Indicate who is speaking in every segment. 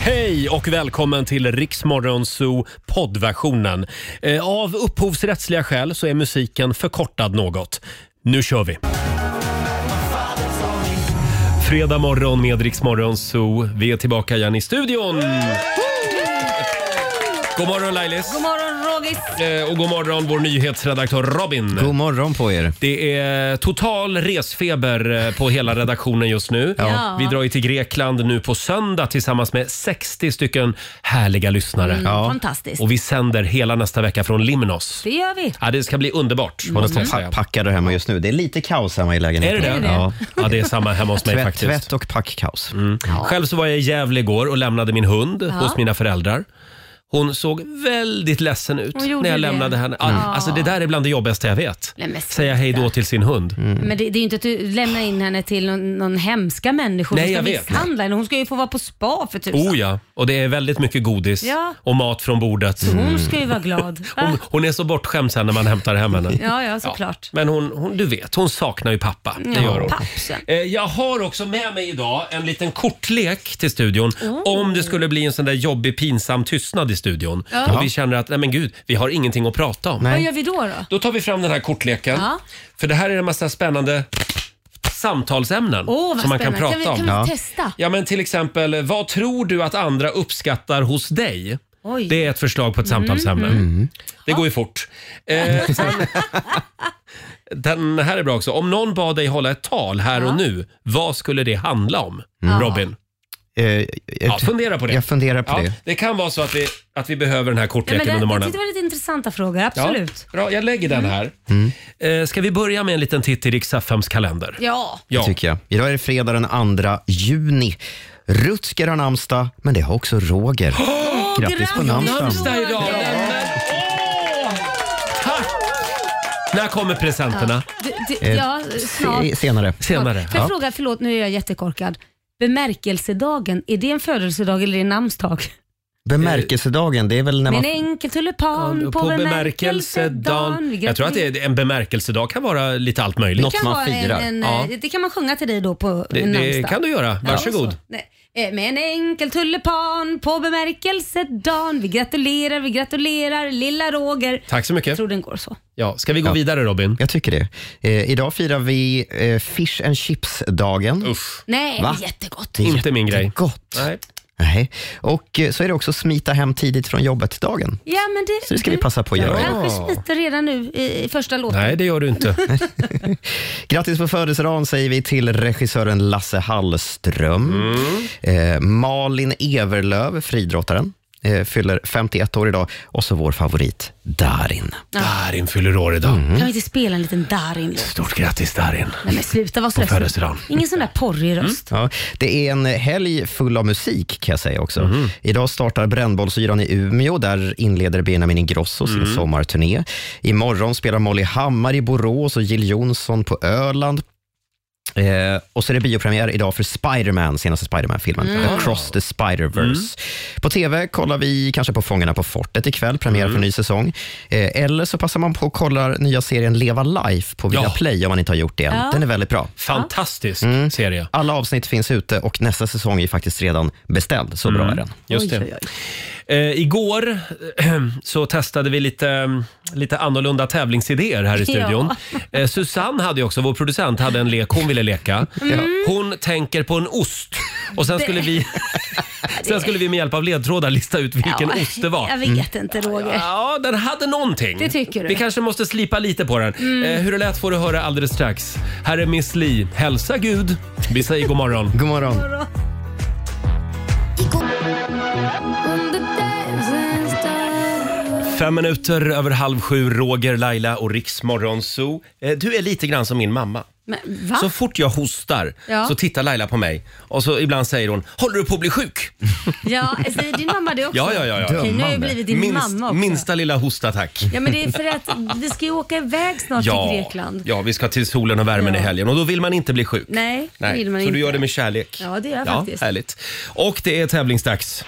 Speaker 1: Hej och välkommen till Riksmorgonzoo poddversionen. Eh, Av upphovsrättsliga skäl så är musiken förkortad något. Nu kör vi! Fredag morgon med Riksmorgonzoo. Vi är tillbaka igen i studion. God morgon Lailis!
Speaker 2: God morgon Rogis!
Speaker 1: Eh, Och god morgon vår nyhetsredaktör Robin.
Speaker 3: God morgon på er.
Speaker 1: Det är total resfeber eh, på hela redaktionen just nu.
Speaker 2: Ja.
Speaker 1: Vi drar ju till Grekland nu på söndag tillsammans med 60 stycken härliga lyssnare.
Speaker 2: Mm, Fantastiskt.
Speaker 1: Och vi sänder hela nästa vecka från Limnos.
Speaker 2: Det gör vi.
Speaker 1: Ja, det ska bli underbart. Måste jag
Speaker 2: Mm.
Speaker 1: säga.
Speaker 3: Pa- packade hemma just nu. Det är lite kaos hemma i
Speaker 1: Är det
Speaker 3: lägenheten.
Speaker 1: det?
Speaker 3: Ja.
Speaker 1: ja, det är samma hemma hos mig
Speaker 3: Tvätt,
Speaker 1: faktiskt. Mm.
Speaker 3: tvätt och packkaos.
Speaker 1: Själv så var jag i Gävle igår och lämnade min hund hos mina föräldrar. Hon såg väldigt ledsen ut
Speaker 2: Hon gjorde
Speaker 1: när jag
Speaker 2: det.
Speaker 1: lämnade henne.
Speaker 3: Mm.
Speaker 1: Ja, Alltså det där är bland det jobbigaste jag vet.
Speaker 2: Nej, men
Speaker 1: Säga hej då till sin hund.
Speaker 3: Mm.
Speaker 2: Men det, det är ju inte att du lämnar in henne till någon, någon hemska människa
Speaker 1: Nej,
Speaker 2: som ska
Speaker 1: jag vet.
Speaker 2: misshandla henne. Hon ska ju få vara på spa för tusan.
Speaker 1: Oh ja, och det är väldigt mycket godis
Speaker 2: Ja.
Speaker 1: och mat från bordet.
Speaker 2: Hon ska ju vara glad. Va?
Speaker 1: Hon, hon är så bortskämd sen när man hämtar hem henne.
Speaker 2: Ja, ja såklart.
Speaker 1: Men hon, hon, du vet, hon saknar ju pappa. Det
Speaker 2: Ja,
Speaker 1: gör hon.
Speaker 2: pappsen.
Speaker 1: Eh, Jag har också med mig idag en liten kortlek till studion.
Speaker 2: Mm.
Speaker 1: Om det skulle bli en sån där jobbig pinsam tystnad i studion och vi känner att nej men gud, vi har ingenting att prata om.
Speaker 2: Vad gör vi då då?
Speaker 1: Då tar vi fram den här kortleken.
Speaker 2: Ja.
Speaker 1: För det här är en massa spännande samtalsämnen
Speaker 2: Åh, vad
Speaker 1: som man kan
Speaker 2: spännande.
Speaker 1: prata
Speaker 2: kan vi, kan
Speaker 1: om.
Speaker 2: vi
Speaker 3: Ja.
Speaker 2: testa?
Speaker 1: Ja, men till exempel, vad tror du att andra uppskattar hos dig?
Speaker 2: Oj.
Speaker 1: Det är ett förslag på ett samtalsämne.
Speaker 2: Mm.
Speaker 3: Mm.
Speaker 1: Det går ju fort. Eh, sen, den här är bra också. Om någon bad dig hålla ett tal här och nu, vad skulle det handla om? Robin,
Speaker 3: Eh, jag-
Speaker 1: ja, fundera på det.
Speaker 3: Jag funderar på
Speaker 1: Ja,
Speaker 3: det.
Speaker 1: det kan vara så att vi, att vi behöver den här
Speaker 2: Ja, men
Speaker 1: kortleken
Speaker 2: det,
Speaker 1: under
Speaker 2: jag
Speaker 1: morgonen.
Speaker 2: tyckte det var lite intressanta frågor, absolut. Mm.
Speaker 1: Ja, bra, jag lägger den här.
Speaker 3: Mm.
Speaker 1: Eh, ska vi börja med en liten titt i Rix FMs kalender?
Speaker 2: Ja.
Speaker 1: Ja.
Speaker 3: tycker jag. Idag är det fredag den 2 juni. Rutger har namnsdag, men det har också Roger. Grattis på namnsdagen.
Speaker 1: Namnsdag idag! Nej, men, åh! Tack! När kommer presenterna?
Speaker 2: Du, du, ja, snart.
Speaker 3: Eh, Se- Senare.
Speaker 1: Senare.
Speaker 2: Får jag fråga, förlåt nu är jag jättekorkad. Bemärkelsedagen, är det en födelsedag eller är det en namnsdag?
Speaker 3: Bemärkelsedagen, det är väl när
Speaker 2: Med
Speaker 3: man...
Speaker 2: en enkel tulipan på, bemärkelsedagen.
Speaker 1: Jag tror att det är, en bemärkelsedag kan vara lite allt möjligt.
Speaker 3: Något
Speaker 2: kan
Speaker 3: man
Speaker 2: vara
Speaker 3: firar.
Speaker 2: En, en,
Speaker 1: Ja.
Speaker 2: eh, Det kan man sjunga till dig då på
Speaker 1: det,
Speaker 2: en
Speaker 1: det
Speaker 2: namnsdag.
Speaker 1: kan du göra.
Speaker 2: Ja,
Speaker 1: Varsågod.
Speaker 2: så. Nej, eh, Med en enkel tulipan på bemärkelsedagen. Vi gratulerar, vi gratulerar lilla Roger.
Speaker 1: Tack så
Speaker 2: Jag
Speaker 1: mycket.
Speaker 2: tror den går så.
Speaker 1: Ja, ska vi gå vidare Robin?
Speaker 3: Jag tycker det. Eh, idag firar vi eh, fish and chips-dagen.
Speaker 1: Usch,
Speaker 2: Nej,
Speaker 3: Va?
Speaker 2: jättegott.
Speaker 3: Det är
Speaker 1: inte min grej.
Speaker 3: jättegott.
Speaker 1: Nej.
Speaker 3: Nej. Och eh, så är det också smita hem tidigt från jobbet-dagen.
Speaker 2: Ja, men det,
Speaker 3: Så det ska vi passa på att
Speaker 2: Mm. Jag
Speaker 3: göra.
Speaker 2: kanske smiter redan nu i, i första låten.
Speaker 1: Nej, det gör du inte.
Speaker 3: Grattis på födelsedagen säger vi till regissören Lasse Hallström.
Speaker 1: Mm.
Speaker 3: Eh, Malin Everlöv, friidrottaren, eh, fyller 51 år idag. Och så vår favorit Darin. Mm.
Speaker 1: Darin fyller år idag.
Speaker 2: Kan vi inte spela en liten Darin-låt?
Speaker 1: Stort grattis Darin.
Speaker 2: Nej men sluta, var så
Speaker 1: På
Speaker 2: ledsen.
Speaker 1: födelsedagen.
Speaker 2: Ingen sån där porrig röst.
Speaker 3: Ja, det är en helg full av musik kan jag säga också. Idag startar Brännbollsyran i Umeå. Där inleder Benjamin Ingrosso sin sommarturné. Imorgon spelar Molly Hammar i Borås och Jill Johnson på Öland. Eh, och så är det biopremiär idag för Spider-Man, senaste Spider-Man-filmen, Across the Spider-Verse. På TV kollar vi kanske på Fångarna på fortet ikväll, premiär för ny säsong. Eh, eller så passar man på och kollar nya serien Leva Life på
Speaker 1: Ja.
Speaker 3: Viaplay om man inte har gjort det än. Den är väldigt bra. Mm.
Speaker 1: Fantastisk serie.
Speaker 3: Alla avsnitt finns ute och nästa säsong är faktiskt redan beställd. Så bra är den.
Speaker 1: Mm. Just
Speaker 2: Oj,
Speaker 1: det.
Speaker 2: oj, oj.
Speaker 1: Eh, igår så testade vi lite, lite annorlunda tävlingsidéer här i studion. Eh, Susanne hade ju också, vår producent, hade en lek hon ville leka.
Speaker 2: Mm.
Speaker 1: Hon tänker på en ost och sen skulle vi, sen skulle vi med hjälp av ledtrådar lista ut Mm. vilken
Speaker 2: Ja,
Speaker 1: ost det var. Mm.
Speaker 2: Jag vet inte Roger.
Speaker 1: Ja, den hade någonting.
Speaker 2: Det tycker du. Mm.
Speaker 1: Vi kanske måste slipa lite på den. Eh, hur det lät får du höra alldeles strax. Här är Miss Li. Hälsa Gud. Vi säger god morgon.
Speaker 3: God morgon.
Speaker 1: Fem minuter över halv sju, Roger, Laila och Riksmorgonzoo. Eh, Du är lite grann som min mamma.
Speaker 2: Men, va?
Speaker 1: Så fort jag hostar
Speaker 2: Ja.
Speaker 1: så tittar Laila på mig och så ibland säger hon “Håller du på att bli sjuk?”
Speaker 2: Ja, säger din mamma det också?
Speaker 1: Ja, ja, ja, ja.
Speaker 2: Okej, nu har jag blivit din
Speaker 1: Minst,
Speaker 2: mamma också.
Speaker 1: Minsta lilla hostattack.
Speaker 2: Ja, men det är för att vi ska ju åka iväg snart till Grekland.
Speaker 1: ja, vi ska till solen och värmen
Speaker 2: Ja.
Speaker 1: i helgen och då vill man inte bli sjuk.
Speaker 2: Nej, det vill man
Speaker 1: så
Speaker 2: inte.
Speaker 1: du gör det med kärlek.
Speaker 2: Ja, det gör jag faktiskt.
Speaker 1: Härligt. Och det är tävlingsdags.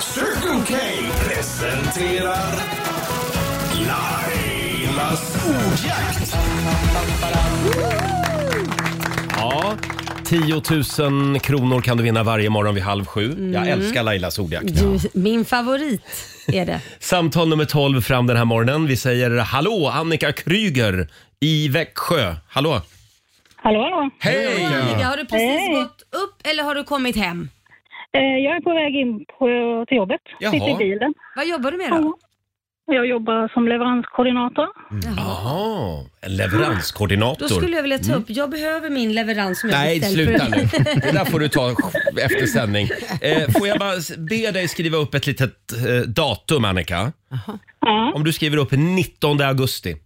Speaker 4: Circle K presenterar Lailas ordjakt.
Speaker 1: Ja. 10 000 kronor kan du vinna varje morgon vid halv sju. Jag
Speaker 2: Mm.
Speaker 1: älskar Lailas ordjakt.
Speaker 2: Du, min favorit är det.
Speaker 1: Samtal nummer 12 fram den här morgonen. Vi säger hallå, Annika Kryger i Växjö. Hallå!
Speaker 5: Hallå, hallå.
Speaker 1: Hej!
Speaker 2: Annika, har du precis
Speaker 5: Hej. Eh,
Speaker 2: gått upp eller har du kommit hem?
Speaker 5: Jag är på väg in på, till jobbet.
Speaker 1: Jaha.
Speaker 5: Sitter i bilen.
Speaker 2: Vad jobbar du med då?
Speaker 5: Jag jobbar som leveranskoordinator.
Speaker 1: Jaha, en
Speaker 2: Då
Speaker 1: leveranskoordinator. Mm.
Speaker 2: skulle jag vilja ta upp, jag behöver min leverans som jag
Speaker 1: Nej,
Speaker 2: beställt
Speaker 1: sluta
Speaker 2: förut.
Speaker 1: nu. Det där får du ta efter sändning. Eh, får jag bara be dig skriva upp ett litet eh, datum, Annika?
Speaker 5: Ja,
Speaker 1: Om du skriver upp 19 augusti.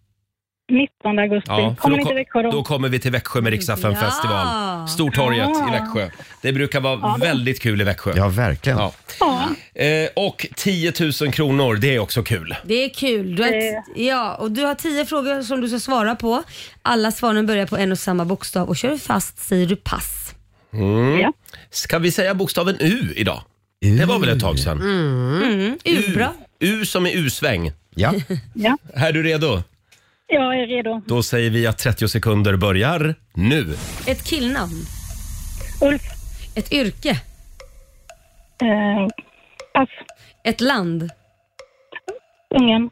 Speaker 5: 19 augusti.
Speaker 1: Ja, för
Speaker 5: Kommer
Speaker 1: då,
Speaker 5: ni till Växjö
Speaker 1: ko-
Speaker 5: då?
Speaker 1: då kommer vi till Växjö med Riksdagen
Speaker 2: Ja.
Speaker 1: festival. Stortorget
Speaker 5: Ja.
Speaker 1: i Växjö. Det brukar vara väldigt kul i Växjö.
Speaker 3: Ja, verkligen.
Speaker 1: Ja.
Speaker 5: Ja.
Speaker 1: Eh, och 10 000 kronor, det är också kul.
Speaker 2: Det är kul. Du har,
Speaker 5: Det-
Speaker 2: ja, och du har tio frågor som du ska svara på. Alla svaren börjar på en och samma bokstav och kör du fast säger du pass.
Speaker 5: Ja.
Speaker 1: Mm. Ska vi säga bokstaven U idag? Det var väl ett tag sedan?
Speaker 2: Mm, bra.
Speaker 1: U som i U-sväng.
Speaker 3: Ja.
Speaker 5: ja.
Speaker 1: Är du redo?
Speaker 5: Jag är redo.
Speaker 1: Då säger vi att 30 sekunder börjar nu.
Speaker 2: Ett killnamn.
Speaker 5: Ulf.
Speaker 2: Ett yrke.
Speaker 5: Eh, pass.
Speaker 2: Ett land.
Speaker 5: Ungern.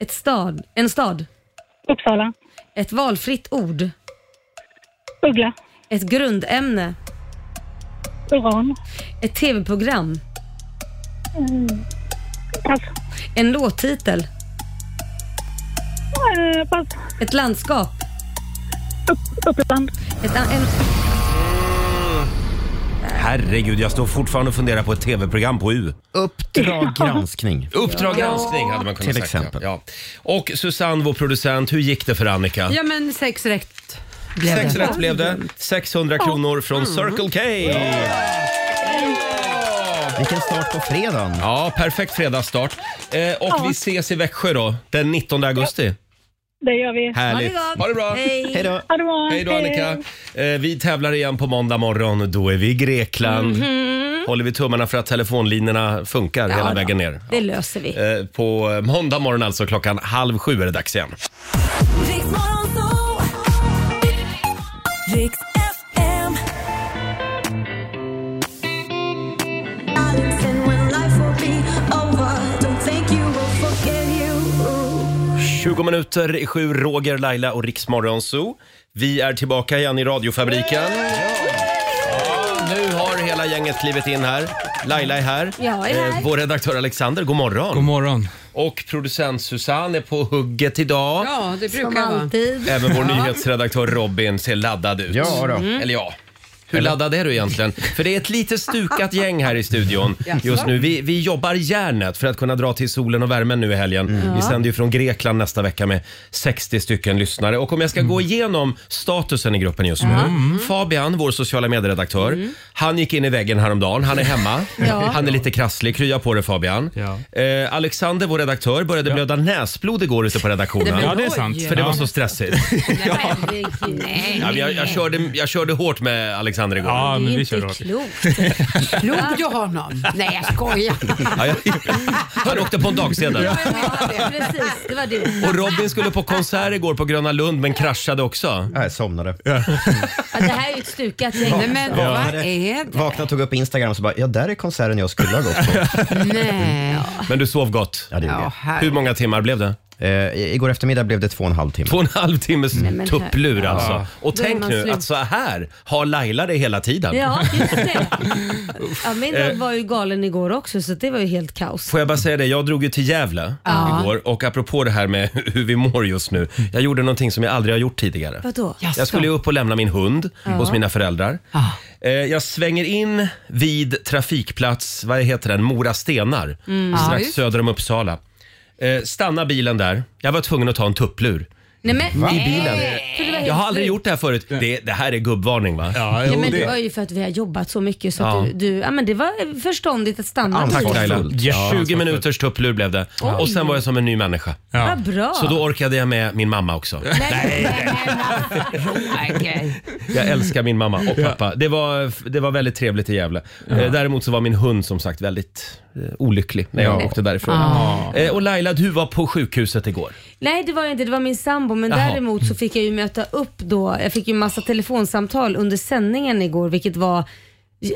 Speaker 2: Ett stad. En stad.
Speaker 5: Uppsala.
Speaker 2: Ett valfritt ord.
Speaker 5: Uggla.
Speaker 2: Ett grundämne.
Speaker 5: Uran.
Speaker 2: Ett tv-program.
Speaker 5: Mm. Pass.
Speaker 2: En låttitel.
Speaker 5: Eh, pass.
Speaker 2: Ett landskap.
Speaker 5: Upp, Uppland.
Speaker 2: Ett, an- en,
Speaker 1: Herregud, jag står fortfarande och funderar på ett tv-program på U.
Speaker 3: Uppdrag granskning.
Speaker 1: Uppdrag granskning hade man kunnat
Speaker 3: Till
Speaker 1: sagt, ja.
Speaker 3: exempel.
Speaker 1: Ja. Och Susanne, vår producent, hur gick det för Annika?
Speaker 6: Ja men sex rätt blev
Speaker 1: Sex
Speaker 6: det.
Speaker 1: rätt blev det. 600 kronor från Circle K.
Speaker 3: Vilken start på fredagen.
Speaker 1: Ja, perfekt fredagsstart. Eh, och vi ses i Växjö då, den 19 augusti.
Speaker 5: Det gör vi.
Speaker 2: ha det
Speaker 1: Härligt.
Speaker 2: gott.
Speaker 1: Ha det bra.
Speaker 2: Hej.
Speaker 3: Hej då.
Speaker 5: Ha det bra.
Speaker 1: Hej då Annika. Eh, vi tävlar igen på måndag morgon. Då är vi i Grekland. Håller vi tummarna för att telefonlinorna funkar hela
Speaker 2: då.
Speaker 1: vägen ner.
Speaker 2: Det löser vi.
Speaker 1: Eh, på eh, måndag morgon alltså klockan halv sju är det dags igen.
Speaker 7: Riks FM. And when life will be over, don't think you will forget you.
Speaker 1: 20 minuter i sju, Roger, Laila och Riksmorgon Zoo. Vi är tillbaka igen i radiofabriken. Ja, nu har hela gänget klivit in här. Laila är här. Eh,
Speaker 2: Jag är här.
Speaker 1: vår redaktör Alexander, god morgon.
Speaker 8: God morgon.
Speaker 1: Och producent Susanne är på hugget idag.
Speaker 6: Ja, det
Speaker 2: Som
Speaker 6: brukar vara.
Speaker 2: alltid.
Speaker 1: Även vår nyhetsredaktör Robin ser laddad ut.
Speaker 3: Ja då.
Speaker 1: Eller ja. Hur laddad är du egentligen? För det är ett lite stukat gäng här i studion just nu. Vi, vi jobbar järnet för att kunna dra till solen och värmen nu i helgen. Vi sänder ju från Grekland nästa vecka med 60 stycken lyssnare. Och om jag ska gå igenom statusen i gruppen just nu. Fabian, vår sociala medieredaktör, han gick in i väggen häromdagen. Han är hemma.
Speaker 2: Ja.
Speaker 1: Han är lite krasslig. Krya på dig Fabian.
Speaker 8: Ja.
Speaker 1: Eh, Alexander, vår redaktör, började blöda näsblod igår ute på redaktionen.
Speaker 8: Ja, det är sant.
Speaker 1: För det var
Speaker 8: Ja.
Speaker 1: så stressigt.
Speaker 2: Herregud.
Speaker 1: Ja, men jag, jag, körde, jag körde hårt med Alexander igår. Ja.
Speaker 8: Ja,
Speaker 2: Det
Speaker 8: men
Speaker 2: är
Speaker 8: vi
Speaker 2: inte
Speaker 8: kör rakt.
Speaker 2: klokt.
Speaker 6: Log jag honom? Nej, jag skojar.
Speaker 1: jag, han åkte på en dagsedel.
Speaker 2: Ja, precis. Det var du.
Speaker 1: Och Robin skulle på konsert igår på Gröna Lund men kraschade också.
Speaker 3: Jag somnade.
Speaker 2: Ja, det här är ju ett stukat
Speaker 6: Nej,
Speaker 2: gäng.
Speaker 6: men vad är det?
Speaker 3: Vaknade, tog upp Instagram och så bara, ja där är konserten jag skulle ha gått på.
Speaker 6: Nej.
Speaker 1: Men du sov gott.
Speaker 3: Ja, det gjorde
Speaker 6: Ja,
Speaker 3: jag.
Speaker 6: herre.
Speaker 1: Hur många timmar blev det?
Speaker 3: Eh, i- igår eftermiddag blev det två och en halv timme.
Speaker 1: Två och en halv timmes
Speaker 2: men här-
Speaker 1: tupplur alltså. Och
Speaker 2: Då är
Speaker 1: tänk
Speaker 2: man
Speaker 1: nu
Speaker 2: slut.
Speaker 1: att så här har Laila det hela tiden.
Speaker 2: Ja, just det. Ja, min
Speaker 1: Eh.
Speaker 2: dag var ju galen igår också så det var ju helt kaos.
Speaker 1: Får jag bara säga det, jag drog ju till Gävle igår och apropå det här med hur vi mår just nu. Jag gjorde någonting som jag aldrig har gjort tidigare.
Speaker 2: Vadå?
Speaker 6: Jaså?
Speaker 1: Jag skulle ju upp och lämna min hund hos mina föräldrar.
Speaker 6: Ja.
Speaker 1: Eh, Jag svänger in vid trafikplats, vad heter den, Mora Stenar.
Speaker 6: Ja,
Speaker 2: Mm.
Speaker 1: Strax
Speaker 6: just.
Speaker 1: söder om Uppsala. Eh, Stanna bilen där. Jag var tvungen att ta en tupplur.
Speaker 2: Nej men,
Speaker 1: I bilen.
Speaker 2: För det var helt
Speaker 1: Jag har aldrig
Speaker 2: slut.
Speaker 1: gjort det här förut. Det, det här är gubbvarning va?
Speaker 8: Ja,
Speaker 2: Ja,
Speaker 8: jo,
Speaker 2: men det var
Speaker 8: det.
Speaker 2: ju för att vi har jobbat så mycket så
Speaker 1: Ja.
Speaker 2: att du, du ja, men det var förståndigt att stanna.
Speaker 3: Tack,
Speaker 1: Tack
Speaker 2: precis.
Speaker 1: Laila.
Speaker 8: Ja,
Speaker 1: 20 minuters tupplur blev det. Och sen var jag som en ny människa.
Speaker 8: Ja.
Speaker 2: Vad bra.
Speaker 1: Så då orkade jag med min mamma också.
Speaker 6: Okej.
Speaker 1: Jag älskar min mamma och pappa. Det var, det var väldigt trevligt i Gävle. Eh, Däremot så var min hund som sagt väldigt eh, olycklig när jag åkte därifrån. Eh, Och Laila, du var på sjukhuset igår.
Speaker 2: Nej det var jag inte, det var min sambo. Men
Speaker 1: Jaha.
Speaker 2: däremot så fick jag ju möta upp då, jag fick ju massa telefonsamtal under sändningen igår vilket var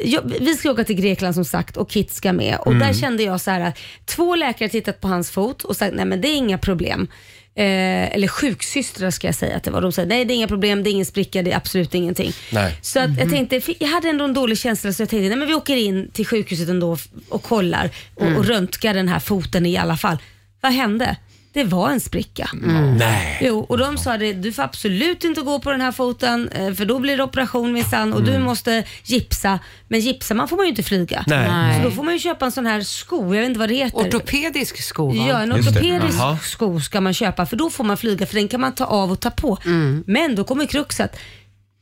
Speaker 2: jag, vi ska åka till Grekland som sagt och Kit ska med och där kände jag så här att två läkare tittat på hans fot och sagt nej men det är inga problem. Eh, eller sjuksystrar ska jag säga att det var. De säger nej det är inga problem, det är ingen spricka, det är absolut ingenting.
Speaker 1: Nej.
Speaker 2: Så att
Speaker 6: Mhm.
Speaker 2: jag tänkte, jag hade ändå en dålig känsla så jag tänkte nej men vi åker in till sjukhuset ändå och kollar och,
Speaker 6: Mm.
Speaker 2: och röntgar den här foten i alla fall. Vad hände? Det var en spricka.
Speaker 6: Mm.
Speaker 1: Nej.
Speaker 2: Jo, och de sa det, du får absolut inte gå på den här foten eh, för då blir det operation minsann och du
Speaker 6: Mm.
Speaker 2: måste gipsa. Men gipsar man får man ju inte flyga.
Speaker 1: Nej.
Speaker 2: Så
Speaker 6: Nej.
Speaker 2: då får man ju köpa en sån här sko, jag vet inte vad det heter.
Speaker 6: Ortopedisk sko va?
Speaker 2: Ja, en
Speaker 3: Just det.
Speaker 2: ortopedisk
Speaker 1: Jaha.
Speaker 2: sko ska man köpa för då får man flyga för den kan man ta av och ta på.
Speaker 6: Mm.
Speaker 2: Men då kommer kruxet,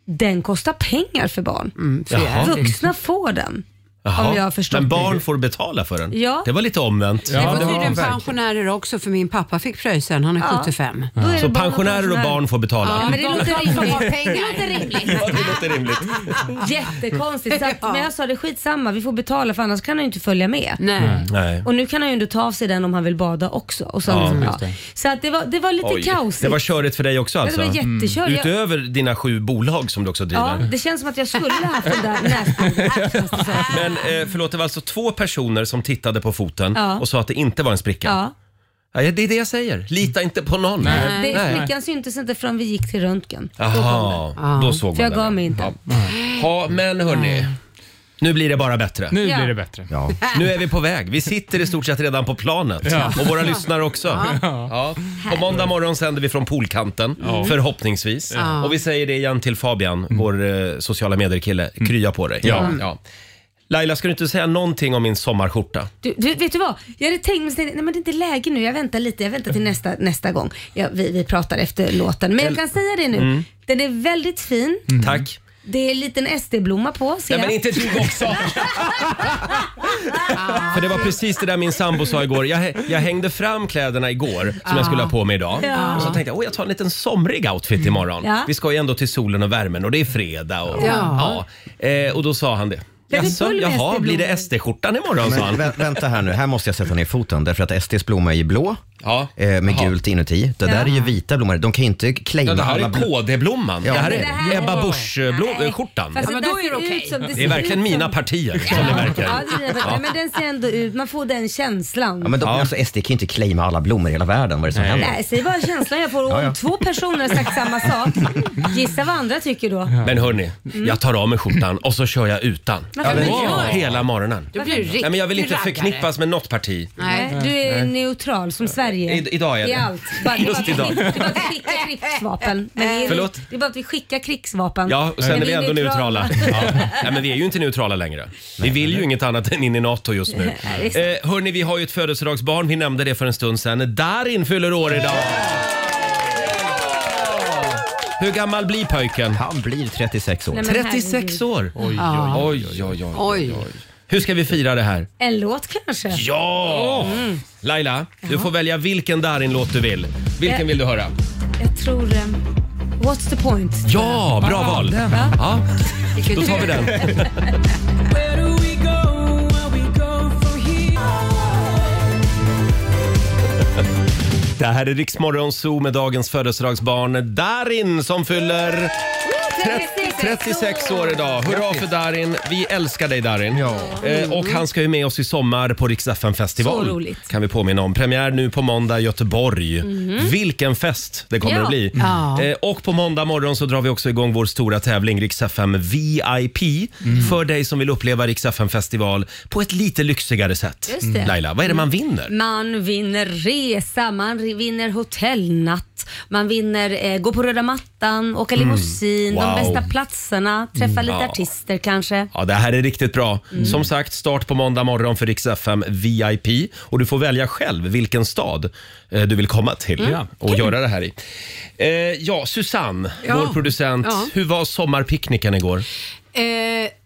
Speaker 2: den kostar pengar för barn.
Speaker 6: Mm, för
Speaker 1: Jaha.
Speaker 6: jävligt.
Speaker 2: Vuxna får den.
Speaker 1: Jaha.
Speaker 2: Om jag har förstått
Speaker 1: Men barn
Speaker 2: det.
Speaker 1: får betala för den.
Speaker 2: Ja.
Speaker 1: Det var lite omvänt.
Speaker 6: Det var
Speaker 8: det var
Speaker 6: tydligen
Speaker 8: verkligen.
Speaker 6: pensionärer också för min pappa fick pröjsen, han är 75.
Speaker 2: Då är det
Speaker 1: Så
Speaker 2: barn
Speaker 1: pensionärer och barn får betala.
Speaker 2: men det
Speaker 6: de
Speaker 2: låter
Speaker 6: som har
Speaker 2: rimligt.
Speaker 6: pengar.
Speaker 2: Det låter rimligt.
Speaker 1: Ja, det låter rimligt.
Speaker 2: Jättekonstigt. Så att,
Speaker 6: Ja.
Speaker 2: Men jag sa det, skitsamma, vi får betala för annars kan han ju inte följa med.
Speaker 6: Nej.
Speaker 1: Mm. Nej.
Speaker 2: Och nu kan han ju ändå ta av sig den om han vill bada också. Och så,
Speaker 1: Ja,
Speaker 2: liksom,
Speaker 1: just
Speaker 2: ja. så att det, var, det var lite kaosigt.
Speaker 1: Det var körigt för dig också
Speaker 2: Ja, det
Speaker 1: alltså?
Speaker 2: var jättekörigt. Jag-
Speaker 1: Utöver dina sju bolag som du också driver?
Speaker 2: Ja, det känns som att jag skulle haft den där näsborren.
Speaker 1: Men eh, förlåt, det var alltså två personer som tittade på foten
Speaker 2: Ja.
Speaker 1: och sa att det inte var en spricka.
Speaker 2: Ja.
Speaker 1: Ja, det är det jag säger. Lita inte på någon.
Speaker 2: Det flickan syntes inte förrän vi gick till röntgen.
Speaker 1: Jaha, då såg man
Speaker 2: För jag
Speaker 1: det.
Speaker 2: gav mig inte.
Speaker 1: Ja, men hörni. Nu blir det bara bättre.
Speaker 8: Nu
Speaker 2: Ja.
Speaker 8: blir det bättre.
Speaker 3: Ja.
Speaker 1: Nu är vi på väg. Vi sitter i stort sett redan på planet. Och våra lyssnare också. Ja. På måndag morgon sänder vi från poolkanten, förhoppningsvis. Och vi säger det igen till Fabian, vår eh, sociala medier-kille. Krya på dig. Mm. Ja. Laila, ska du inte säga någonting om min sommarskjorta?
Speaker 2: Du, du, vet du vad? Jag hade tänkt mig, så tänkte jag, nej men det är inte läge nu, jag väntar lite, jag väntar till
Speaker 1: Mm.
Speaker 2: nästa, nästa gång. Ja, vi, vi pratar efter låten. Men jag kan säga det nu,
Speaker 1: Mm.
Speaker 2: den är väldigt fin.
Speaker 1: Tack.
Speaker 2: Det är en liten SD-blomma på ser
Speaker 1: Nej
Speaker 2: jag.
Speaker 1: men inte du också! För det var precis det där min sambo sa igår. Jag, jag hängde fram kläderna igår som jag skulle ha på mig idag.
Speaker 2: Ja.
Speaker 1: Och så tänkte jag, åh jag tar en liten somrig outfit imorgon.
Speaker 2: Ja.
Speaker 1: Vi ska ju ändå till solen och värmen och det är fredag. Och, ja.
Speaker 6: Ja.
Speaker 1: Eh, och då sa han det.
Speaker 2: Blev det
Speaker 1: Jaså,
Speaker 2: full med
Speaker 1: jaha, blir det SD-skjortan imorgon sa
Speaker 3: Men
Speaker 1: han.
Speaker 3: vä- vänta här nu, här måste jag sätta ner foten därför att SDs blomma är ju blå
Speaker 1: Ja.
Speaker 3: eh, med
Speaker 1: Jaha.
Speaker 3: gult inuti. Det där är ju vita blommor, de kan ju inte claima
Speaker 1: Ja, det här
Speaker 3: alla
Speaker 1: är
Speaker 3: blommor.
Speaker 1: KD-blomman. Det här
Speaker 2: Det
Speaker 1: är
Speaker 2: här är-
Speaker 1: Ebba
Speaker 2: Nej.
Speaker 1: Busch-skjortan.
Speaker 2: Fast
Speaker 6: Ja, men
Speaker 2: där
Speaker 6: då är det
Speaker 2: ser
Speaker 6: okej.
Speaker 2: ut som-
Speaker 1: Det är
Speaker 2: ser
Speaker 1: verkligen
Speaker 2: ut som-
Speaker 1: mina partier som det
Speaker 2: Ja,
Speaker 1: verkar.
Speaker 2: det är det. Nej, Men den ser ändå ut, man får den känslan.
Speaker 3: Ja, men de, alltså, SD kan ju inte claima alla blommor i hela världen, vad är det som händer?
Speaker 2: Nej, säg bara känslan jag får. Och
Speaker 3: Ja, ja.
Speaker 2: Om två personer har sagt samma sak, gissa vad andra tycker då.
Speaker 1: Men hörni, jag tar av mig skjortan och så kör jag utan.
Speaker 2: Varför
Speaker 6: men
Speaker 2: gör
Speaker 6: gör
Speaker 1: Hela morgonen.
Speaker 6: Du blir riktig
Speaker 1: Nej, men jag vill inte
Speaker 6: raggare.
Speaker 1: förknippas med något parti.
Speaker 6: Nej.
Speaker 2: Nej, du är neutral som Sverige.
Speaker 1: I- idag är
Speaker 2: I
Speaker 1: det.
Speaker 2: allt. Bara, det är bara att
Speaker 1: Just
Speaker 2: vi-
Speaker 1: idag.
Speaker 2: Det är bara att vi skickar krigsvapen. Men det, är,
Speaker 1: Förlåt?
Speaker 2: det är bara att vi skickar krigsvapen.
Speaker 1: Ja, och sen
Speaker 2: Men
Speaker 1: är vi ändå neutrala.
Speaker 2: Ja.
Speaker 1: Ja. Nej, men vi är ju inte neutrala längre. Vi vill ju inget annat än in i NATO just nu.
Speaker 2: Nej, det
Speaker 1: Eh, hörni, vi har ju ett födelsedagsbarn. Vi nämnde det för en stund sedan. Darin fyller år idag. Hur gammal blir pojken?
Speaker 3: Han blir 36 år.
Speaker 2: Nej, men
Speaker 1: 36
Speaker 2: herregud.
Speaker 1: år. Oj, oj, oj, oj,
Speaker 6: Oj.
Speaker 1: Hur ska vi fira det här?
Speaker 2: En låt kanske? Mm.
Speaker 1: Ja! Mm. Laila, du får välja vilken Darin-låt du vill. Vilken vill du höra?
Speaker 2: Jag tror... ehm, What's the point?
Speaker 1: Ja, bra val! Ja, då tar vi den. Det här är Riksmorgon Zoo med dagens födelsedagsbarn Darin som fyller 36 år idag. Hurra för Darin. Vi älskar dig Darin. Eh, och han ska ju med oss i sommar på Rix FM festival.
Speaker 2: Så roligt. Mhm.
Speaker 1: Kan vi påminna om. Premiär nu på måndag i Göteborg. Vilken fest det kommer
Speaker 2: Ja.
Speaker 1: att bli.
Speaker 6: Ja.
Speaker 1: Eh, och på måndag morgon så drar vi också igång vår stora tävling Rix FM VIP.
Speaker 2: Mm.
Speaker 1: För dig som vill uppleva Rix FM festival på ett lite lyxigare sätt.
Speaker 2: Just det.
Speaker 1: Mm, Laila, vad är det man vinner?
Speaker 2: Man vinner resa, man ri- vinner hotellnatt, man vinner eh, gå på röda mattan, åka limousin,
Speaker 1: Mm. Wow.
Speaker 2: de bästa platserna, träffa lite
Speaker 1: Ja.
Speaker 2: artister kanske.
Speaker 1: Ja, det här är riktigt bra.
Speaker 6: Mm.
Speaker 1: Som sagt, start på måndag morgon för Rix FM VIP. Och du får välja själv vilken stad eh, du vill komma till
Speaker 6: Mm.
Speaker 1: och göra det här i. Eh, ja, Susanne,
Speaker 6: Ja.
Speaker 1: vår producent.
Speaker 6: Ja.
Speaker 1: Hur var sommarpicknicken igår?
Speaker 6: Eh,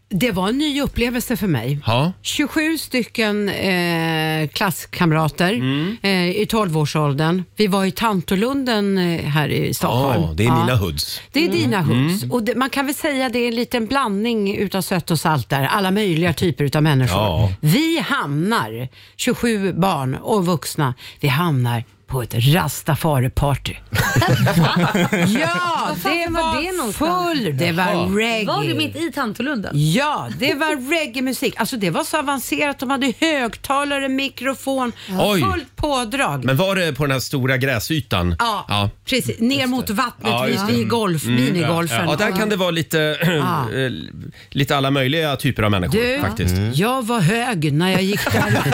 Speaker 6: det var en ny upplevelse för mig.
Speaker 1: Ja.
Speaker 6: 27 stycken eh, klasskamrater
Speaker 1: Mm.
Speaker 6: eh, i 12-årsåldern. Vi var i Tantolunden eh, här i Stockholm.
Speaker 1: Ja, det är mina hoods. Mm.
Speaker 6: Det är dina hoods. Och det, man kan väl säga det är en liten blandning utav sött och salt där. Alla möjliga typer utav människor.
Speaker 1: Ja.
Speaker 6: Vi hamnar, 27 barn och vuxna, vi hamnar på ett rastafari-party. ja,
Speaker 2: fan
Speaker 6: det
Speaker 2: var
Speaker 6: var,
Speaker 2: det någonstans?
Speaker 6: full, det var reggae.
Speaker 2: Var du mitt i Tantolunden?
Speaker 6: Ja, det var reggae-musik. Alltså det var så avancerat. De hade högtalare, mikrofon,
Speaker 1: Oj.
Speaker 6: fullt pådrag.
Speaker 1: Men var det på den här stora gräsytan?
Speaker 6: Ja, precis. Ner mot vattnet
Speaker 1: Ja, just
Speaker 6: vid,
Speaker 1: det. Mm.
Speaker 6: vid golf, minigolfen.
Speaker 1: Ja, där kan det vara lite,
Speaker 6: Ja.
Speaker 1: eh, lite alla möjliga typer av människor
Speaker 6: Du,
Speaker 1: faktiskt.
Speaker 6: jag var hög när jag gick därifrån.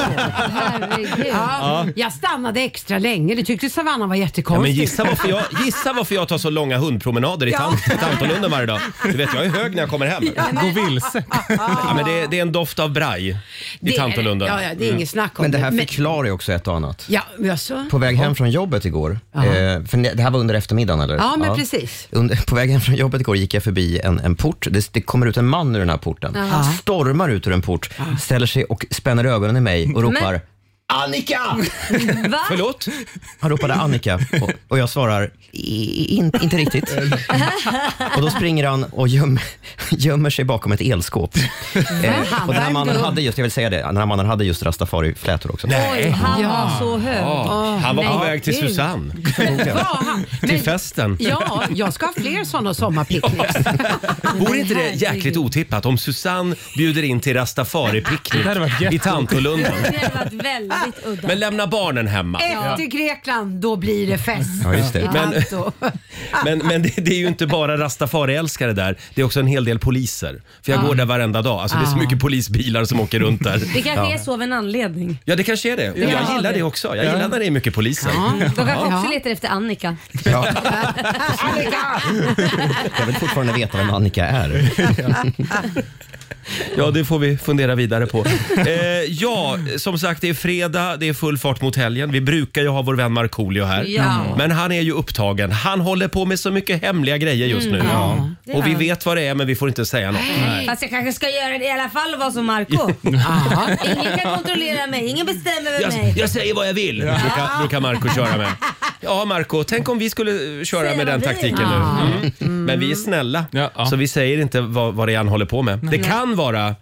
Speaker 2: Herregud.
Speaker 6: ja, jag stannade extra länge. Det tyckte Savanna var
Speaker 1: Ja, men
Speaker 6: jättekonstigt.
Speaker 1: gissa, varför jag, gissa varför jag tar så långa hundpromenader i, tant, i Tantolunden varje dag. Du vet, jag är hög när jag kommer hem. Ja.
Speaker 8: Gå vilse.
Speaker 1: men det, är- det är en doft av braj i
Speaker 6: Det är-
Speaker 1: Tantolunden.
Speaker 6: Ja, ja, det är inget snack om
Speaker 3: Mm. Men det här
Speaker 6: Men-
Speaker 3: förklarar ju också ett och annat.
Speaker 6: Ja, men alltså.
Speaker 3: På väg hem från jobbet igår, eh, för ne- det här var under eftermiddagen eller?
Speaker 6: Ja, men precis.
Speaker 3: Under, på väg hem från jobbet igår gick jag förbi en, en port. Det, det kommer ut en man ur den här porten. Stormar ut ur en port, ställer sig och spänner ögonen i mig och ropar Annika!
Speaker 2: Va?
Speaker 1: Förlåt?
Speaker 3: Han ropade Annika och, och jag svarar "I- in, inte riktigt. och då springer han och göm, gömmer sig bakom ett elskåp. Eh, och den här mannen hade just, jag vill säga det, den här mannen hade just rastafari-flätor också.
Speaker 2: Oj, han var så hög.
Speaker 1: Ja. Han var på
Speaker 2: nej,
Speaker 1: väg till
Speaker 2: gud.
Speaker 1: Susanne.
Speaker 6: Ja, han-
Speaker 1: Till
Speaker 6: men-
Speaker 1: festen.
Speaker 6: Ja, jag ska ha fler sådana sommarpicknicks.
Speaker 1: Vore inte det jäkligt otippat om Susanne bjuder in till
Speaker 8: Det hade varit
Speaker 1: rastafari-picknick
Speaker 8: jätte-
Speaker 1: i Tantolunden?
Speaker 2: Det hade varit väldigt udda.
Speaker 1: Men lämna barnen hemma.
Speaker 6: Efter Grekland, då blir det fest.
Speaker 3: Ja, just det.
Speaker 6: I
Speaker 1: Men-
Speaker 6: Tanto.
Speaker 1: Men, men det, det är ju inte bara rastafariälskare där. Det är också en hel del poliser. För jag går där varenda dag. Alltså, det är så mycket polisbilar som åker runt där.
Speaker 2: Det kanske är så av en anledning.
Speaker 1: Ja, det kanske är det. Och jag gillar det också. Jag gillar när det är mycket poliser.
Speaker 2: De kanske
Speaker 6: Ja.
Speaker 2: också letar efter Annika.
Speaker 3: Ja. jag vill fortfarande veta vem Annika är.
Speaker 1: Ja, det får vi fundera vidare på. Eh, ja, som sagt, det är fredag, det är full fart mot helgen. Vi brukar ju ha vår vän Markoolio här. Mm.
Speaker 2: Ja.
Speaker 1: Men han är ju upptagen. Han håller på med så mycket hemliga grejer just nu. Och vi vet vad det är, men vi får inte säga något.
Speaker 2: Fast jag kanske ska göra det i alla fall och vara som Marco
Speaker 6: Ja.
Speaker 2: Ingen kan kontrollera mig, ingen bestämmer över
Speaker 1: Jag,
Speaker 2: mig.
Speaker 1: Alltså, jag säger vad jag vill, brukar, brukar Marco köra med. Ja, Marco, tänk om vi skulle eh, köra
Speaker 2: Säga
Speaker 1: med den
Speaker 2: vad vi
Speaker 1: taktiken
Speaker 2: vill.
Speaker 1: nu. Mm. Men vi är snälla,
Speaker 8: Ja, ja.
Speaker 1: så vi säger inte vad, vad det är han håller på med. Det kan vara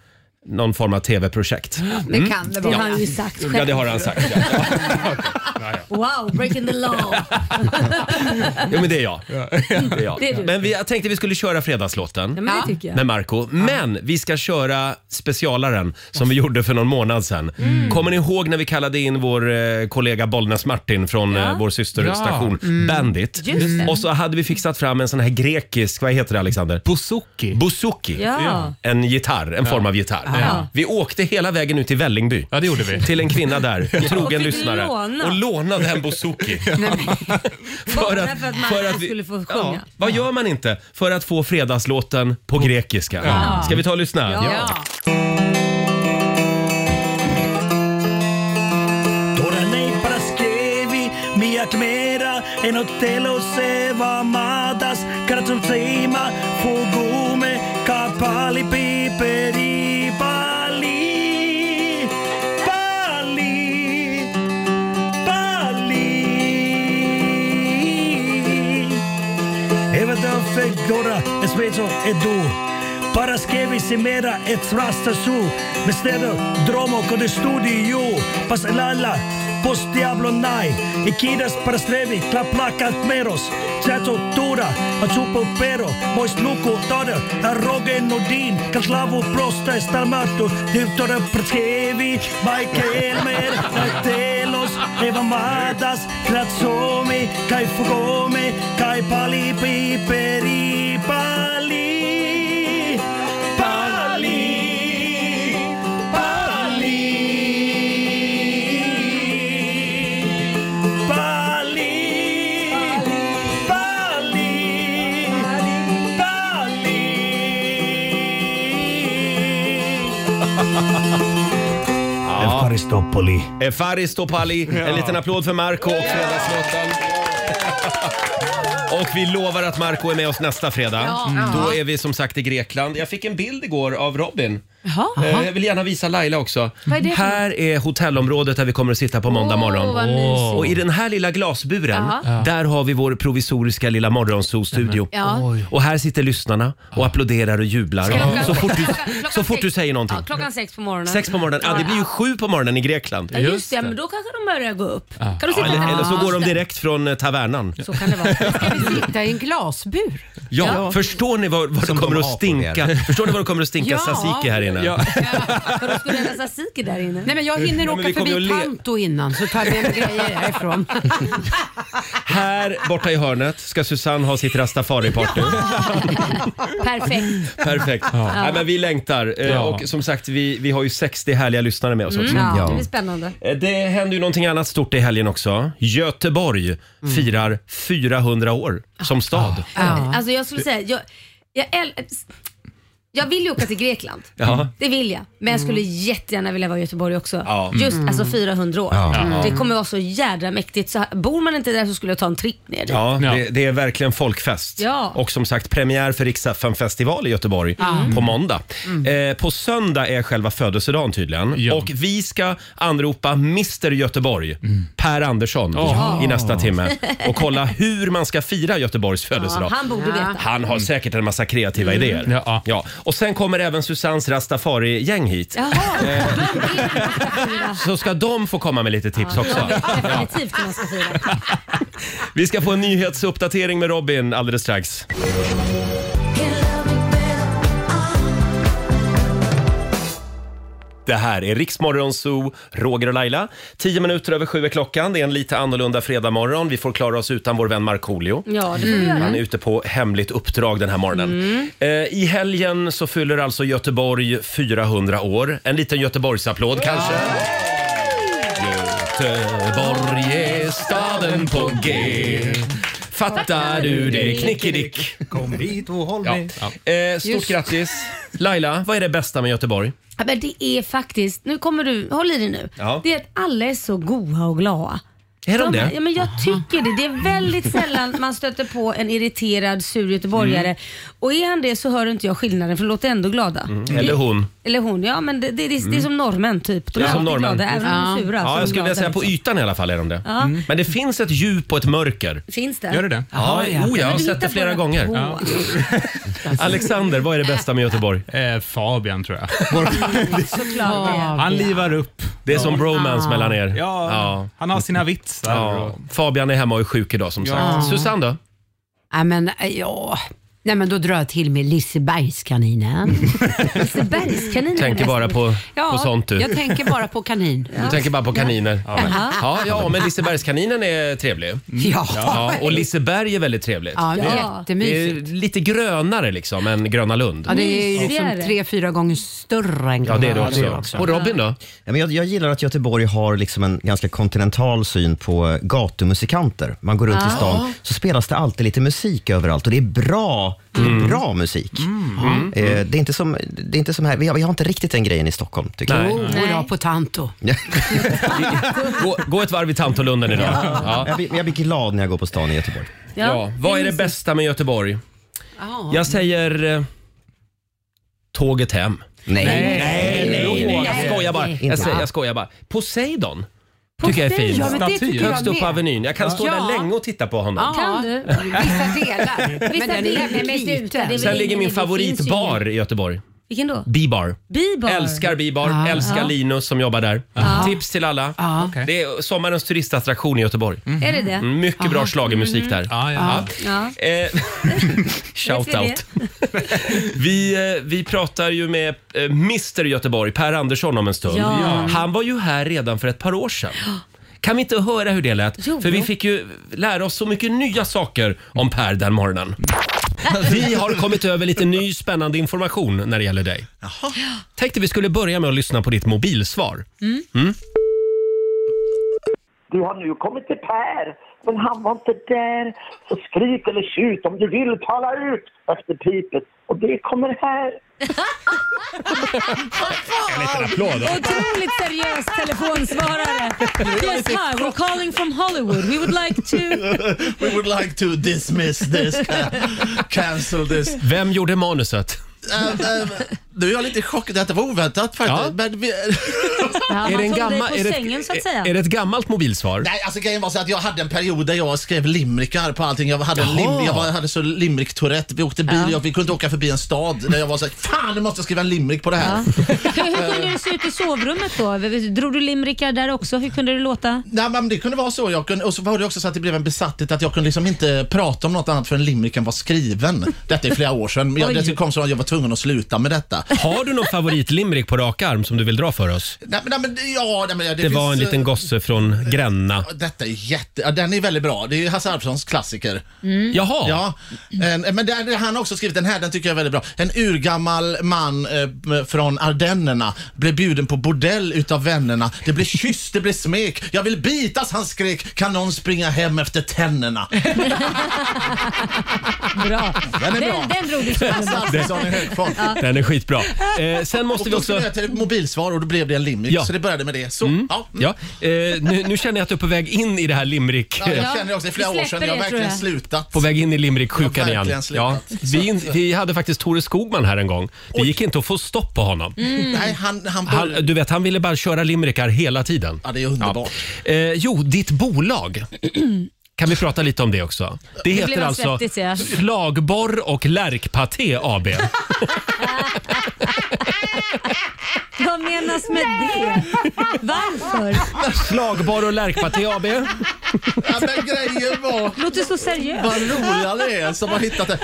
Speaker 1: någon form av tv-projekt.
Speaker 6: Det kan det
Speaker 2: Det har
Speaker 6: vara.
Speaker 2: han ju sagt själv.
Speaker 1: Ja, det Mm. har han sagt. Ja.
Speaker 2: Wow, breaking the law.
Speaker 1: Jo, men det är jag. Det är jag.
Speaker 2: Det är du.
Speaker 1: men vi, jag tänkte vi skulle köra fredagslåten.
Speaker 2: Ja, men det tycker jag.
Speaker 1: Med Marco. Men vi ska köra specialaren som vi gjorde för någon månad sedan.
Speaker 2: Mm.
Speaker 1: Kommer ni ihåg när vi kallade in vår eh, kollega Bollnäs Martin från eh, vår systerstation
Speaker 8: Mm.
Speaker 1: Bandit?
Speaker 2: Just det. Mm.
Speaker 1: Och så hade vi fixat fram en sån här grekisk, vad heter det Alexander?
Speaker 8: Bouzouki.
Speaker 1: Bouzouki.
Speaker 2: Ja.
Speaker 1: En gitarr, en form av gitarr.
Speaker 2: Ja.
Speaker 1: Vi åkte hela vägen ut till Vällingby.
Speaker 8: Ja, det gjorde vi.
Speaker 1: Till en kvinna där, en
Speaker 2: Och
Speaker 1: trogen
Speaker 2: fick
Speaker 1: lyssnare.
Speaker 2: låna.
Speaker 1: Och lånade en bouzouki.
Speaker 2: Bara för att man skulle få sjunga.
Speaker 1: vad gör man inte för att få fredagslåten på grekiska? Ska vi ta och lyssna?
Speaker 6: Ja.
Speaker 4: Τώρα λέει Παρασκευή, μια κμέρα ενώ τέλος εβδομάδας κράτσουν ψήμα, φουγγούμε καπάλι πιπερί πάλι, πάλι, πάλι. Även den fegdora är spetso är du. Paraskevy semera ett frasta su. Med städer, dromo kode studio. Pas lalla, pos diablo nai. I kidas parastrevi, klaplakat meros. Tjato tura, att supo pero. Mois luku tade, här rogen nordin. Kaslavo prosta är starmato. Divtore pratskevi, Michael mer. Telos, eva matas, kratsomi, kai fugomi, kai pali piperi pali. Pali, pali, pali, pali, pali. Evkaristopoli.
Speaker 1: Efaristopali. En liten applåd för Marco och fredagslåten. Och vi lovar att Marco är med oss nästa fredag. Då är vi som sagt i Grekland. Jag fick en bild igår av Robin
Speaker 6: Jaha.
Speaker 1: Eh, Jag vill gärna visa Laila också.
Speaker 2: Vad är det för-
Speaker 1: Här är hotellområdet där vi kommer att sitta på måndag
Speaker 2: Åh,
Speaker 1: morgon.
Speaker 2: vad mysigt.
Speaker 1: Och i den här lilla glasburen, där har vi vår provisoriska lilla morgonsolstudio.
Speaker 2: Ja.
Speaker 1: Och här sitter lyssnarna och applåderar och jublar.
Speaker 2: Klockan-
Speaker 1: Så fort du,
Speaker 2: klockan
Speaker 1: så fort du
Speaker 2: sex-
Speaker 1: säger någonting.
Speaker 2: Ja, klockan sex på morgonen.
Speaker 1: Sex på morgonen. Ja, det blir ju sju på morgonen i Grekland.
Speaker 2: Ja, just det, men då kanske de börjar gå upp. Kan du sitta
Speaker 1: Ja, eller,
Speaker 2: där?
Speaker 1: eller så går de
Speaker 2: Just det.
Speaker 1: direkt från eh, tavernan.
Speaker 2: Så kan det vara.
Speaker 6: Ska vi sitta i en glasbur?
Speaker 1: Ja, förstår ni vad, vad det
Speaker 3: Som de
Speaker 1: kommer att
Speaker 3: har på er.
Speaker 1: stinka? Förstår ni vad det kommer att stinka
Speaker 6: Ja.
Speaker 1: tzatziki här inne?
Speaker 2: För då skulle det nästan siki där inne.
Speaker 6: Nej men jag hinner
Speaker 1: men
Speaker 6: åka
Speaker 1: vi kommer ju
Speaker 6: förbi
Speaker 1: att le-
Speaker 6: Tanto innan så tar vi en grejer härifrån.
Speaker 1: Här borta i hörnet ska Susanne ha sitt rastafari-party.
Speaker 2: Perfekt.
Speaker 1: Perfekt. Nej, men vi längtar. Eh, Och som sagt, vi, vi har ju 60 härliga lyssnare med oss också.
Speaker 2: Mm, Ja,
Speaker 3: Ja.
Speaker 2: det blir spännande.
Speaker 1: Eh, Det händer ju någonting annat stort i helgen också. Göteborg firar 400 år som stad.
Speaker 2: Alltså jag skulle säga, jag, jag, äl- jag vill ju åka till Grekland.
Speaker 1: Ja.
Speaker 2: Det vill jag. Men jag skulle jättegärna vilja vara i Göteborg också.
Speaker 1: Mm. Ja. Mm.
Speaker 2: Just alltså 400 år. Mm.
Speaker 3: Ja.
Speaker 2: Det kommer vara så jädra mäktigt. Så här- bor man inte där så skulle jag ta en tripp ner dit.
Speaker 1: Ja, det, det är verkligen folkfest.
Speaker 2: Ja.
Speaker 1: Och som sagt, premiär för Rix festival i Göteborg
Speaker 2: Mm.
Speaker 1: på måndag. Eh, på söndag är själva födelsedagen tydligen.
Speaker 8: Ja.
Speaker 1: Och vi ska anropa Mr Göteborg,
Speaker 8: Mm.
Speaker 1: Per Andersson, i nästa timme. Och kolla hur man ska fira Göteborgs
Speaker 2: Ja,
Speaker 1: födelsedag.
Speaker 2: han borde veta.
Speaker 1: Han har säkert en massa kreativa idéer.
Speaker 8: Mm. Ja.
Speaker 1: Och sen kommer även Susans Rastafari-gäng hit.
Speaker 2: Jaha, de är
Speaker 1: Så ska de få komma med lite tips också.
Speaker 2: Jag vet definitivt hur man ska fira.
Speaker 1: Vi ska få en nyhetsuppdatering med Robin alldeles strax. Det här är Riksmorgon Zoo, Roger och Laila. Tio minuter över sju är klockan. Det är en lite annorlunda fredagmorgon. Vi får klara oss utan vår vän Markoolio.
Speaker 2: Ja, det får vi göra. Mm.
Speaker 1: Han är ute på hemligt uppdrag den här morgonen. Eh, I helgen så fyller alltså Göteborg 400 år. En liten Göteborgsapplåd kanske. Göteborg är staden på G. Fattar du det? Knickedick.
Speaker 8: Kom hit och håll
Speaker 1: Ja. Eh, stort grattis. Laila, vad är det bästa med Göteborg?
Speaker 2: Ja, men det är faktiskt, nu kommer du, håll i dig nu.
Speaker 1: Ja.
Speaker 2: Det är att alla är så goa och glada.
Speaker 1: Är de det?
Speaker 2: Ja, men jag tycker det. Det är väldigt sällan man stöter på en irriterad, sur göteborgare.
Speaker 1: Mm.
Speaker 2: Och är han det så hör inte jag skillnaden för de låter ändå glada.
Speaker 1: Mm. Eller hon?
Speaker 2: Eller hon, ja men det, det, det, det är som norrmän typ. De är
Speaker 1: Ja, som
Speaker 2: alltid
Speaker 1: norrmän.
Speaker 2: glada, även om de är sura. så är
Speaker 1: Ja,
Speaker 2: de
Speaker 1: jag skulle vilja
Speaker 2: glada,
Speaker 1: säga på
Speaker 2: liksom.
Speaker 1: ytan i alla fall är de det. Mm. Men det finns ett djup och ett mörker.
Speaker 2: Finns det?
Speaker 8: Gör det det?
Speaker 1: Ja, oh, jag
Speaker 2: Men
Speaker 1: har
Speaker 2: du
Speaker 1: sett
Speaker 2: hittar
Speaker 1: det flera
Speaker 2: bara
Speaker 1: gånger.
Speaker 2: på.
Speaker 1: Ja. Alexander, vad är det bästa med Göteborg?
Speaker 8: Eh, Fabian tror jag.
Speaker 2: Såklart.
Speaker 8: Han livar upp.
Speaker 1: Det är som bromance mellan er.
Speaker 8: Ja,
Speaker 1: Ja.
Speaker 8: Han har sina vitsar.
Speaker 1: Ja.
Speaker 8: och-
Speaker 1: Fabian är hemma och är sjuk idag som sagt. Susanne då?
Speaker 6: Nej men ja. Nej men då drar jag till med Lisebergskaninen.
Speaker 2: Lisebergskaninen.
Speaker 1: Tänker bara på,
Speaker 6: Ja,
Speaker 1: på sånt du.
Speaker 6: Jag tänker bara på kanin.
Speaker 1: Du tänker bara på kaniner. Ja, ja, men Lisebergskaninen är trevlig.
Speaker 6: Mm. Ja,
Speaker 1: Ja, och Liseberg är väldigt trevligt.
Speaker 6: ja det är
Speaker 2: Ja.
Speaker 1: Det är
Speaker 6: jättemysigt.
Speaker 1: lite grönare liksom än Gröna Lund.
Speaker 6: Ja, det är ju
Speaker 2: Mysigare.
Speaker 6: liksom tre, fyra gånger större än
Speaker 1: Ja, det är det
Speaker 6: Granada.
Speaker 1: också. Och Robin då?
Speaker 3: Ja, men jag, jag gillar att Göteborg har liksom en ganska kontinental syn på eh, gatumusikanter. Man går runt i stan så spelas det alltid lite musik överallt och det är bra, det är
Speaker 1: Mm.
Speaker 3: bra musik.
Speaker 2: Mm.
Speaker 3: Eh, det, är inte som, det är inte som här, vi har, vi har inte riktigt den grejen i Stockholm tycker jag.
Speaker 1: Nej.
Speaker 6: Och jag på Tanto.
Speaker 1: Gå, gå ett varv i Tantolunden idag. Ja.
Speaker 3: Jag, blir, jag blir glad när jag går på stan i Göteborg.
Speaker 2: Ja.
Speaker 1: Ja, vad är det bästa med Göteborg?
Speaker 6: Ja.
Speaker 1: Jag säger eh, tåget hem.
Speaker 3: Nej.
Speaker 1: Nej, nej, nej. Jag skojar bara.
Speaker 3: Nej.
Speaker 1: Jag, säger, jag skojar bara. Poseidon tycker jag är fin.
Speaker 6: Ja, men det tycker jag
Speaker 1: Högst upp på
Speaker 6: med.
Speaker 1: Avenyn. Jag kan stå
Speaker 6: Ja.
Speaker 1: där länge och titta på honom.
Speaker 6: Ja,
Speaker 2: Kan du?
Speaker 6: Vissa delar.
Speaker 2: Vissa
Speaker 6: men den
Speaker 2: delar,
Speaker 6: är
Speaker 2: men
Speaker 6: jävligt
Speaker 2: sluta, det
Speaker 6: liten.
Speaker 2: är väl-
Speaker 1: Sen ligger min
Speaker 2: det finns
Speaker 1: favoritbar i Göteborg.
Speaker 2: Vilken då?
Speaker 1: B-bar.
Speaker 2: Bibar.
Speaker 1: Älskar B-bar, älskar Linus som jobbar där. Tips till alla.
Speaker 8: Okej.
Speaker 1: Det är sommarens turistattraktion i Göteborg. Mm,
Speaker 2: Är det det?
Speaker 1: Mycket bra
Speaker 9: Mm.
Speaker 1: schlagermusik där.
Speaker 8: Ja, ja.
Speaker 2: Mm. Ja.
Speaker 1: Eh, Shout
Speaker 2: Vet vi
Speaker 1: out. vi, eh, vi pratar ju med eh, Mr Göteborg, Per Andersson, om en stund.
Speaker 2: Ja. Ja.
Speaker 1: Han var ju här redan för ett par år sedan. Kan vi inte höra hur det lät?
Speaker 2: Jo.
Speaker 1: För vi fick ju lära oss så mycket nya saker om Per den morgonen. Vi har kommit över lite ny spännande information när det gäller dig. Tänkte vi skulle börja med att lyssna på ditt mobilsvar.
Speaker 2: Mm.
Speaker 1: Mm?
Speaker 10: Du har nu kommit till Per, men han var inte där. Så skrik eller tjut om du vill tala ut efter pipet. Och det kommer här.
Speaker 2: Otroligt seriös telefonsvarare. Yes, hi, we're calling from Hollywood. We would like to...
Speaker 11: We would like to dismiss this, uh, cancel this.
Speaker 1: Vem gjorde manuset?
Speaker 11: Um, um, Nu är jag lite chockad att det var oväntat faktiskt.
Speaker 1: Ja.
Speaker 11: Men vi,
Speaker 2: Ja, man
Speaker 1: en
Speaker 2: tog dig
Speaker 1: gammal-
Speaker 2: på
Speaker 1: är det ett-
Speaker 2: sängen så att säga.
Speaker 1: Är det ett gammalt mobilsvar?
Speaker 11: nej, alltså grejen var så att jag hade en period där jag skrev limrikar på allting. Jag hade, en lim,
Speaker 1: Jaha.
Speaker 11: jag var, hade så limrik-tourette. Vi åkte bil, jag, vi kunde inte åka förbi en stad. Där jag var så här, fan nu måste jag skriva en limrik på det här.
Speaker 2: Hur, hur kunde det se ut i sovrummet då? Drog du limrikar där också? Hur kunde det låta?
Speaker 11: Nej, men det kunde vara så. Jag kunde, och så var det också så att det blev en besatthet att jag kunde liksom inte prata om något annat förrän limericken var skriven. Detta är flera år sedan. Men Jag,
Speaker 2: Oj.
Speaker 11: det kom så att jag var tvungen att sluta med detta.
Speaker 1: Har du någon favoritlimrik på rak arm som du vill dra för oss?
Speaker 11: Nej, men, nej, men, ja, nej, men, det
Speaker 1: Det,
Speaker 11: finns,
Speaker 1: var en liten gosse från Gränna.
Speaker 11: eh, Detta är jätte... Ja, den är väldigt bra. Det är ju Hasse Alfsons klassiker.
Speaker 2: Mm.
Speaker 1: Jaha,
Speaker 11: Ja. En, men där, han har också skrivit den här, den tycker jag är väldigt bra. En urgammal man eh, från Ardennerna blev bjuden på bordell utav vännerna. Det blev kyss, det blev smek. Jag vill bitas, han skrek. Kan någon springa hem efter tänderna?
Speaker 2: Bra.
Speaker 11: Den är bra.
Speaker 2: Den, den drog du i
Speaker 11: Hasse
Speaker 2: sovrummet.
Speaker 11: Alfredsson i hög form.
Speaker 1: den är skitbra. Eh, sen måste
Speaker 11: Och
Speaker 1: vi
Speaker 11: då skulle
Speaker 1: också...
Speaker 11: jag till ett mobilsvar och då blev det en limrik.
Speaker 1: Ja.
Speaker 11: Så det började med det. Så, ja. mm.
Speaker 1: Ja, eh, nu, nu känner jag att du är på väg in i det här limrik...
Speaker 11: Ja,
Speaker 2: Ja.
Speaker 11: jag känner också, det är flera
Speaker 2: Vi
Speaker 11: år sedan
Speaker 2: släpper
Speaker 11: jag har
Speaker 2: det,
Speaker 11: verkligen
Speaker 2: tror jag.
Speaker 11: slutat.
Speaker 1: På väg in i
Speaker 11: Jag
Speaker 1: limerick-sjukan
Speaker 11: har
Speaker 1: igen.
Speaker 11: verkligen
Speaker 1: Ja,
Speaker 11: slutat.
Speaker 1: vi, vi hade faktiskt Tore Skogman här en gång. Det gick inte att få stopp på honom.
Speaker 11: Nej, han, Mm. han,
Speaker 1: Han,
Speaker 11: började-
Speaker 1: du vet, han ville bara köra limerickar hela tiden.
Speaker 11: Ja, det är underbart.
Speaker 1: Eh, jo, ditt bolag. Kan vi prata lite om det också? Det heter
Speaker 2: blev
Speaker 1: alltså
Speaker 2: svettigt, ja.
Speaker 1: Slagborr och Lärkpaté AB.
Speaker 2: Vad menas med det? Varför?
Speaker 1: Slagborr och Lärkpaté AB.
Speaker 11: Ja, men grejen var...
Speaker 2: Låter så seriöst.
Speaker 11: Vad roliga ni är som har hittat det.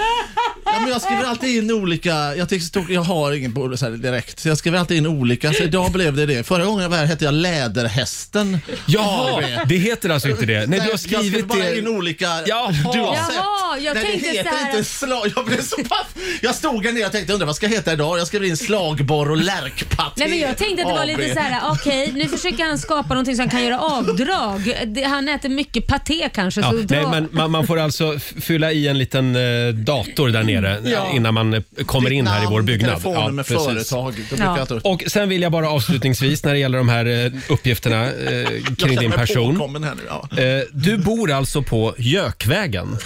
Speaker 11: Ja, men jag skriver alltid in olika, jag, tycker, stor- jag har ingen på så här direkt, så jag skriver alltid in olika. Så idag blev det det. Förra gången jag var här hette jag Läderhästen.
Speaker 1: Jaha,
Speaker 11: AB.
Speaker 1: det heter alltså inte det. Nej, du har
Speaker 11: jag skriver
Speaker 1: skrivit
Speaker 11: bara in
Speaker 1: det.
Speaker 11: olika
Speaker 1: Jaha.
Speaker 11: du har
Speaker 1: Jaha,
Speaker 11: sett.
Speaker 2: jag
Speaker 11: Nej,
Speaker 2: tänkte
Speaker 11: det heter
Speaker 2: så här-
Speaker 11: inte slag. Jag blev så paff. Jag stod här nere och tänkte undrar vad ska jag heta idag? Jag skrev in slagborr och lärkpaté.
Speaker 2: Nej men jag tänkte att det var
Speaker 11: AB.
Speaker 2: lite så här: okej nu försöker han skapa någonting som han kan göra avdrag. Det, han äter mycket paté kanske.
Speaker 1: Ja,
Speaker 2: så dra-
Speaker 1: nej, men man, man får alltså f- fylla i en liten eh, dator där nere eh,
Speaker 11: Ja.
Speaker 1: innan man eh, kommer
Speaker 11: Ditt
Speaker 1: in här i vår
Speaker 11: namn,
Speaker 1: byggnad.
Speaker 11: Telefonnummer, med
Speaker 1: precis.
Speaker 11: företag. Då brukar
Speaker 2: Ja.
Speaker 11: jag ta upp.
Speaker 1: Och sen vill jag bara avslutningsvis när det gäller de här eh, uppgifterna eh,
Speaker 11: Jag
Speaker 1: kring
Speaker 11: känner
Speaker 1: din
Speaker 11: mig
Speaker 1: person.
Speaker 11: påkommen Här nu, ja.
Speaker 1: Eh, du bor alltså på Jökvägen.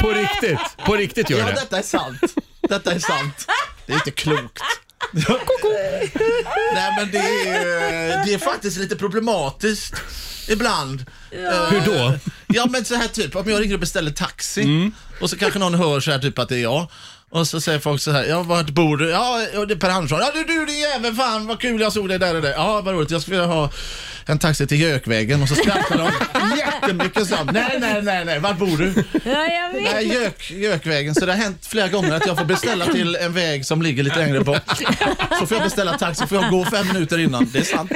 Speaker 1: På riktigt, på riktigt gör
Speaker 11: Ja,
Speaker 1: det.
Speaker 11: detta är sant. Detta är sant. Det är inte klokt. Nej men det är, det är faktiskt lite problematiskt ibland. Eh,
Speaker 1: Hur då? Mm.
Speaker 11: Ja men så här typ, om jag ringer och beställer taxi och så kanske någon hör så här typ att det är jag. Och så säger folk så här, ja vart bor du? Ja, och det är Per Andersson. Ja du, du din jävel, fan vad kul jag såg dig där och där. Ja vad roligt, jag skulle vilja ha en taxi till Jökvägen och så skrattar de jättemycket så. Nej, nej, nej, nej, vart bor du?
Speaker 2: ja, jag vet.
Speaker 11: Nej, Jök, Jökvägen. Så det har hänt flera gånger att jag får beställa till en väg som ligger lite längre bort. Så får jag beställa taxi, får jag gå fem minuter innan. Det är sant.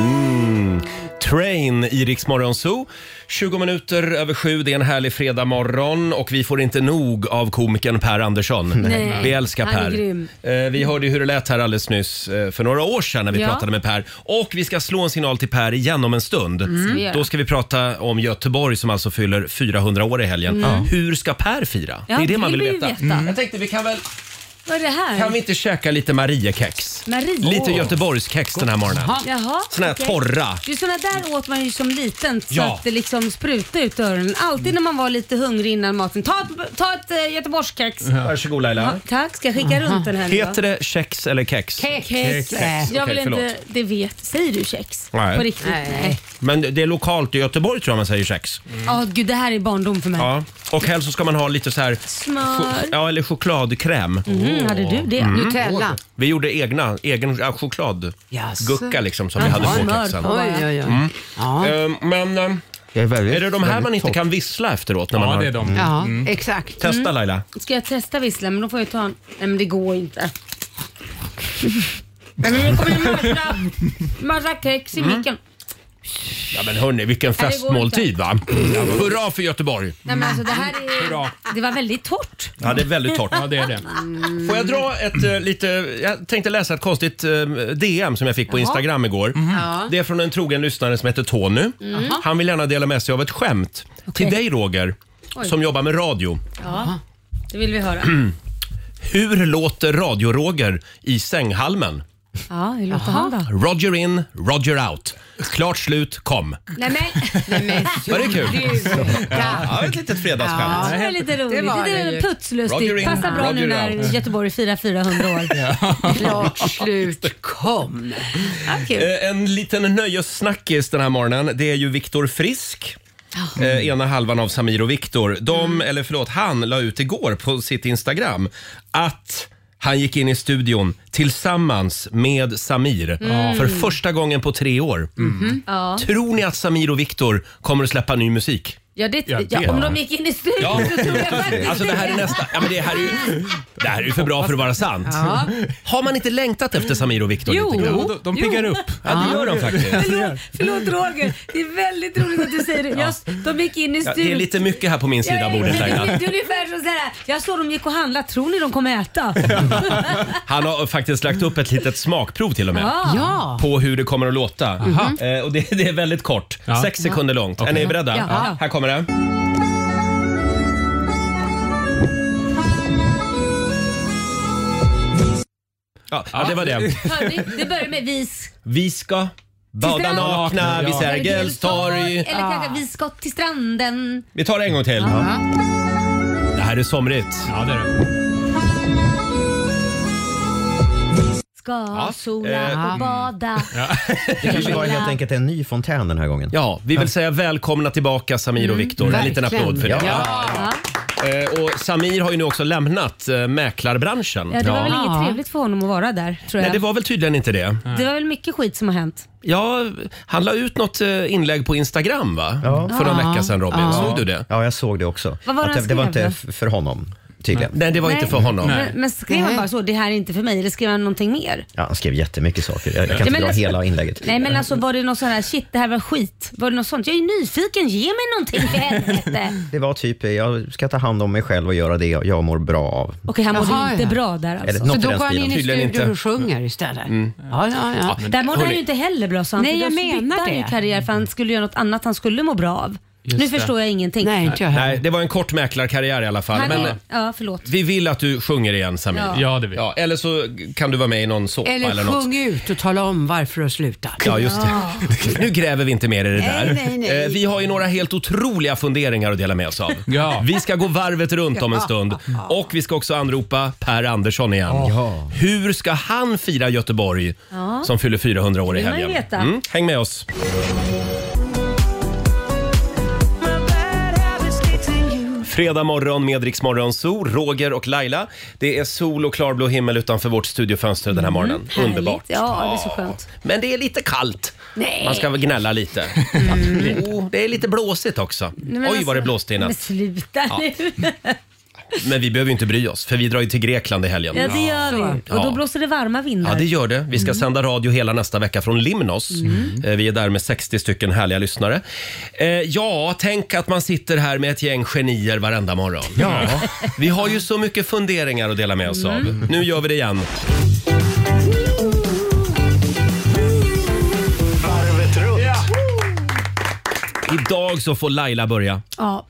Speaker 1: Mm. Train i Rix Morgon Zoo. 20 minuter över sju, det är en härlig fredag morgon och vi får inte nog av komikern Per Andersson.
Speaker 2: Nej.
Speaker 1: Vi älskar Per.
Speaker 2: Han är grym.
Speaker 1: Eh, Vi hörde ju hur det lät här alldeles nyss eh, för några år sedan när vi
Speaker 2: Ja.
Speaker 1: pratade med Per. Och vi ska slå en signal till Per igen om en stund.
Speaker 2: Mm. Ska vi göra.
Speaker 1: Då ska vi prata om Göteborg som alltså fyller 400 år i helgen. Hur ska Per fira?
Speaker 2: Mm. Ja,
Speaker 1: det är det
Speaker 2: det
Speaker 1: man vill
Speaker 2: vill vi
Speaker 1: veta. Mm.
Speaker 2: veta.
Speaker 1: Jag tänkte vi kan väl,
Speaker 2: Vad är det här?
Speaker 1: kan vi inte käka lite Mariekex?
Speaker 2: Marie?
Speaker 1: Lite Göteborgskex den här morgonen.
Speaker 2: Jaha,
Speaker 1: Såna här
Speaker 2: okej.
Speaker 1: torra.
Speaker 2: Du, såna där åt man ju som liten så
Speaker 1: Ja.
Speaker 2: att det liksom sprutade ut öronen. Alltid när man var lite hungrig innan maten. Ta ett, ta ett äh, göteborgskex.
Speaker 1: Varsågod Laila.
Speaker 2: Ja, tack, ska jag skicka runt den här nu
Speaker 1: Heter
Speaker 2: då?
Speaker 1: det kex eller kex?
Speaker 2: Kex. Eh,
Speaker 1: Kex.
Speaker 2: Jag vill
Speaker 1: Okej, förlåt.
Speaker 2: inte, det vet. Säger du kex?
Speaker 1: Nej.
Speaker 2: På riktigt? Nej. Mm.
Speaker 1: Men det är lokalt i Göteborg tror jag man säger kex.
Speaker 2: Ja, gud det här är barndom för mig.
Speaker 1: Ja. Mm. Och helst så ska man ha lite så här...
Speaker 2: Smör.
Speaker 1: cho- Ja, eller chokladkräm.
Speaker 2: Mm, hade du det? Mm.
Speaker 6: Nutella.
Speaker 1: Vi gjorde egna, egen ja, chokladgucka liksom som vi hade på
Speaker 2: Smör
Speaker 1: kexen.
Speaker 2: på
Speaker 6: Oj,
Speaker 2: bara.
Speaker 6: oj, oj. Ja,
Speaker 1: Ehm, Men ehm,
Speaker 3: Jag väldigt,
Speaker 1: är det de här
Speaker 3: väldigt
Speaker 1: man inte
Speaker 3: torr.
Speaker 1: kan vissla efteråt? När man
Speaker 8: Ja,
Speaker 1: har... Mm.
Speaker 8: det är de.
Speaker 2: Mm.
Speaker 6: ja exakt. Mm.
Speaker 1: Testa Laila.
Speaker 2: Ska jag testa vissla? Men då får jag ta en. Nej men det går inte. Nej men nu kommer det massa, massa kex i
Speaker 1: Mm.
Speaker 2: micken.
Speaker 1: Ja men hörni, vilken
Speaker 2: går
Speaker 1: festmåltid va? Ja, Hurra för Göteborg!
Speaker 2: Nej men alltså det här är...
Speaker 1: Hurra.
Speaker 2: Det var väldigt torrt.
Speaker 1: Mm.
Speaker 2: Mm.
Speaker 1: Ja, det är väldigt torrt.
Speaker 8: Ja, det är det.
Speaker 1: Får jag dra ett eh, lite... Jag tänkte läsa ett konstigt eh, DM som jag fick på Instagram igår.
Speaker 2: Mhm.
Speaker 1: Mm. Det är från en trogen lyssnare som heter Tony. Han vill gärna dela med sig av ett skämt till dig Roger, som jobbar med radio.
Speaker 2: Ja, det vill vi höra.
Speaker 1: Hur låter radio-Roger i sänghalmen?
Speaker 2: Ja, hur låter han då?
Speaker 1: Roger in, Roger out. Klart slut, kom.
Speaker 2: Nej men, nej, men
Speaker 1: Var det kul?
Speaker 2: Ja.
Speaker 1: Ja, ett litet fredagsskämt.
Speaker 2: Ja, det var lite roligt.
Speaker 6: Det var det
Speaker 2: Det är
Speaker 6: ju.
Speaker 1: Roger
Speaker 2: putslustigt.
Speaker 1: in,
Speaker 2: Passar bra nu
Speaker 1: Roger
Speaker 2: när
Speaker 1: out.
Speaker 2: Göteborg firar 400 år.
Speaker 6: Klart slut, kom.
Speaker 2: Ja, Ah, kul.
Speaker 1: Eh, En liten nöjessnackis den här morgonen, det är ju Viktor Frisk. Eh, ena halvan av Samir och Viktor. De,
Speaker 2: Mm.
Speaker 1: eller förlåt, han la ut igår på sitt Instagram att han gick in i studion tillsammans med Samir för första gången på tre år.
Speaker 2: Mm.
Speaker 1: Mm.
Speaker 2: Ja.
Speaker 1: Tror ni att Samir och Viktor kommer att släppa ny musik?
Speaker 2: Ja, det,
Speaker 8: Ja, det-
Speaker 2: ja, om de gick in i studion
Speaker 1: Ja.
Speaker 2: så tror jag faktiskt
Speaker 1: Alltså det här är nästa, ja, men det här är ju, det här är ju för bra för att vara sant. Har man inte längtat efter Samir och Viktor
Speaker 6: Jo.
Speaker 1: lite grann?
Speaker 8: De, de piggar
Speaker 2: Jo.
Speaker 8: upp.
Speaker 1: Ja, det gör de faktiskt.
Speaker 2: Förlåt, förlåt Roger, det är väldigt roligt att du säger det. Jag, de gick in i
Speaker 1: Ja, det är
Speaker 2: studion.
Speaker 1: lite mycket här på min sida av bordet
Speaker 2: det,
Speaker 1: Laila.
Speaker 2: det är ungefär som så här, jag såg dem gick och handla, tror ni de kommer äta?
Speaker 1: Han har faktiskt lagt upp ett litet smakprov till och med.
Speaker 2: Ah.
Speaker 6: Ja.
Speaker 1: På hur det kommer att låta. Eh, och det, det är väldigt kort,
Speaker 8: Ja.
Speaker 1: sex sekunder långt. Är ni beredda?
Speaker 2: Ja. Ja.
Speaker 1: Här kommer det. Ja, ja, det var det.
Speaker 2: Hörni, det börjar med vis.
Speaker 1: Vi ska bada
Speaker 2: Till
Speaker 1: nakna
Speaker 8: stranden.
Speaker 1: vid
Speaker 8: Ja.
Speaker 1: Sergels torg.
Speaker 2: Eller kanske vi ska till stranden.
Speaker 1: Vi tar det en gång till. Det här är somrigt.
Speaker 8: Ja, det är det.
Speaker 2: Ska sola
Speaker 1: eh,
Speaker 2: och bada.
Speaker 3: Det kanske var helt enkelt en ny fontän den här gången.
Speaker 1: Ja, vi vill säga välkomna tillbaka Samir och Viktor. En liten
Speaker 6: verkligen.
Speaker 1: applåd för det.
Speaker 2: Mm. Ja.
Speaker 1: Eh, Och Samir har ju nu också lämnat eh, mäklarbranschen.
Speaker 2: Ja, det var väl
Speaker 6: Ja.
Speaker 2: inget trevligt för honom att vara där, tror
Speaker 1: Nej,
Speaker 2: jag.
Speaker 1: det var väl tydligen inte det.
Speaker 2: det var väl mycket skit som har hänt.
Speaker 1: Ja, han la ut något eh, inlägg på Instagram va? för någon vecka sedan Robin. Såg du det?
Speaker 3: Ja, jag såg det också.
Speaker 2: Vad var det
Speaker 3: Att
Speaker 2: han
Speaker 3: det, det var inte
Speaker 2: skrev
Speaker 3: f- för honom tydligen.
Speaker 1: Nej, det var
Speaker 2: Nej.
Speaker 1: inte för honom.
Speaker 2: Men, men skrev han
Speaker 6: Nej.
Speaker 2: bara så, det här är inte för mig, eller skrev han någonting mer?
Speaker 3: Ja, han skrev jättemycket saker. Jag, jag kan
Speaker 2: Ja,
Speaker 3: inte
Speaker 2: men
Speaker 3: dra
Speaker 2: alltså-
Speaker 3: hela inlägget.
Speaker 2: Nej men alltså var det någon sån här, shit det här var skit. Var det något sånt? Jag är ju nyfiken, ge mig någonting för helvete.
Speaker 3: Det var typ, jag ska ta hand om mig själv och göra det jag mår bra av.
Speaker 2: Okej han
Speaker 6: Jaha,
Speaker 2: mådde inte
Speaker 6: ja.
Speaker 2: bra där
Speaker 3: Eller
Speaker 2: alltså.
Speaker 3: något
Speaker 6: Så
Speaker 3: i
Speaker 6: då
Speaker 3: den
Speaker 6: går han in
Speaker 3: stilen.
Speaker 6: i
Speaker 1: Tydligen
Speaker 6: studion
Speaker 1: inte. Mm.
Speaker 6: och sjunger istället. Ja, ja, ja.
Speaker 2: Där mådde han
Speaker 1: Hörni.
Speaker 2: ju inte heller bra så han
Speaker 6: Nej,
Speaker 2: fick-
Speaker 6: jag
Speaker 2: då
Speaker 6: menar
Speaker 2: bytte han ju
Speaker 6: det.
Speaker 2: karriär för han skulle göra något annat han skulle må bra av. nu
Speaker 8: det.
Speaker 2: förstår jag ingenting.
Speaker 6: Nej, inte jag
Speaker 1: Nej,
Speaker 6: heller.
Speaker 1: det var en kort mäklarkarriär i alla fall.
Speaker 2: Han
Speaker 1: Men eh,
Speaker 2: är, ja förlåt.
Speaker 1: vi vill att du sjunger igen Samir.
Speaker 2: Ja.
Speaker 1: Ja.
Speaker 8: Ja, det vill
Speaker 1: eller så kan du vara med i någon såpa eller,
Speaker 6: Eller
Speaker 1: något.
Speaker 6: sjung ut och tala om varför du slutar.
Speaker 1: Ja, just det. Nu gräver vi inte mer i det där.
Speaker 6: nej, nej.
Speaker 1: Eh, Vi har ju några helt otroliga funderingar att dela med oss av.
Speaker 8: Ja.
Speaker 1: Vi ska gå varvet runt om en stund och vi ska också anropa Per Andersson igen. Hur ska han fira Göteborg som fyller 400 år i
Speaker 2: vill man ju
Speaker 1: helgen? Mm,
Speaker 2: veta.
Speaker 1: Häng med oss. Fredag morgon med Rix Morgon Zoo, Roger och Laila. Det är sol och klarblå himmel utanför vårt studiofönster den här morgonen.
Speaker 2: Mm, härligt.
Speaker 1: Underbart.
Speaker 2: Ja, det är så skönt.
Speaker 1: Men det är lite kallt.
Speaker 2: Nej.
Speaker 1: Man ska väl gnälla lite. Jo, det är lite blåsigt också.
Speaker 2: Mm. Nej,
Speaker 1: Oj,
Speaker 2: men alltså,
Speaker 1: vad det blåste i
Speaker 2: Men
Speaker 1: natt.
Speaker 2: sluta nu.
Speaker 1: Men vi behöver ju inte bry oss, för vi drar ju till Grekland i helgen.
Speaker 2: Ja det gör vi. Och då
Speaker 1: Ja.
Speaker 2: blåser det varma vindar.
Speaker 1: Ja, det gör det. Vi ska sända radio hela nästa vecka från Limnos. Eh, Vi är där med 60 stycken härliga lyssnare. Eh, Ja, tänk att man sitter här med ett gäng genier varenda morgon. Ja. Vi har ju så mycket funderingar att dela med oss av. Nu gör vi det igen. Idag så får Laila börja.
Speaker 2: Ja.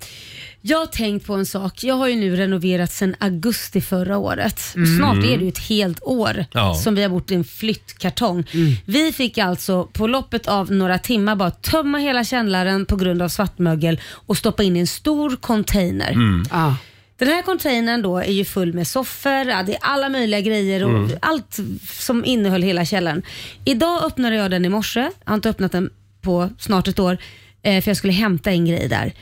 Speaker 2: Jag har tänkt på en sak. Jag har ju nu renoverat sedan augusti förra året. Snart är det ju ett helt år
Speaker 1: Ja.
Speaker 2: som vi har bott i en flyttkartong. Vi fick alltså på loppet av några timmar bara tömma hela källaren på grund av svartmögel och stoppa in i en stor container.
Speaker 1: Mm.
Speaker 6: Ja.
Speaker 2: Den här containern då är ju full med soffor, ja, det är alla möjliga grejer och allt som innehöll hela källaren. Idag öppnade jag den i morse, jag har inte öppnat den på snart ett år, eh, för jag skulle hämta en grej där.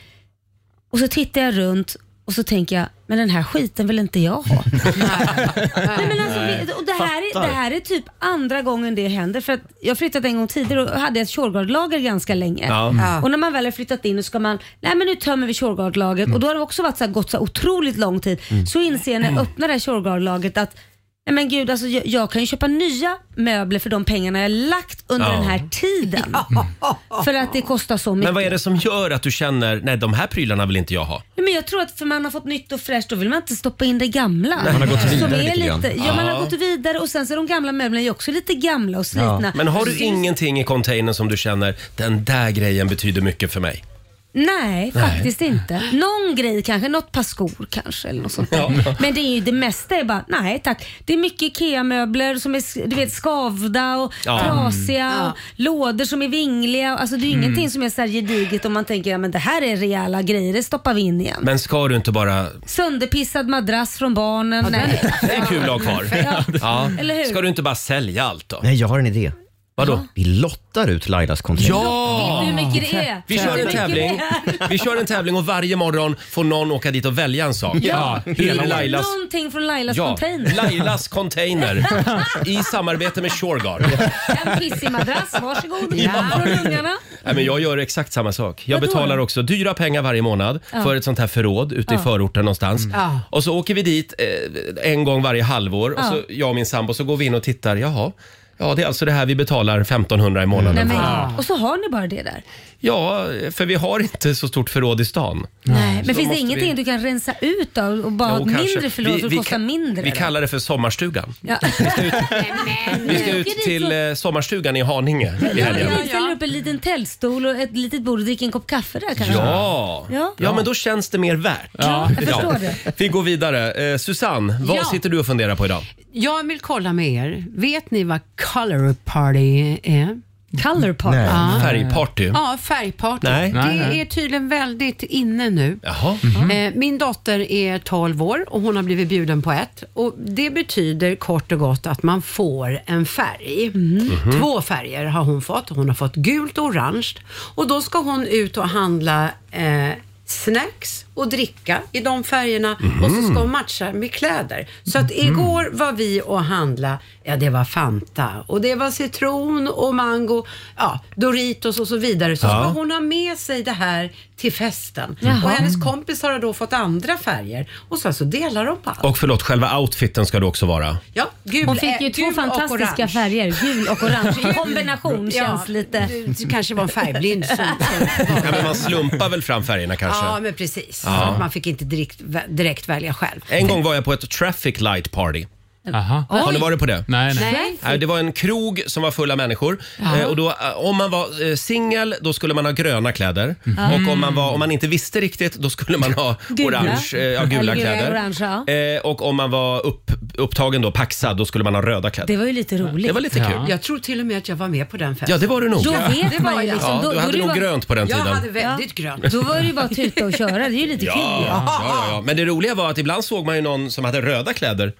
Speaker 2: Och så tittar jag runt och så tänker jag, men den här skiten vill inte jag ha. Nej, men alltså, vi- och det, här är, det här är typ andra gången det händer. För att jag har flyttat en gång tidigare och hade ett Shurgard-lager ganska länge.
Speaker 1: Ja.
Speaker 6: Ja.
Speaker 2: Och när man väl har flyttat in och ska man, nej men nu tömmer vi Shurgard-lagret. Och då har det också varit så här, gått så här otroligt lång tid.
Speaker 1: Mm.
Speaker 2: Så inser jag när jag öppnar det här Shurgard-lagret att Nej men gud, alltså jag, jag kan ju köpa nya möbler för de pengarna jag lagt under
Speaker 1: Ja. Mm.
Speaker 2: den här tiden. För att det kostar så mycket.
Speaker 1: Men vad är det som gör att du känner, nej de här prylarna vill inte jag ha?
Speaker 2: Nej, Men jag tror att för man har fått nytt och fräscht, då vill man inte stoppa in det gamla.
Speaker 3: man har gått
Speaker 2: Som
Speaker 3: vidare
Speaker 2: är
Speaker 3: lite grann.
Speaker 2: Ja, man har
Speaker 1: Ja.
Speaker 2: gått vidare och sen så är de gamla möblerna ju också lite gamla och slitna.
Speaker 1: Men har
Speaker 2: Så
Speaker 1: du
Speaker 2: det är ju-
Speaker 1: ingenting i containern som du känner, den där grejen betyder mycket för mig?
Speaker 2: Nej, faktiskt inte. Någon grej kanske, något par skor kanske eller något sånt där.
Speaker 7: Ja.
Speaker 2: Men det är ju det mesta är bara, nej tack. Det är mycket IKEA-möbler som är du vet, skavda och
Speaker 7: Ja.
Speaker 3: Mm.
Speaker 2: trasiga och lådor som är vingliga. Alltså det är ju
Speaker 1: Mm.
Speaker 2: ingenting som är så här gediget om man tänker, ja, men det här är rejäla grejer, det stoppar vi in igen.
Speaker 1: Men ska du inte bara...
Speaker 2: Sönderpissad madrass från barnen. nej.
Speaker 1: Det är kul att ha kvar.
Speaker 2: Ja.
Speaker 1: Ja.
Speaker 2: Eller hur?
Speaker 1: Ska du inte bara sälja allt då?
Speaker 3: Nej, jag har en idé.
Speaker 1: Vadå?
Speaker 3: Vi lottar ut Lailas kontrakt.
Speaker 1: Ja!
Speaker 2: Vet du hur mycket det är?
Speaker 1: Vi kör en
Speaker 2: Vet du hur mycket
Speaker 1: tävling.
Speaker 2: det är?
Speaker 1: Vi kör en tävling och varje morgon får någon åka dit och välja en sak.
Speaker 2: Ja,
Speaker 1: Hur Lailas...
Speaker 2: Någonting från Lailas
Speaker 1: Ja,
Speaker 2: container.
Speaker 1: Lailas container i samarbete med Shurgard.
Speaker 2: En pissig madrass, varsågod. Ja. Från ungarna.
Speaker 1: Nej, men jag gör exakt samma sak. Jag
Speaker 2: Vadå?
Speaker 1: betalar också dyra pengar varje månad
Speaker 2: Ja.
Speaker 1: för ett sånt här förråd ute i
Speaker 2: Ja.
Speaker 1: förorten någonstans.
Speaker 2: Mm. Ja.
Speaker 1: Och så åker vi dit eh, en gång varje halvår och
Speaker 2: Ja.
Speaker 1: så jag och min sambo så går vi in och tittar. Jaha, ja det är alltså det här vi betalar 1500 i månaden
Speaker 2: Nej,
Speaker 1: för.
Speaker 2: men, Och så har ni bara det där.
Speaker 1: Ja, för vi har inte så stort förråd i stan.
Speaker 2: Nej, men
Speaker 1: Så
Speaker 2: finns det
Speaker 1: måste
Speaker 2: ingenting
Speaker 1: vi-
Speaker 2: du kan rensa ut då och bara ha
Speaker 1: Jo,
Speaker 2: ett
Speaker 1: kanske.
Speaker 2: mindre förråd
Speaker 1: Vi-
Speaker 2: som
Speaker 1: vi
Speaker 2: kostar
Speaker 1: kan-
Speaker 2: mindre?
Speaker 1: Vi
Speaker 2: då?
Speaker 1: kallar det för sommarstugan.
Speaker 2: Ja.
Speaker 1: Vi ska ut till eh, sommarstugan i Haninge i
Speaker 2: Ja,
Speaker 1: helgen.
Speaker 2: jag ställer upp en liten tältstol och ett litet bord och dricker en kopp kaffe där kanske.
Speaker 1: Ja.
Speaker 2: Ja.
Speaker 1: Ja. men då känns det mer värt.
Speaker 2: Ja, jag förstår
Speaker 1: det. Vi går vidare. Eh, Susanne, vad
Speaker 6: Ja.
Speaker 1: sitter du och funderar på idag?
Speaker 6: Jag vill kolla med er. Vet ni vad color party är?
Speaker 2: Color party?
Speaker 1: Nej. Färgparty?
Speaker 6: Ja, färgparty.
Speaker 1: Nej.
Speaker 6: Det
Speaker 1: Nej, nej.
Speaker 6: är tydligen väldigt inne nu.
Speaker 1: Jaha. Mm.
Speaker 6: Eh, Min dotter är 12 år och hon har blivit bjuden på ett. Och det betyder kort och gott att man får en färg.
Speaker 1: Mm-hmm.
Speaker 7: Mhm.
Speaker 6: Två färger har hon fått. Hon har fått gult och orange. Och då ska hon ut och handla eh, snacks och dricka i de färgerna och så
Speaker 1: Mm-hmm.
Speaker 6: ska hon matcha med kläder. Så att igår var vi och handla, ja det var Fanta och det var citron och mango, ja Doritos och så vidare. Så
Speaker 7: Ja.
Speaker 6: ska hon ha med sig det här till festen.
Speaker 7: Jaha.
Speaker 6: Och hennes kompisar har då fått andra färger och sen så delar de på allt.
Speaker 1: Och förlåt, själva outfiten ska du också vara.
Speaker 6: Ja, gul,
Speaker 2: Hon fick
Speaker 6: eh,
Speaker 2: ju två
Speaker 6: gul och
Speaker 2: fantastiska
Speaker 6: orange.
Speaker 2: färger, gul och orange. I kombination
Speaker 6: Ja,
Speaker 2: känns lite...
Speaker 6: Det kanske var en färgblind som
Speaker 1: Ja, men man slumpar väl fram färgerna kanske?
Speaker 6: Ja, men precis.
Speaker 1: Ja.
Speaker 6: Så att man fick inte direkt, vä- direkt välja själv.
Speaker 1: En gång var jag på ett traffic light party. Har ni
Speaker 6: Oj.
Speaker 1: varit på det?
Speaker 6: Nej, nej. Nej.
Speaker 1: Det var en krog som var full av människor.
Speaker 6: Ja.
Speaker 1: Eh, Och då, eh, om man var eh, singel, då skulle man ha gröna kläder.
Speaker 2: Mhm.
Speaker 6: Mm.
Speaker 1: Och om man, var, om man inte visste riktigt, då skulle man ha
Speaker 2: Gula.
Speaker 1: orange, eh, ja, gula
Speaker 2: Eller
Speaker 1: kläder.
Speaker 2: orange, ja.
Speaker 1: Eh, och om man var upp, upptagen då, paxad, då skulle man ha röda kläder.
Speaker 2: Det var ju lite roligt.
Speaker 1: Det var lite kul. Ja.
Speaker 6: Jag tror till och med att jag var med på den festen.
Speaker 1: Ja, det var du nog.
Speaker 2: Då
Speaker 1: Ja.
Speaker 2: vet
Speaker 1: Det var
Speaker 2: man ju
Speaker 1: jag.
Speaker 2: liksom.
Speaker 1: Ja,
Speaker 2: då,
Speaker 1: du
Speaker 2: då
Speaker 1: hade
Speaker 2: det
Speaker 1: nog
Speaker 2: bara-
Speaker 1: grönt på den
Speaker 6: Jag
Speaker 1: tiden.
Speaker 6: hade väldigt grönt.
Speaker 2: Då var det ju bara att tuta och köra. Det är ju lite kul.
Speaker 1: Ja, ja, ja, ja. Men det roliga var att ibland såg man ju någon som hade röda kläder.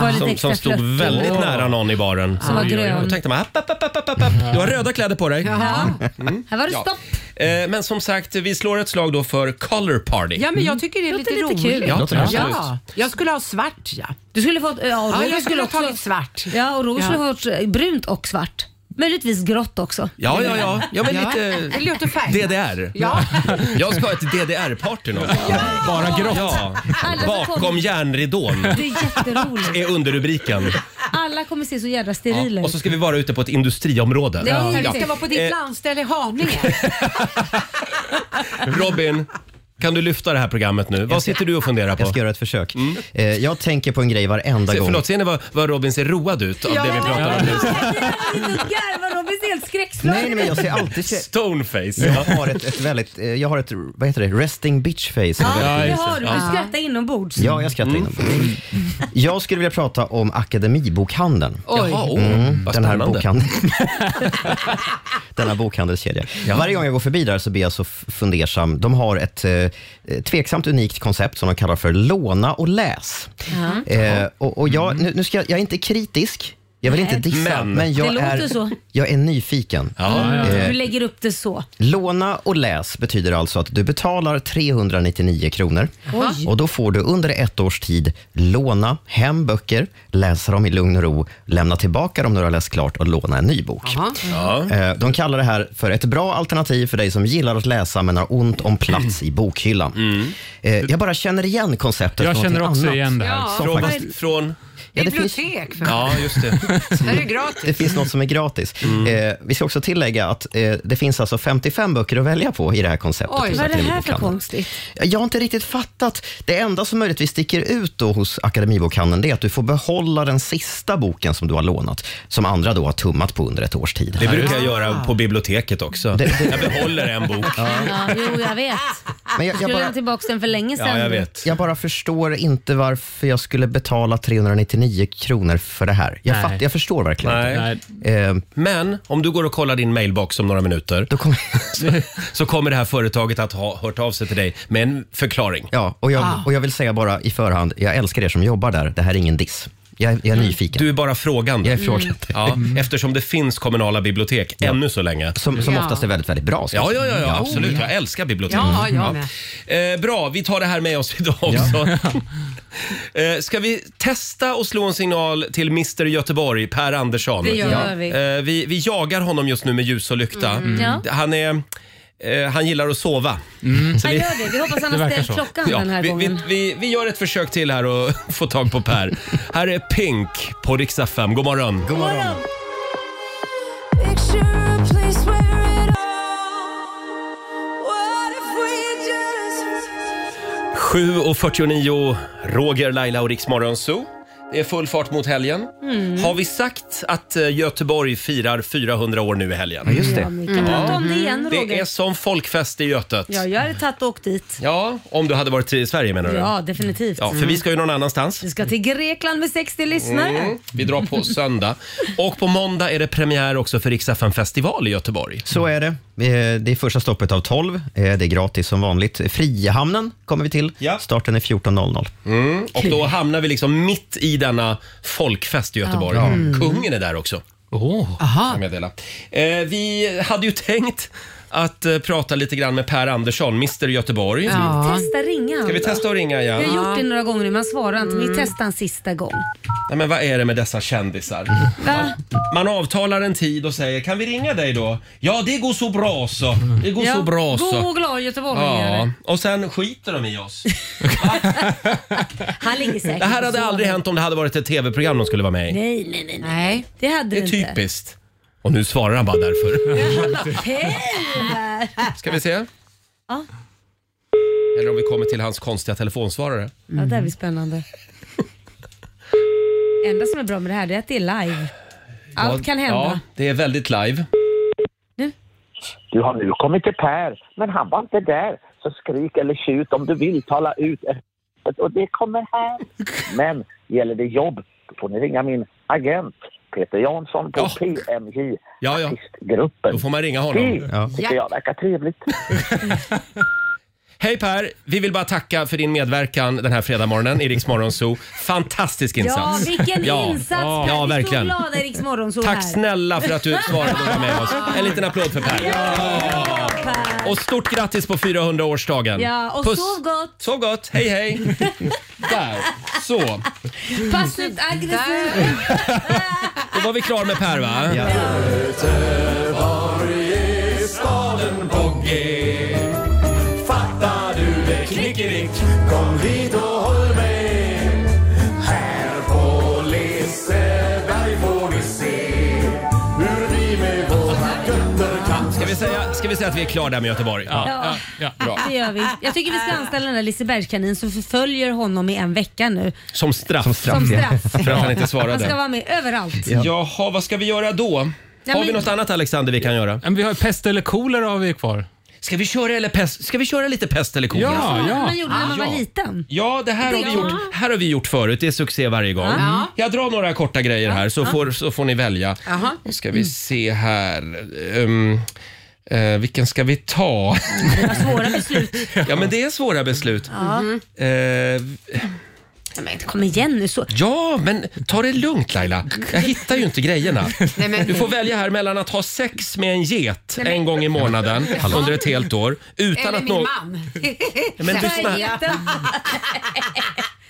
Speaker 2: Var lite
Speaker 1: Som,
Speaker 2: extra
Speaker 1: som stod
Speaker 2: flörtig.
Speaker 1: väldigt
Speaker 2: Åh.
Speaker 1: nära någon i baren.
Speaker 2: Som var
Speaker 1: Oj, oj, oj.
Speaker 2: grön.
Speaker 1: Då tänkte man, app, app, app, app, app, app. du har röda kläder på dig.
Speaker 6: Ja.
Speaker 1: Mm.
Speaker 2: Här var det
Speaker 1: Ja.
Speaker 2: stopp.
Speaker 1: Eh, Men som sagt, vi slår ett slag då för color party.
Speaker 6: Ja, men jag tycker det är
Speaker 2: Mm. Låter
Speaker 6: lite,
Speaker 2: lite
Speaker 6: roligt.
Speaker 2: kul.
Speaker 1: Ja, Låter absolut.
Speaker 6: ja, jag skulle ha svart, ja.
Speaker 2: Du skulle fått... Ja, och
Speaker 6: Ja,
Speaker 2: Roger
Speaker 6: jag skulle ha
Speaker 2: också-
Speaker 6: tagit svart.
Speaker 2: Ja, och Roger
Speaker 6: Ja.
Speaker 2: skulle ha fått eh, brunt och svart. Möjligtvis grått också.
Speaker 1: Ja, ja, ja. Jag vill
Speaker 6: Ja.
Speaker 1: lite
Speaker 6: Det låter färg.
Speaker 1: DDR.
Speaker 6: Ja.
Speaker 1: Jag ska ha ett DDR-party någonstans. Bara grått. Ja.
Speaker 2: Alla som
Speaker 1: Bakom
Speaker 2: kommer-
Speaker 1: järnridån
Speaker 2: Det är jätteroligt.
Speaker 1: är underrubriken.
Speaker 2: Alla kommer se så jävla
Speaker 1: Ja.
Speaker 2: sterila
Speaker 1: Och
Speaker 2: ut.
Speaker 1: så ska vi vara ute på ett industriområde.
Speaker 6: Det är, Vi ska vara på ditt
Speaker 1: Eh,
Speaker 6: landställe i Haninge.
Speaker 1: Robin, kan du lyfta det här programmet nu? Vad sitter du och funderar på? Mm.
Speaker 3: Jag ska göra ett försök. Eh, Jag tänker på en grej varenda
Speaker 1: Se,
Speaker 3: gång.
Speaker 1: förlåt, ser ni vad, vad Robin ser road ut av
Speaker 2: Ja,
Speaker 1: det vi
Speaker 2: men-
Speaker 1: pratar om nu?
Speaker 2: Garvar Robin ser helt skräckslagen
Speaker 3: Nej, nej, men jag ser alltid...
Speaker 1: Stoneface.
Speaker 3: Jag har ett, ett väldigt... eh, Jag har ett, vad heter det? Resting bitch face.
Speaker 2: Ja, det har du. Du skrattar inombords.
Speaker 3: Ja, jag skrattar inombords.
Speaker 2: Mm.
Speaker 3: Jag skulle vilja prata om akademibokhandeln. Mm,
Speaker 2: Oj. Jaha, oh. åh,
Speaker 1: vad
Speaker 3: den här
Speaker 1: spännande.
Speaker 3: bokhandeln. Denna bokhandelskedja. Varje gång jag går förbi där så blir jag så f- fundersam. De har ett eh, tveksamt unikt koncept som de kallar för låna och läs.
Speaker 2: Mm.
Speaker 3: Eh, och, och jag, nu, nu ska jag, jag är inte kritisk. Jag vill
Speaker 2: Nej.
Speaker 3: inte dissa,
Speaker 2: Men-
Speaker 3: men, jag,
Speaker 2: Det låter
Speaker 3: är,
Speaker 2: så.
Speaker 3: jag är nyfiken.
Speaker 2: Mm,
Speaker 3: Eh,
Speaker 2: Du lägger upp det så.
Speaker 3: Låna och läs betyder alltså att du betalar 399 kronor
Speaker 2: Oj.
Speaker 3: och då får du under ett års tid låna hem böcker, läsa dem i lugn och ro, lämna tillbaka dem när du har läst klart och låna en ny bok. Eh, De kallar det här för ett bra alternativ för dig som gillar att läsa men har ont om plats i
Speaker 1: Mm.
Speaker 3: bokhyllan. Eh, Jag bara känner igen konceptet.
Speaker 1: Jag
Speaker 3: från
Speaker 1: känner
Speaker 3: någonting
Speaker 1: också
Speaker 3: annat
Speaker 1: igen det här.
Speaker 3: som
Speaker 1: Från-
Speaker 3: faktiskt-
Speaker 1: från?
Speaker 6: Bibliotek för
Speaker 1: Ja, just det.
Speaker 6: Det här är ju gratis.
Speaker 3: Det finns något som är gratis.
Speaker 1: Mm.
Speaker 3: Eh, vi ska också tillägga att eh, det finns alltså 55 böcker att välja på i det här konceptet.
Speaker 2: Oj,
Speaker 3: hos
Speaker 2: vad är det här för
Speaker 3: Akademibokhandeln.
Speaker 2: konstigt?
Speaker 3: Jag har inte riktigt fattat. Det enda som möjligtvis sticker ut då hos Akademibokhandeln det är att du får behålla den sista boken som du har lånat, som andra då har tummat på under ett års tid.
Speaker 1: Det brukar jag göra på biblioteket också. Jag behåller en bok.
Speaker 2: Ja, jo, jag
Speaker 3: Men
Speaker 2: vet. Men
Speaker 3: jag- jag
Speaker 2: jag, skulle
Speaker 3: bara-
Speaker 2: lämna tillbaka den för länge sedan.
Speaker 1: Ja, jag vet.
Speaker 3: Jag bara förstår inte varför jag skulle betala 399 kronor för det här. Jag,
Speaker 1: Nej.
Speaker 3: fatt, jag förstår verkligen
Speaker 1: Nej.
Speaker 3: inte. Eh,
Speaker 1: Men om du går och kollar din mailbox om några minuter
Speaker 3: då kommer-
Speaker 1: så kommer det här företaget att ha hört av sig till dig med en förklaring.
Speaker 3: ja, och,
Speaker 2: Ah.
Speaker 3: jag, och jag vill säga bara i förhand, jag älskar er som jobbar där. Det här är ingen diss. Jag, jag är
Speaker 2: Mm.
Speaker 3: nyfiken.
Speaker 1: Du är bara frågande. Mm.
Speaker 3: Jag är frågande. Mm.
Speaker 1: Ja, Eftersom det finns kommunala bibliotek ännu så länge.
Speaker 3: Som, som
Speaker 6: Ja.
Speaker 3: oftast är väldigt, väldigt bra. ska jag
Speaker 1: Ja,
Speaker 3: säga. Mm.
Speaker 1: ja, ja, ja absolut. Jag älskar bibliotek.
Speaker 6: Ja, jag med.
Speaker 1: Eh, bra, vi tar det här med oss idag också. eh, ska vi testa och slå en signal till Mr Göteborg, Per Andersson?
Speaker 2: Det gör
Speaker 1: Ja.
Speaker 2: vi.
Speaker 1: Eh, vi. Vi jagar honom just nu med ljus och lykta. Mm.
Speaker 2: Ja.
Speaker 1: Han, är, eh, han gillar att sova. Så
Speaker 2: Han
Speaker 1: vi-
Speaker 2: gör det. Vi hoppas han
Speaker 8: Mm. Det
Speaker 2: har
Speaker 8: verkar
Speaker 2: ställt
Speaker 8: så.
Speaker 2: klockan den här
Speaker 1: vi, vi,
Speaker 2: gången.
Speaker 1: vi, vi gör ett försök till här och få tag på Per. här är Pink på Rix FM. God morgon.
Speaker 3: God morgon.
Speaker 7: Picture a place where it all. What if we just
Speaker 1: 7.49, Roger, Laila och Rix Morgon Zoo. Det är full fart mot helgen.
Speaker 2: Mm.
Speaker 1: Har vi sagt att eh, Göteborg firar 400 år nu i helgen?
Speaker 3: Just
Speaker 2: Ja,
Speaker 3: det.
Speaker 2: vi kan prata om det igen Mm. Roger.
Speaker 1: Mm. Det är som folkfest i Götet.
Speaker 2: Ja, jag hade tagit och åkt dit.
Speaker 1: Ja, om du hade varit i Sverige menar du?
Speaker 2: Ja, Mm. definitivt.
Speaker 1: Ja, för vi ska ju någon annanstans.
Speaker 2: Vi ska till Grekland med 60 lyssnare.
Speaker 1: Mm, Vi drar på söndag. Och på måndag är det premiär också för Rix FM festival i Göteborg.
Speaker 3: Så är det. Eh, Det är första stoppet av 12. Eh, Det är gratis som vanligt. Frihamnen kommer vi till.
Speaker 1: Ja.
Speaker 3: Starten är 14.00.
Speaker 1: Och då hamnar vi liksom mitt i denna folkfest i Göteborg. Mm. Kungen är där också.
Speaker 6: Aha.
Speaker 1: kan jag meddela. Eh, vi hade ju tänkt att eh, prata lite grann med Per Andersson, Mr Göteborg. Mm.
Speaker 6: Ja.
Speaker 2: Testa ringa
Speaker 1: Ska vi testa Mm. att ringa igen?
Speaker 2: Jag har gjort det några gånger nu, man svarar inte. Vi testar en sista gång.
Speaker 1: Nej, men vad är det med dessa kändisar?
Speaker 2: Va?
Speaker 1: Man avtalar en tid och säger “Kan vi ringa dig då?” “Ja, det går så bra så. Det går så bra
Speaker 2: God
Speaker 1: så.
Speaker 2: och glad göteborgare.
Speaker 1: Ja, och sen skiter de i oss.
Speaker 2: Han ligger säkert
Speaker 1: Det här hade
Speaker 2: och sover.
Speaker 1: aldrig hänt om det hade varit ett tv-program de skulle vara med i.
Speaker 2: Nej, nej, nej. nej.
Speaker 6: Nej.
Speaker 2: Det hade
Speaker 1: Det
Speaker 2: det,
Speaker 1: är typ
Speaker 2: inte.
Speaker 1: typiskt. Och nu svarar han bara därför.
Speaker 2: Hej!
Speaker 1: Ska vi se?
Speaker 2: Ja.
Speaker 1: Eller om vi kommer till hans konstiga telefonsvarare.
Speaker 2: Ja, det här blir spännande. Det enda som är bra med det här det är att det är live. Allt kan hända.
Speaker 1: Mm. Ja, det är väldigt live.
Speaker 10: Du har nu kommit till Per, men han var inte där. Så skrik eller tjut om du vill, tala ut. Och det kommer här. Men gäller det jobb, då får ni ringa min agent Peter Jansson på
Speaker 1: Ja.
Speaker 10: PMJ,
Speaker 1: Ja, ja.
Speaker 10: artistgruppen.
Speaker 1: Då får man ringa honom.
Speaker 10: Det
Speaker 3: Ja.
Speaker 10: tycker jag verkar trevligt.
Speaker 1: Hej Per! Vi vill bara tacka för din medverkan den här fredagmorgonen i Rix Morgon Zoo. Fantastisk
Speaker 2: Ja,
Speaker 1: insats!
Speaker 2: vilken
Speaker 1: Ja.
Speaker 2: insats!
Speaker 1: Ja,
Speaker 2: Per. Vi
Speaker 1: verkligen.
Speaker 2: är så glada i Rix Morgonzoo här.
Speaker 1: Tack snälla för att du svarade och var med oss. En liten applåd för Per.
Speaker 2: Ja, Per.
Speaker 1: Och stort grattis på 400-årsdagen!
Speaker 2: Ja, och sov gott.
Speaker 1: Sov gott! Hej hej! Där, så.
Speaker 2: Pass ut aggressivt.
Speaker 1: Då var vi klara med Per va?
Speaker 3: Ja.
Speaker 9: Fattar du det knickedick? Kom hit och håll med. Här på Liseberg får ni se hur vi med våra götter kan
Speaker 1: Ska vi säga, ska vi säga att vi är klara där med Göteborg?
Speaker 2: Ja,
Speaker 8: Ja.
Speaker 2: det gör vi. Jag tycker vi ska anställa den där Lisebergskaninen som förföljer honom i en vecka nu.
Speaker 1: Som straff. Som straff.
Speaker 2: Som straff.
Speaker 1: För att han inte
Speaker 2: Han ska
Speaker 1: svarade.
Speaker 2: vara med överallt.
Speaker 1: Jaha, vad ska vi göra då? Har vi
Speaker 2: men-
Speaker 1: något annat Alexander vi kan göra?
Speaker 8: Men vi har ju pest eller kolera har vi kvar.
Speaker 1: Ska vi köra, eller pest? Ska vi köra lite pest eller kolera?
Speaker 8: Ja,
Speaker 2: Som
Speaker 8: ja.
Speaker 2: man gjorde när man
Speaker 1: Ja.
Speaker 2: var liten.
Speaker 1: Ja, det här har, vi gjort, här har vi gjort förut. Det är succé varje gång. Mm. Jag drar några korta grejer här så, får, så får ni välja.
Speaker 6: Jaha.
Speaker 1: Då ska vi se här. Ehm, eh, vilken ska vi ta?
Speaker 2: Det var svåra beslut. Mm-hmm.
Speaker 1: ja, men det är svåra beslut. Eh,
Speaker 2: Men kom igen nu. Så.
Speaker 1: ja, men ta det lugnt Laila. Jag hittar ju inte grejerna.
Speaker 6: Nej, men,
Speaker 1: Du får välja här mellan att ha sex med en get en gång i månaden under ett helt år. Utan
Speaker 6: eller
Speaker 1: att
Speaker 6: min
Speaker 1: nå-
Speaker 6: man.
Speaker 1: Men lyssna,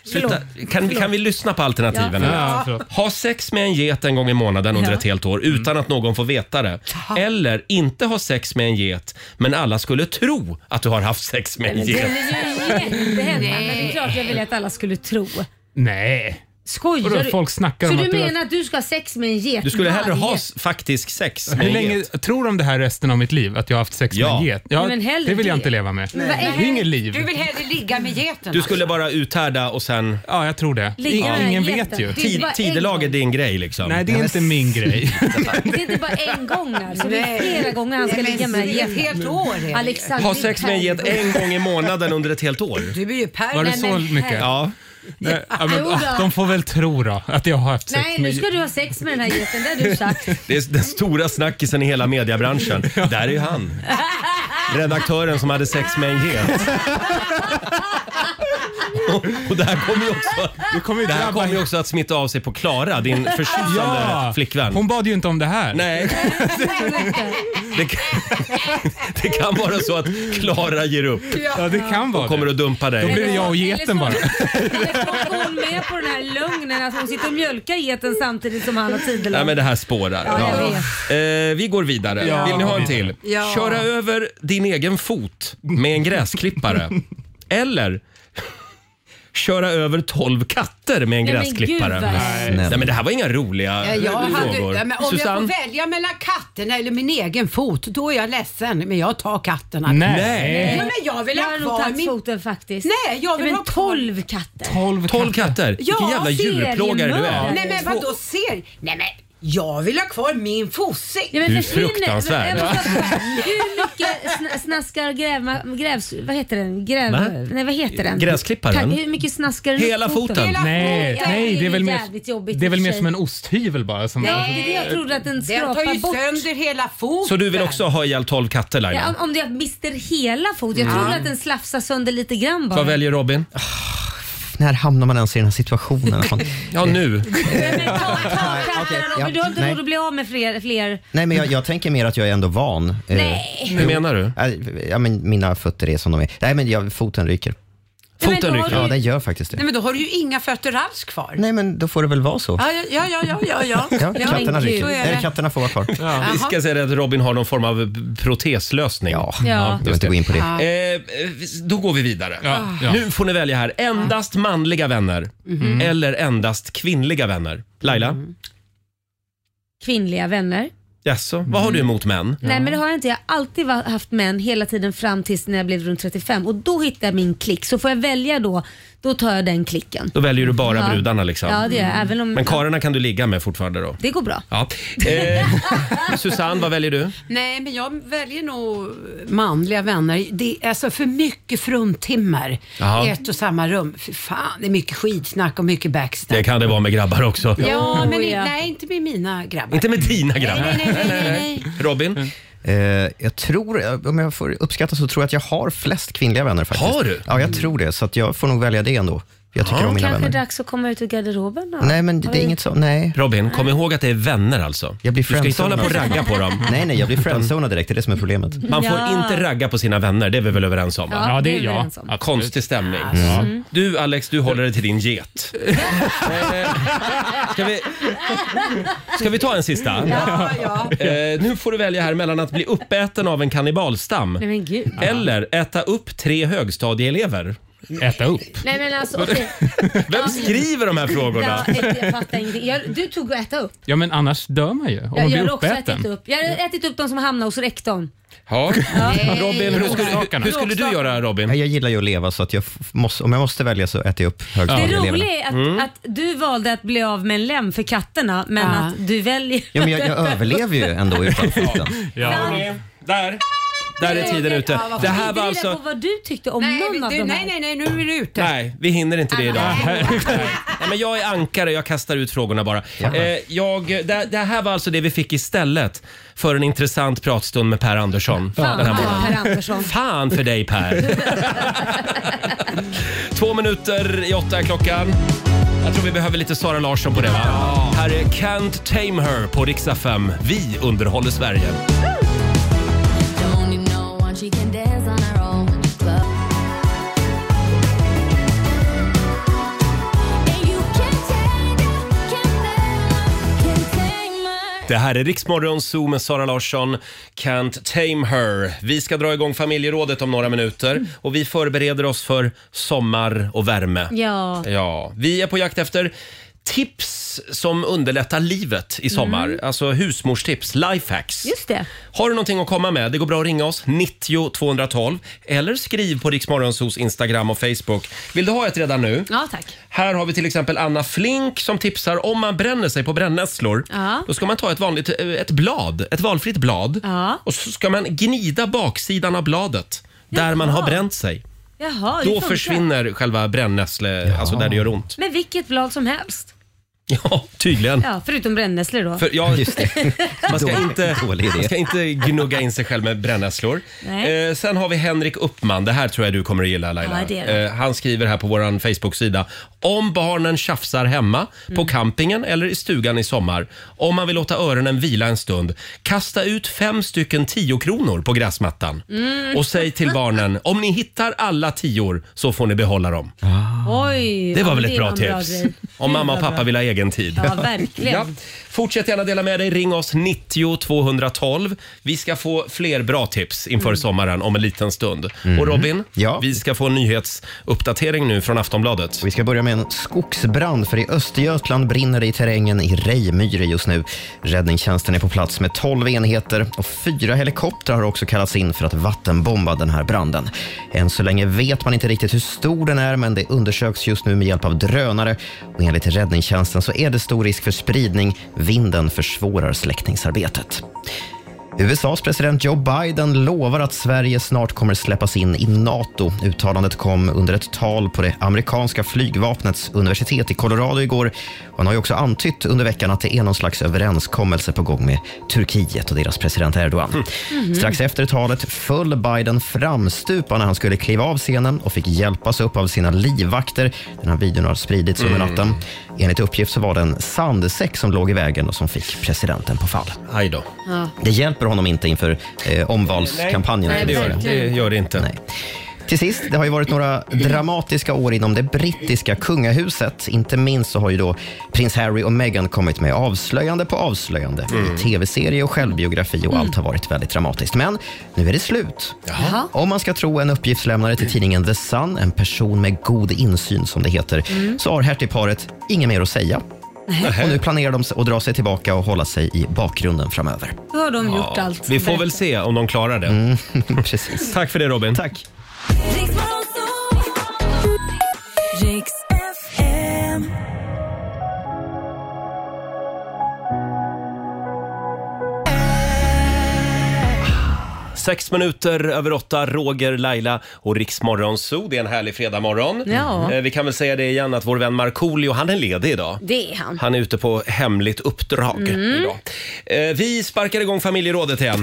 Speaker 1: sluta. Kan, kan vi lyssna på alternativen? här?
Speaker 8: Ja, förlåt.
Speaker 1: Ha sex med en get en gång i månaden under ett helt år
Speaker 2: Mm.
Speaker 1: utan att någon får veta det. Eller inte ha sex med en get, men alla skulle tro att du har haft sex med en
Speaker 2: Det
Speaker 1: get.
Speaker 2: är ju jättehemma, men det är klart jag ville att alla skulle tro.
Speaker 8: Nej.
Speaker 2: Skojar
Speaker 8: Vadå,
Speaker 2: du?
Speaker 8: folk snackar
Speaker 2: så
Speaker 8: om
Speaker 2: du
Speaker 8: att du har-
Speaker 2: menar att du ska ha sex med en get
Speaker 8: Du skulle hellre ha
Speaker 2: varje-
Speaker 1: s- Faktisk sex.
Speaker 8: Hur länge tror de det här resten av mitt liv? Att jag har haft sex med en get? Ja,
Speaker 6: Men hellre
Speaker 8: det vill jag
Speaker 6: det.
Speaker 8: inte leva med.
Speaker 6: Men
Speaker 8: Det
Speaker 6: vad
Speaker 8: är inget
Speaker 6: Du
Speaker 8: liv.
Speaker 6: vill hellre ligga med geten alltså.
Speaker 1: Du skulle bara uthärda och sen...
Speaker 8: Ja, jag tror det.
Speaker 2: Ligga med den
Speaker 8: Ingen
Speaker 2: jätten.
Speaker 8: vet ju.
Speaker 2: Det är inte bara en
Speaker 1: Tidelag är din grej liksom.
Speaker 8: Nej, det är inte min grej.
Speaker 2: Det är inte bara en gång alltså. Det är
Speaker 6: Nej.
Speaker 2: flera gånger han ska
Speaker 6: Nej, men
Speaker 2: ligga med den
Speaker 6: det är ett
Speaker 2: geten.
Speaker 6: helt år, Erik.
Speaker 2: Alexander,
Speaker 1: Ha sex med en get en gång i månaden under ett helt år.
Speaker 6: Du är ju per.
Speaker 8: Var det
Speaker 2: Nej,
Speaker 8: så
Speaker 2: men
Speaker 8: mycket?
Speaker 2: herre-
Speaker 1: Ja.
Speaker 8: Nej, ja, men,
Speaker 2: Jo då.
Speaker 8: de får väl tro då att jag har haft sex
Speaker 2: Nej, nu ska du ha sex med den här geten. Det har du sagt.
Speaker 1: Det är den stora snackisen i hela mediebranschen. Där är ju han. Redaktören som hade sex med en get. Och- Och det här kommer ju också,
Speaker 8: det kommer
Speaker 1: det här kommer ju också att smitta av sig på Klara, din förtjusande
Speaker 8: Ja.
Speaker 1: flickvän.
Speaker 8: Hon bad ju inte om det här.
Speaker 1: Nej. Det kan, det kan vara så att Klara ger upp.
Speaker 8: Ja, det kan vara
Speaker 1: Hon kommer
Speaker 8: det.
Speaker 1: att dumpa dig.
Speaker 8: Då blir det jag och geten bara.
Speaker 2: Går hon med på den här lögnen att hon sitter och mjölkar geten samtidigt som han har
Speaker 1: Nej
Speaker 2: tidelag?
Speaker 1: men det här spårar.
Speaker 2: Ja, jag
Speaker 1: Eh, vi går vidare.
Speaker 8: Ja,
Speaker 1: Vill ni ha en
Speaker 8: vidare.
Speaker 1: till?
Speaker 6: Ja.
Speaker 1: Köra över din egen fot med en gräsklippare. Eller köra över 12 katter med en
Speaker 2: Nej, men
Speaker 1: gräsklippare.
Speaker 2: gud, vad-
Speaker 1: Nej. Nej, men det här var inga roliga
Speaker 6: Jag
Speaker 1: frågor.
Speaker 6: hade, ja, men om jag
Speaker 1: Susanne?
Speaker 6: får välja mellan katterna eller min egen fot, då är jag ledsen. Men jag tar katterna.
Speaker 8: Nej.
Speaker 6: Ja, men jag vill
Speaker 2: Jag
Speaker 6: ha
Speaker 2: har nog
Speaker 6: kvar
Speaker 2: tagit
Speaker 6: min...
Speaker 2: foten faktiskt.
Speaker 6: Nej, jag vill
Speaker 2: men
Speaker 6: ha kvar-
Speaker 2: 12 katter.
Speaker 8: 12
Speaker 1: 12 katter?
Speaker 6: Ja,
Speaker 1: Vilken jävla djurplågare du är.
Speaker 2: seriemördare.
Speaker 6: Nej men vadå ser? Nej men jag vill ha kvar min fosse.
Speaker 2: Ja, men
Speaker 1: Du är
Speaker 2: försvinner-
Speaker 1: fruktansvärd.
Speaker 2: Men jag måste fråga, Hur mycket sna- snaskar grävma, grävs... Vad heter den? Gräv,
Speaker 1: Va?
Speaker 2: nej, vad heter den?
Speaker 1: Gräsklipparen?
Speaker 2: Tack, Hur mycket snaskar du
Speaker 1: Hela foten.
Speaker 2: Hela
Speaker 8: Nej,
Speaker 2: foten.
Speaker 8: nej, det är väl
Speaker 2: jävligt jobbigt
Speaker 8: mer, det är väl
Speaker 2: i och
Speaker 8: mer
Speaker 2: för
Speaker 8: som
Speaker 2: sig.
Speaker 8: en osthyvel bara. Som
Speaker 2: Nej, det är det jag trodde att den
Speaker 6: Den tar
Speaker 2: skrapar
Speaker 6: ju
Speaker 2: bort.
Speaker 6: sönder hela foten.
Speaker 1: Så du vill också ha ihjäl 12 katter Laila?
Speaker 2: Ja, om, om jag mister hela foten. Jag trodde att den slafsar sönder lite grann bara.
Speaker 1: Vad väljer Robin?
Speaker 3: Ah, När hamnar man ens i den här situationen? Fan. Eh,
Speaker 1: Ja, nu.
Speaker 2: Nej, men ta, ta katterna
Speaker 3: okej,
Speaker 2: Robert.
Speaker 3: ja,
Speaker 2: Du har inte
Speaker 3: nej.
Speaker 2: råd att bli av med fler. fler.
Speaker 3: Nej, men jag, jag tänker mer att jag är ändå van. Eh,
Speaker 2: Nej.
Speaker 1: Hur menar du?
Speaker 3: eh, Ja, men mina fötter är som de är. Nej, men jag, foten ryker.
Speaker 2: men då
Speaker 1: Foten
Speaker 2: har
Speaker 1: ryker.
Speaker 2: du-
Speaker 3: Ja, den gör faktiskt det.
Speaker 6: Nej men då har du ju inga fötter alls kvar.
Speaker 3: Nej, men då får det väl vara så.
Speaker 6: Ja, ja, ja, ja, ja, ja.
Speaker 3: Ja, katterna
Speaker 6: men gud.
Speaker 3: ryker.
Speaker 6: Så är
Speaker 3: Eller
Speaker 6: det.
Speaker 3: katterna får vara kvar. Ja,
Speaker 1: Vi ska säga det att Robin har någon form av proteslösning.
Speaker 3: ja.
Speaker 2: Ja.
Speaker 3: jag vill inte gå in på det.
Speaker 1: Eh, eh, då går vi vidare.
Speaker 8: Ja, ja.
Speaker 1: Nu får ni välja här. Endast manliga vänner eller endast kvinnliga vänner. Laila?
Speaker 2: Kvinnliga vänner.
Speaker 1: Jaså, vad har du emot män?
Speaker 2: Nej men det har jag inte. Jag har alltid va- haft män hela tiden fram tills när jag blev runt 35 och då hittade jag min klick. Så får jag välja då, då tar jag den klicken.
Speaker 1: Då väljer du bara
Speaker 2: Ja.
Speaker 1: brudarna liksom.
Speaker 2: Ja det gör jag. Även om
Speaker 1: Men karlarna kan du ligga med fortfarande då?
Speaker 2: det går bra.
Speaker 1: Ja. Eh, Susanne, vad väljer du?
Speaker 6: Nej men jag väljer nog manliga vänner. Det är alltså för mycket fruntimmer
Speaker 1: Ja.
Speaker 6: i ett och samma rum. Fy fan, det är mycket skitsnack och mycket backstab.
Speaker 1: Det kan det vara med grabbar också.
Speaker 6: Ja, men i-
Speaker 2: ja.
Speaker 6: nej inte med mina grabbar.
Speaker 1: Inte med dina grabbar.
Speaker 6: Nej, nej, nej, nej, nej.
Speaker 1: Robin?
Speaker 3: Eh, jag tror, om jag får uppskatta, så tror jag att jag har flest kvinnliga vänner faktiskt.
Speaker 1: Har du?
Speaker 3: Ja, jag tror det. Så att jag får nog välja det ändå. Jag tycker om mina
Speaker 2: Kanske
Speaker 3: vänner.
Speaker 2: dags att komma ut ur garderoben då?
Speaker 3: Nej, men det är inget så. Nej.
Speaker 1: Robin, kom ihåg att det är vänner alltså.
Speaker 3: Jag blir
Speaker 1: du ska inte hålla på och
Speaker 3: friendzonad.
Speaker 1: ragga på dem.
Speaker 3: Nej, nej, jag blir friendzonad direkt. Det är det som är problemet.
Speaker 1: Man får
Speaker 2: Ja.
Speaker 1: inte ragga på sina vänner, det är vi väl överens om? Va?
Speaker 8: Ja, det
Speaker 2: vi
Speaker 8: är jag.
Speaker 2: överens om.
Speaker 8: Absolut.
Speaker 1: Konstig stämning. Du Alex, du håller dig till din get. Men, eh, ska, vi, ska vi ta en sista?
Speaker 6: Ja, ja.
Speaker 1: Eh, nu får du välja här mellan att bli uppäten av en kannibalstam
Speaker 2: Nej men gud.
Speaker 1: eller äta upp tre högstadieelever.
Speaker 8: Äta upp.
Speaker 2: Nej men alltså okej.
Speaker 1: Vem skriver de här
Speaker 2: Ja,
Speaker 1: frågorna?
Speaker 2: jag fattar ingenting. Jag, du tog och äta upp.
Speaker 8: Ja, men annars dör man ju om
Speaker 2: Jag,
Speaker 8: man
Speaker 2: jag
Speaker 8: blir
Speaker 2: har också ätit
Speaker 8: uppäten.
Speaker 2: upp. Jag har ätit upp de som hamnade hos rektorn.
Speaker 1: Ja. Robin, hur skulle, hur,
Speaker 8: Bråkstakarna.
Speaker 1: hur skulle du göra Robin?
Speaker 3: Nej, Jag gillar ju att leva, så att jag f- måste, om jag måste välja så äter jag upp Mm.
Speaker 2: Det
Speaker 3: högstadieeleverna.
Speaker 2: roliga är att,
Speaker 1: Mm.
Speaker 2: att du valde att bli av med en lem för katterna men
Speaker 6: Ja.
Speaker 2: att du väljer...
Speaker 3: Ja, men jag, jag överlever ju ändå utan foten.
Speaker 8: Ja.
Speaker 1: Där. Där är tiden ute.
Speaker 6: Ja, vad
Speaker 1: Det här var
Speaker 2: Vi vill reda
Speaker 1: alltså...
Speaker 2: på vad du tyckte om
Speaker 6: Nej,
Speaker 2: någon av
Speaker 6: du,
Speaker 2: de
Speaker 6: nej,
Speaker 2: här.
Speaker 6: nej, nej, nu är du ute.
Speaker 1: Nej, vi hinner inte det idag.
Speaker 6: Nej.
Speaker 1: Nej, men jag är ankare, jag kastar ut frågorna bara. Eh, jag, det, det här var alltså det vi fick istället för en intressant pratstund med Per Andersson
Speaker 2: Fan,
Speaker 1: den här morgonen.
Speaker 2: Per Andersson.
Speaker 1: Fan för dig Per! Två minuter i åtta är klockan. Jag tror vi behöver lite Sara Larsson på det va? Här är Can't Tame Her på riksdag 5. Vi underhåller Sverige.
Speaker 7: Don't you know one she can dance on her own in the club? And you can't take her, can't take her, can't take my
Speaker 1: Det här är Riksmorgon Zoo med Sara Larsson, Can't Tame Her. Vi ska dra igång familjerådet om några minuter och vi förbereder oss för sommar och värme.
Speaker 2: Ja.
Speaker 1: Ja, vi är på jakt efter tips som underlättar livet i sommar. Alltså husmorstips, lifehacks.
Speaker 2: Mm. Just det.
Speaker 1: Har du någonting att komma med? Det går bra att ringa oss, 90 212 eller skriv på Riksmorgonsos Instagram och Facebook. Vill du ha ett redan nu?
Speaker 2: Ja, tack.
Speaker 1: Här har vi till exempel Anna Flink som tipsar om man bränner sig på brännässlor.
Speaker 2: Ja.
Speaker 1: Då ska man ta ett vanligt eh, ett blad, ett valfritt blad
Speaker 2: Ja.
Speaker 1: och så ska man gnida baksidan av bladet där man har bränt sig.
Speaker 2: Jaha, det
Speaker 1: Då
Speaker 2: funkar.
Speaker 1: försvinner själva brännäsle, alltså där det gör ont.
Speaker 2: Med vilket blad som helst.
Speaker 1: Ja, tydligen.
Speaker 2: Ja, förutom brännässlor då.
Speaker 1: För, ja, Man, ska
Speaker 2: Dålig-
Speaker 1: inte,
Speaker 2: dålig idé.
Speaker 1: man ska inte gnugga in sig själv med brännässlor.
Speaker 2: Nej.
Speaker 1: Eh, sen har vi Henrik Uppman. Det här tror jag du kommer att gilla Laila.
Speaker 2: Ja, det är det.
Speaker 1: Eh, han skriver här på vår Facebook-sida. Om barnen tjafsar hemma, på
Speaker 2: Mm.
Speaker 1: campingen eller i stugan i sommar. Om man vill låta öronen vila en stund, kasta ut fem stycken tio kronor på gräsmattan.
Speaker 2: Mm.
Speaker 1: Och säg till barnen, om ni hittar alla tior så får ni behålla dem.
Speaker 2: Oj,
Speaker 1: Det
Speaker 2: ja,
Speaker 1: var väl ett
Speaker 2: är
Speaker 1: bra
Speaker 2: en
Speaker 1: tips?
Speaker 2: grej.
Speaker 1: Om mamma och
Speaker 2: Det var
Speaker 1: pappa
Speaker 2: bra.
Speaker 1: vill ha egen tid.
Speaker 2: Ja, verkligen.
Speaker 1: Fortsätt gärna dela med dig. Ring oss 90 212. Vi ska få fler bra tips inför
Speaker 2: Mm.
Speaker 1: sommaren om en liten stund.
Speaker 3: Mm.
Speaker 1: Och Robin, vi ska få en nyhetsuppdatering nu från Aftonbladet.
Speaker 3: Vi ska börja med en skogsbrand, för i Östergötland brinner det i terrängen i Rejmyre just nu. Räddningstjänsten är på plats med 12 enheter och fyra helikoptrar har också kallats in för att vattenbomba den här branden. Än så länge vet man inte riktigt hur stor den är, men det undersöks just nu med hjälp av drönare. Och enligt räddningstjänsten så är det stor risk för spridning. Vinden försvårar släckningsarbetet. USAs president Joe Biden lovar att Sverige snart kommer släppas in i Nato. Uttalandet kom under ett tal på det amerikanska flygvapnets universitet i Colorado igår. Han har ju också antytt under veckan att det är någon slags överenskommelse på gång med Turkiet och deras president Erdogan.
Speaker 1: Mm.
Speaker 3: Strax efter talet föll Biden framstupa när han skulle kliva av scenen och fick hjälpas upp av sina livvakter. Den här videon har spridits under
Speaker 1: Mm.
Speaker 3: natten. Enligt uppgift så var det en sandsäck som låg i vägen och som fick presidenten på fall.
Speaker 1: Aj då.
Speaker 2: Ja.
Speaker 3: Det hjälper honom inte inför eh, omvalskampanjen.
Speaker 1: Nej, det gör det. Det gör det inte.
Speaker 3: Till sist, det har ju varit några dramatiska år inom det brittiska kungahuset. Inte minst så har ju då prins Harry och Meghan kommit med avslöjande på avslöjande
Speaker 1: Mm.
Speaker 3: i tv-serie och självbiografi och allt har varit väldigt dramatiskt. Men nu är det slut. Om man ska tro en uppgiftslämnare till tidningen The Sun, en person med god insyn som det heter,
Speaker 2: Mm.
Speaker 3: så har hertigparet inget mer att säga. Och nu planerar de att dra sig tillbaka och hålla sig i bakgrunden framöver.
Speaker 2: Då har de gjort allt.
Speaker 1: Vi får väl se om de klarar det.
Speaker 3: Mm, precis.
Speaker 1: Tack för det Robin.
Speaker 3: Tack.
Speaker 7: Riks FM.
Speaker 1: Sex minuter över åtta, Roger, Laila och Riksmorgon Zoo. Det är en härlig fredagmorgon.
Speaker 2: Ja.
Speaker 1: Eh, Vi kan väl säga det igen att vår vän Markoolio, han är ledig idag.
Speaker 2: Det är han.
Speaker 1: Han är ute på hemligt uppdrag
Speaker 2: Mm.
Speaker 1: idag. Eh, vi sparkar igång familjerådet igen.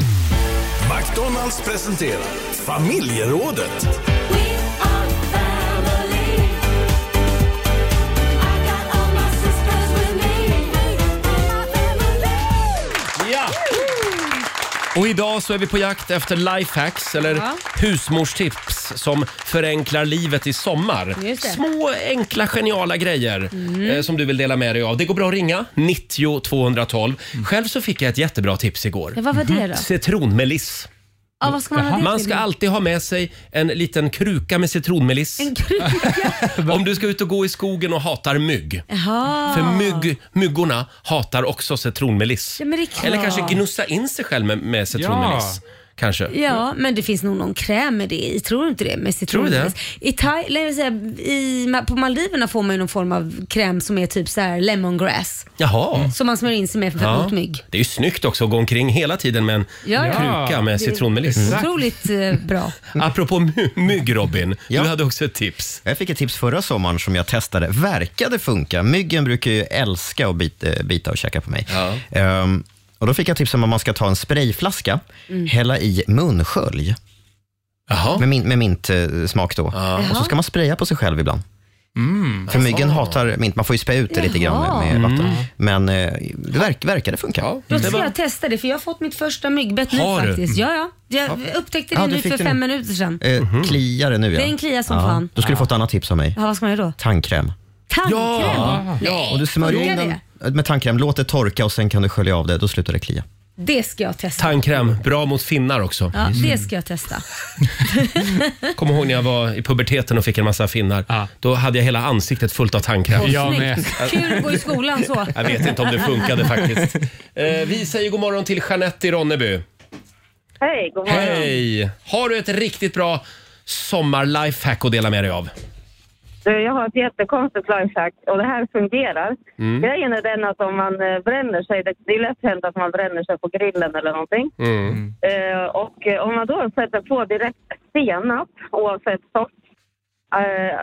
Speaker 9: McDonalds presenterar familjerådet.
Speaker 1: Ja! Och idag så är vi på jakt efter lifehacks eller
Speaker 2: Ja.
Speaker 1: husmorstips som förenklar livet i sommar.
Speaker 2: Just det.
Speaker 1: Små enkla geniala grejer
Speaker 2: Mm.
Speaker 1: eh, som du vill dela med dig av. Det går bra att ringa 90 212. Själv så fick jag ett jättebra tips igår.
Speaker 2: Mm.
Speaker 1: Mm.
Speaker 2: Ja, vad var det då?
Speaker 1: Citronmeliss.
Speaker 2: Ja, vad ska man ha det
Speaker 1: man
Speaker 2: till?
Speaker 1: ska alltid ha med sig en liten kruka med citronmeliss. Om du ska ut och gå i skogen och hatar mygg.
Speaker 2: Jaha.
Speaker 1: För mygg, myggorna hatar också citronmeliss.
Speaker 2: Ah. Ja, men det är klart.
Speaker 1: Eller kanske gnussa in sig själv med, med citronmeliss. Kanske.
Speaker 2: Ja, men det finns nog någon kräm med det i. Tror du inte det? Med
Speaker 1: Tror du det?
Speaker 2: citronmeliss. I Thai, eller jag vill säga, i, Ma- på Maldiverna får man ju någon form av kräm som är typ så här lemongrass.
Speaker 1: Jaha.
Speaker 2: Som man smörjer in sig med Mm. för
Speaker 1: Ja.
Speaker 2: mot mygg.
Speaker 1: Det är ju snyggt också att gå omkring hela tiden med en
Speaker 2: Ja, ja.
Speaker 1: kruka med
Speaker 2: Det är
Speaker 1: citronmeliss. Mm.
Speaker 2: Otroligt eh, bra.
Speaker 1: Apropå my- mygg Robin, du hade också ett tips.
Speaker 3: Jag fick ett tips förra sommaren som jag testade. Verkade funka. Myggen brukar ju älska att bita, bita och käka på mig. Ehm, och Då fick jag tips om att man ska ta en sprayflaska,
Speaker 9: Mm.
Speaker 3: hälla i munskölj. Med, min, med mint eh, smak då. Och så ska man spraya på sig själv ibland. Mm, För myggen hatar mint. Man får ju spä ut det lite grann med, med vatten.
Speaker 1: Mm.
Speaker 3: Men eh, det verk, verkade funka.
Speaker 2: Då ska jag testa det för jag har fått mitt första myggbett nu
Speaker 3: Har du?
Speaker 2: faktiskt. Ja, ja. Jag upptäckte det
Speaker 3: Ja, du
Speaker 2: nu
Speaker 3: fick
Speaker 2: för
Speaker 3: det
Speaker 2: fem
Speaker 3: nu.
Speaker 2: minuter sedan.
Speaker 3: Eh, Kliare nu ja.
Speaker 2: Det är en klia som
Speaker 3: ja.
Speaker 2: fan.
Speaker 3: Då skulle du fått ett annat tips av mig.
Speaker 2: Ja, vad ska man göra då?
Speaker 3: Tandkräm.
Speaker 2: Tandkräm?
Speaker 3: Ja.
Speaker 2: Nej,
Speaker 3: Och du smörjer in
Speaker 2: funkar det?
Speaker 3: den med tandkräm, låt det torka och sen kan du skölja av det. Då slutar det klia.
Speaker 2: Det ska jag testa.
Speaker 1: Tandkräm, bra mot finnar också.
Speaker 2: Ja, det ska jag testa.
Speaker 1: Kommer ihåg när jag var i puberteten och fick en massa finnar. Då hade jag hela ansiktet fullt av tandkräm.
Speaker 2: Åh, snyggt. Kul att gå i skolan så.
Speaker 1: Jag vet inte om det funkade faktiskt. Eh, vi säger god morgon till Jeanette i Ronneby.
Speaker 12: Hej, god morgon.
Speaker 1: Hej! Har du ett riktigt bra sommar-lifehack att dela med dig av?
Speaker 12: Du, jag har ett jättekonstigt lifehack och det här fungerar.
Speaker 1: Mm.
Speaker 12: Grejen är den att om man eh, bränner sig, det, det är lätt hänt att man bränner sig på grillen eller någonting.
Speaker 9: Mm.
Speaker 12: Eh, och eh, om man då sätter på direkt senap, oavsett sort, eh,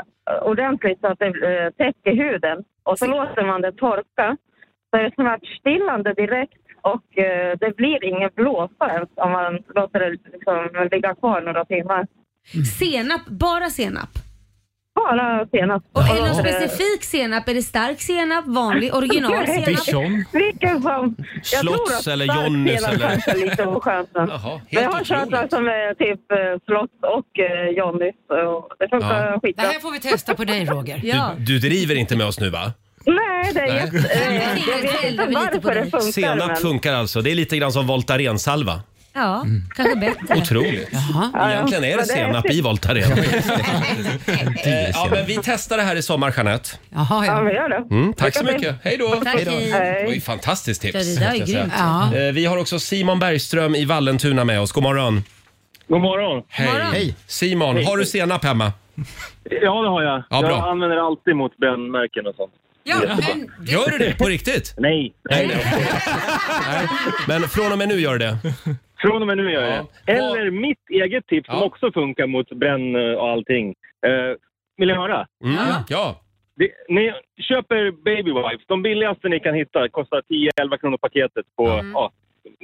Speaker 12: ordentligt så att det eh, täcker huden och så låter man det torka, så är det smärtstillande direkt och eh, det blir ingen blåsa ens om man låter det liksom ligga kvar några timmar.
Speaker 2: Senap, bara senap.
Speaker 12: Bara senap. eh,
Speaker 2: Och är det någon specifik senap? Är det stark senap, vanlig, original senap?
Speaker 1: Dijon.
Speaker 12: Vilken som... Jag tror
Speaker 1: Slotts
Speaker 12: att
Speaker 1: eller
Speaker 12: stark
Speaker 1: Jonnys
Speaker 12: senap
Speaker 1: eller-
Speaker 12: kanske är lite oskönt. men- Men jag har kört som är typ eh, Slotts och eh, Jonnys. och Det funkar
Speaker 1: Ja.
Speaker 12: skitbra.
Speaker 6: Det här får vi testa på dig Roger.
Speaker 1: Du driver inte med oss nu va?
Speaker 12: Nej, det är
Speaker 1: Nej.
Speaker 12: jätte... eh, Jag vet inte varför det funkar.
Speaker 1: Senap
Speaker 12: men-
Speaker 1: funkar alltså. Det är lite grann som Voltarensalva.
Speaker 2: Ja, kanske bättre.
Speaker 1: Otroligt.
Speaker 2: Ja, ja.
Speaker 1: Egentligen är det
Speaker 2: Men det är-
Speaker 1: senap i Voltaren. Eh, ja, men vi testar det här i sommar, Jeanette.
Speaker 6: Jaha,
Speaker 12: ja. men gör det.
Speaker 1: Mm, tack så
Speaker 12: Lycka
Speaker 1: mycket.
Speaker 12: till.
Speaker 1: Hej då!
Speaker 12: Tack,
Speaker 1: Det var ju fantastiskt tips.
Speaker 12: Ja, det där
Speaker 1: måste
Speaker 12: är
Speaker 1: jag säga.
Speaker 12: grymt. Ja.
Speaker 1: Eh, Vi har också Simon Bergström i Vallentuna med oss. God morgon!
Speaker 13: God morgon!
Speaker 1: Hej!
Speaker 13: Morgon. Hej.
Speaker 1: Simon,
Speaker 13: Hej.
Speaker 1: har du senap hemma?
Speaker 13: Ja, det har jag.
Speaker 1: Ja, bra.
Speaker 13: jag använder alltid mot brännmärken och sånt.
Speaker 1: Ja, men- Gör du det på riktigt?
Speaker 13: Nej.
Speaker 1: Nej, nej. nej. Men från och med nu gör du det?
Speaker 13: Från och med nu gör jag det. Eller mitt eget tips som också funkar mot bränn och allting. Eh, vill ni höra?
Speaker 1: Mm, ja.
Speaker 13: Det, ni köper Baby Wipes, de billigaste ni kan hitta, kostar 10-11 kronor paketet på ja,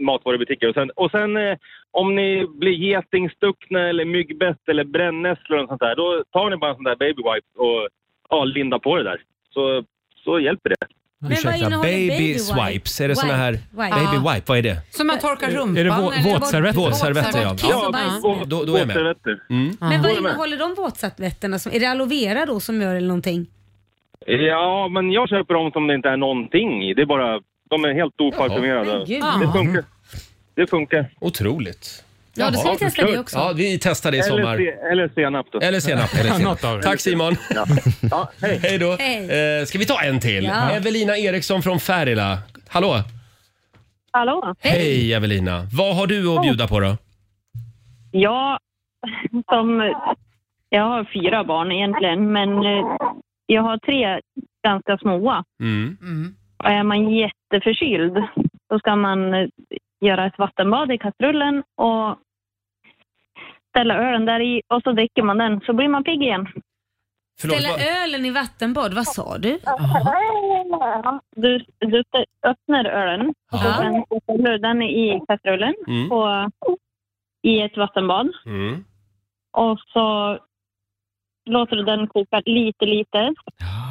Speaker 13: matvarubutiker. Och sen, och sen eh, om ni blir getingstuckna eller myggbett eller brännässlor och sånt där, då tar ni bara en sån där Baby Wipes och ja, lindar på det där. Så, så hjälper det.
Speaker 1: Men
Speaker 6: vad innehåller
Speaker 1: baby,
Speaker 6: baby
Speaker 1: swipes? Är det
Speaker 6: wipe?
Speaker 1: såna här...
Speaker 6: Wipe.
Speaker 1: Baby
Speaker 6: Ja.
Speaker 1: wipe, vad är det?
Speaker 6: Som man torkar rumpan?
Speaker 1: Är det vå-
Speaker 6: eller-
Speaker 1: våtservetter? Våtservetter, ja.
Speaker 6: Kiss och bajs.
Speaker 1: Då, då är jag med. Mm.
Speaker 2: Men vad innehåller de våtservetterna? som- Är det aloe vera då som gör eller någonting?
Speaker 13: Ja, men jag köper dem som det inte är någonting i. Det är bara, de är helt
Speaker 2: Jaha. Men
Speaker 13: oparfumerade.
Speaker 2: gud.
Speaker 13: Det funkar. Det funkar.
Speaker 1: Otroligt.
Speaker 2: Ja, då ska vi testa det också.
Speaker 1: Ja, vi testar det i
Speaker 13: Eller
Speaker 1: sommar.
Speaker 13: se- Eller senap då.
Speaker 1: Eller senap. Eller
Speaker 13: Något av
Speaker 1: senap.
Speaker 13: det.
Speaker 1: Tack Simon.
Speaker 13: hej.
Speaker 1: då.
Speaker 2: Hej.
Speaker 1: Eh, ska vi ta en till?
Speaker 2: Ja.
Speaker 1: Evelina Eriksson från Färila. Hallå!
Speaker 5: Hallå?
Speaker 1: Hej Evelina! Vad har du att bjuda på då?
Speaker 5: Ja, som, jag har fyra barn egentligen, men eh, jag har tre ganska små.
Speaker 1: Mm.
Speaker 5: Och är man jätteförkyld, då ska man eh, göra ett vattenbad i kastrullen och ställa ölen där i och så dricker man den, så blir man pigg igen.
Speaker 2: Ställa ölen i vattenbad, vad sa du?
Speaker 5: Du, du öppnar ölen och så
Speaker 2: Ja.
Speaker 5: sen ställer du den i kastrullen
Speaker 9: Mm.
Speaker 5: på, i ett vattenbad.
Speaker 1: Mm.
Speaker 5: och så låter du den koka lite, lite.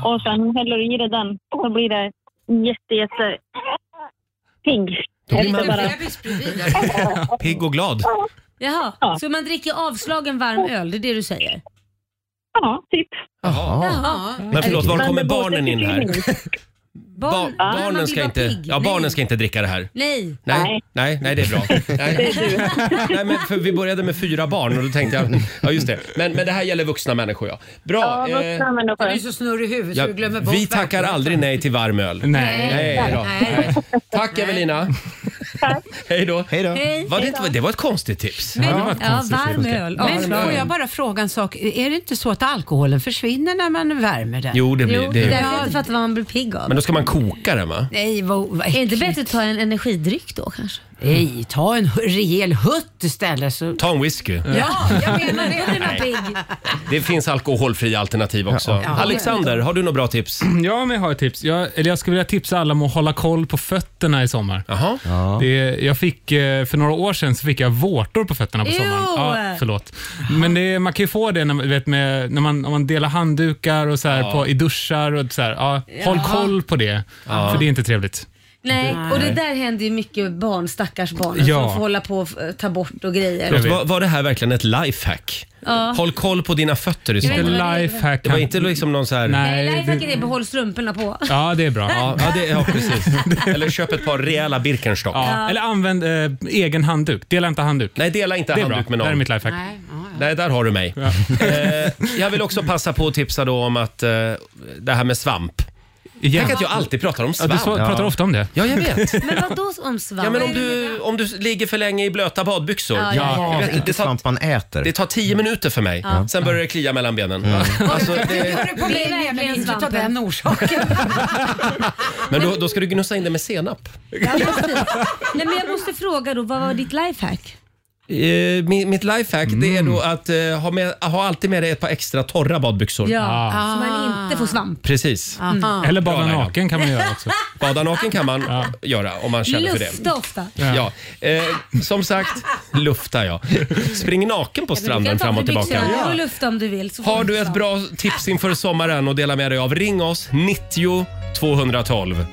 Speaker 5: Och sen häller du i dig den. Så blir det jätte, jätte pigg.
Speaker 1: Då blir man-
Speaker 5: Efter bara-
Speaker 1: Pigg och glad.
Speaker 2: Jaha, så man dricker avslagen varm öl, det är det du säger?
Speaker 5: Ja, typ.
Speaker 2: Jaha.
Speaker 1: Men förlåt, var kommer barnen in här?
Speaker 2: Barn,
Speaker 1: Ba- barnen, ska inte, ja, barnen ska inte dricka det här.
Speaker 2: Nej.
Speaker 1: Nej, nej, nej det är bra. Nej. nej, men för vi började med fyra barn och då tänkte jag, ja just det. Men, men det här gäller vuxna människor ja. Bra. eh,
Speaker 6: Du är så snurrig i huvudet
Speaker 1: ja,
Speaker 6: så du glömmer bort
Speaker 1: vi tackar
Speaker 6: verkligheten.
Speaker 1: aldrig nej till varm öl. Nej. nej, då.
Speaker 6: Nej.
Speaker 1: Tack Evelina. Hej då. Hej
Speaker 6: då. Hej.
Speaker 1: Var det, inte, det var ett konstigt tips.
Speaker 6: Men,
Speaker 1: Varm
Speaker 6: Men får
Speaker 1: öl.
Speaker 6: jag bara fråga en sak? Är det inte så att alkoholen försvinner när man värmer den?
Speaker 1: Jo, det blir- Jo, det- det är
Speaker 2: därför jag inte fattar vad man blir pigg av.
Speaker 1: Men då ska man koka den va?
Speaker 6: Nej, vad, vad
Speaker 2: Är det inte bättre att ta en energidryck då kanske?
Speaker 6: Nej, ta en rejäl hutt istället. Så...
Speaker 1: Ta en whisky.
Speaker 6: Ja, jag menar
Speaker 2: det.
Speaker 1: Nej. Det finns alkoholfria alternativ också.
Speaker 8: Ja.
Speaker 1: Alexander, har du några bra tips?
Speaker 8: Ja, men jag har ett tips. Jag, eller jag skulle vilja tipsa alla om att hålla koll på fötterna i sommar. Det, jag fick, eh, för några år sedan så fick jag vårtor på fötterna på
Speaker 9: Ew.
Speaker 8: sommaren. Ja, förlåt. Men det, man kan ju få det när, man- vet, med, när man, om man delar handdukar och så här
Speaker 9: Ja.
Speaker 8: på, i duschar. Och så här, ja, Håll
Speaker 9: Ja.
Speaker 8: koll på det,
Speaker 9: Ja.
Speaker 8: för det är inte trevligt.
Speaker 2: Nej, och det där händer ju mycket barn, stackars barn,
Speaker 1: Ja.
Speaker 2: som får hålla på och eh, ta bort och
Speaker 1: Förlåt,
Speaker 2: grejer.
Speaker 1: var, var det här verkligen ett lifehack?
Speaker 2: Ja.
Speaker 1: Håll koll på dina fötter i
Speaker 2: Jag
Speaker 1: så
Speaker 2: vet inte vad det
Speaker 1: fall.
Speaker 2: är. Lifehack
Speaker 1: Det var
Speaker 2: kan-
Speaker 1: inte liksom någon så här...
Speaker 2: Nej, lifehacken är behåll strumporna på.
Speaker 1: Ja, det är bra. Ja, det, ja precis. Eller köp ett par rejäla Birkenstock.
Speaker 8: Ja. Eller använd eh, egen handduk. Dela inte handduk.
Speaker 1: Nej, dela inte
Speaker 8: det är
Speaker 1: handduk
Speaker 8: bra.
Speaker 1: med
Speaker 8: Det
Speaker 1: någon.
Speaker 8: här är mitt lifehack.
Speaker 6: Nej, ja.
Speaker 1: Nej, där har du mig. Eh, jag vill också passa på att tipsa då om att eh, det här med svamp. Tänk att jag alltid pratar om
Speaker 8: Ja,
Speaker 1: svamp.
Speaker 8: du så- pratar ofta om det.
Speaker 1: Ja, jag vet.
Speaker 2: Men vadå om svamp?
Speaker 1: Ja, men om du, om du ligger för länge i blöta badbyxor.
Speaker 2: Ja, ja, ja.
Speaker 1: Jag vet,
Speaker 3: Inte
Speaker 1: det, tar,
Speaker 3: svamp man äter.
Speaker 1: det tar tio minuter för mig.
Speaker 2: Ja.
Speaker 1: Sen börjar det klia mellan benen. Alltså, det,
Speaker 6: Hörru på
Speaker 2: Det är
Speaker 6: mig, nej, men
Speaker 2: verkligen
Speaker 6: inte av
Speaker 2: svampen.
Speaker 6: den orsaken.
Speaker 1: men då, då ska du gnussa in det med senap.
Speaker 2: Ja, precis. Nej, men jag måste fråga då, vad var ditt lifehack?
Speaker 1: Eh, mi- mitt lifehack det är då att eh, ha, med, ha alltid med dig ett par extra torra badbyxor.
Speaker 2: Ja, så man inte får svamp. Mm.
Speaker 1: Precis.
Speaker 2: Aha.
Speaker 8: Ah. Eller bada
Speaker 1: Bra, Laila.
Speaker 8: naken kan man göra också.
Speaker 1: Bada naken kan man göra om man känner för det.
Speaker 2: Lufta ofta.
Speaker 1: Ja. Eh, som sagt, lufta ja. Spring naken på
Speaker 2: Du
Speaker 1: stranden
Speaker 2: kan ta
Speaker 1: fram och
Speaker 2: av dig
Speaker 1: tillbaka.
Speaker 2: byxorna och lufta om du vill. Så får
Speaker 1: Har du ett
Speaker 2: svamp.
Speaker 1: bra tips inför sommaren att dela med dig av, ring oss 90 212.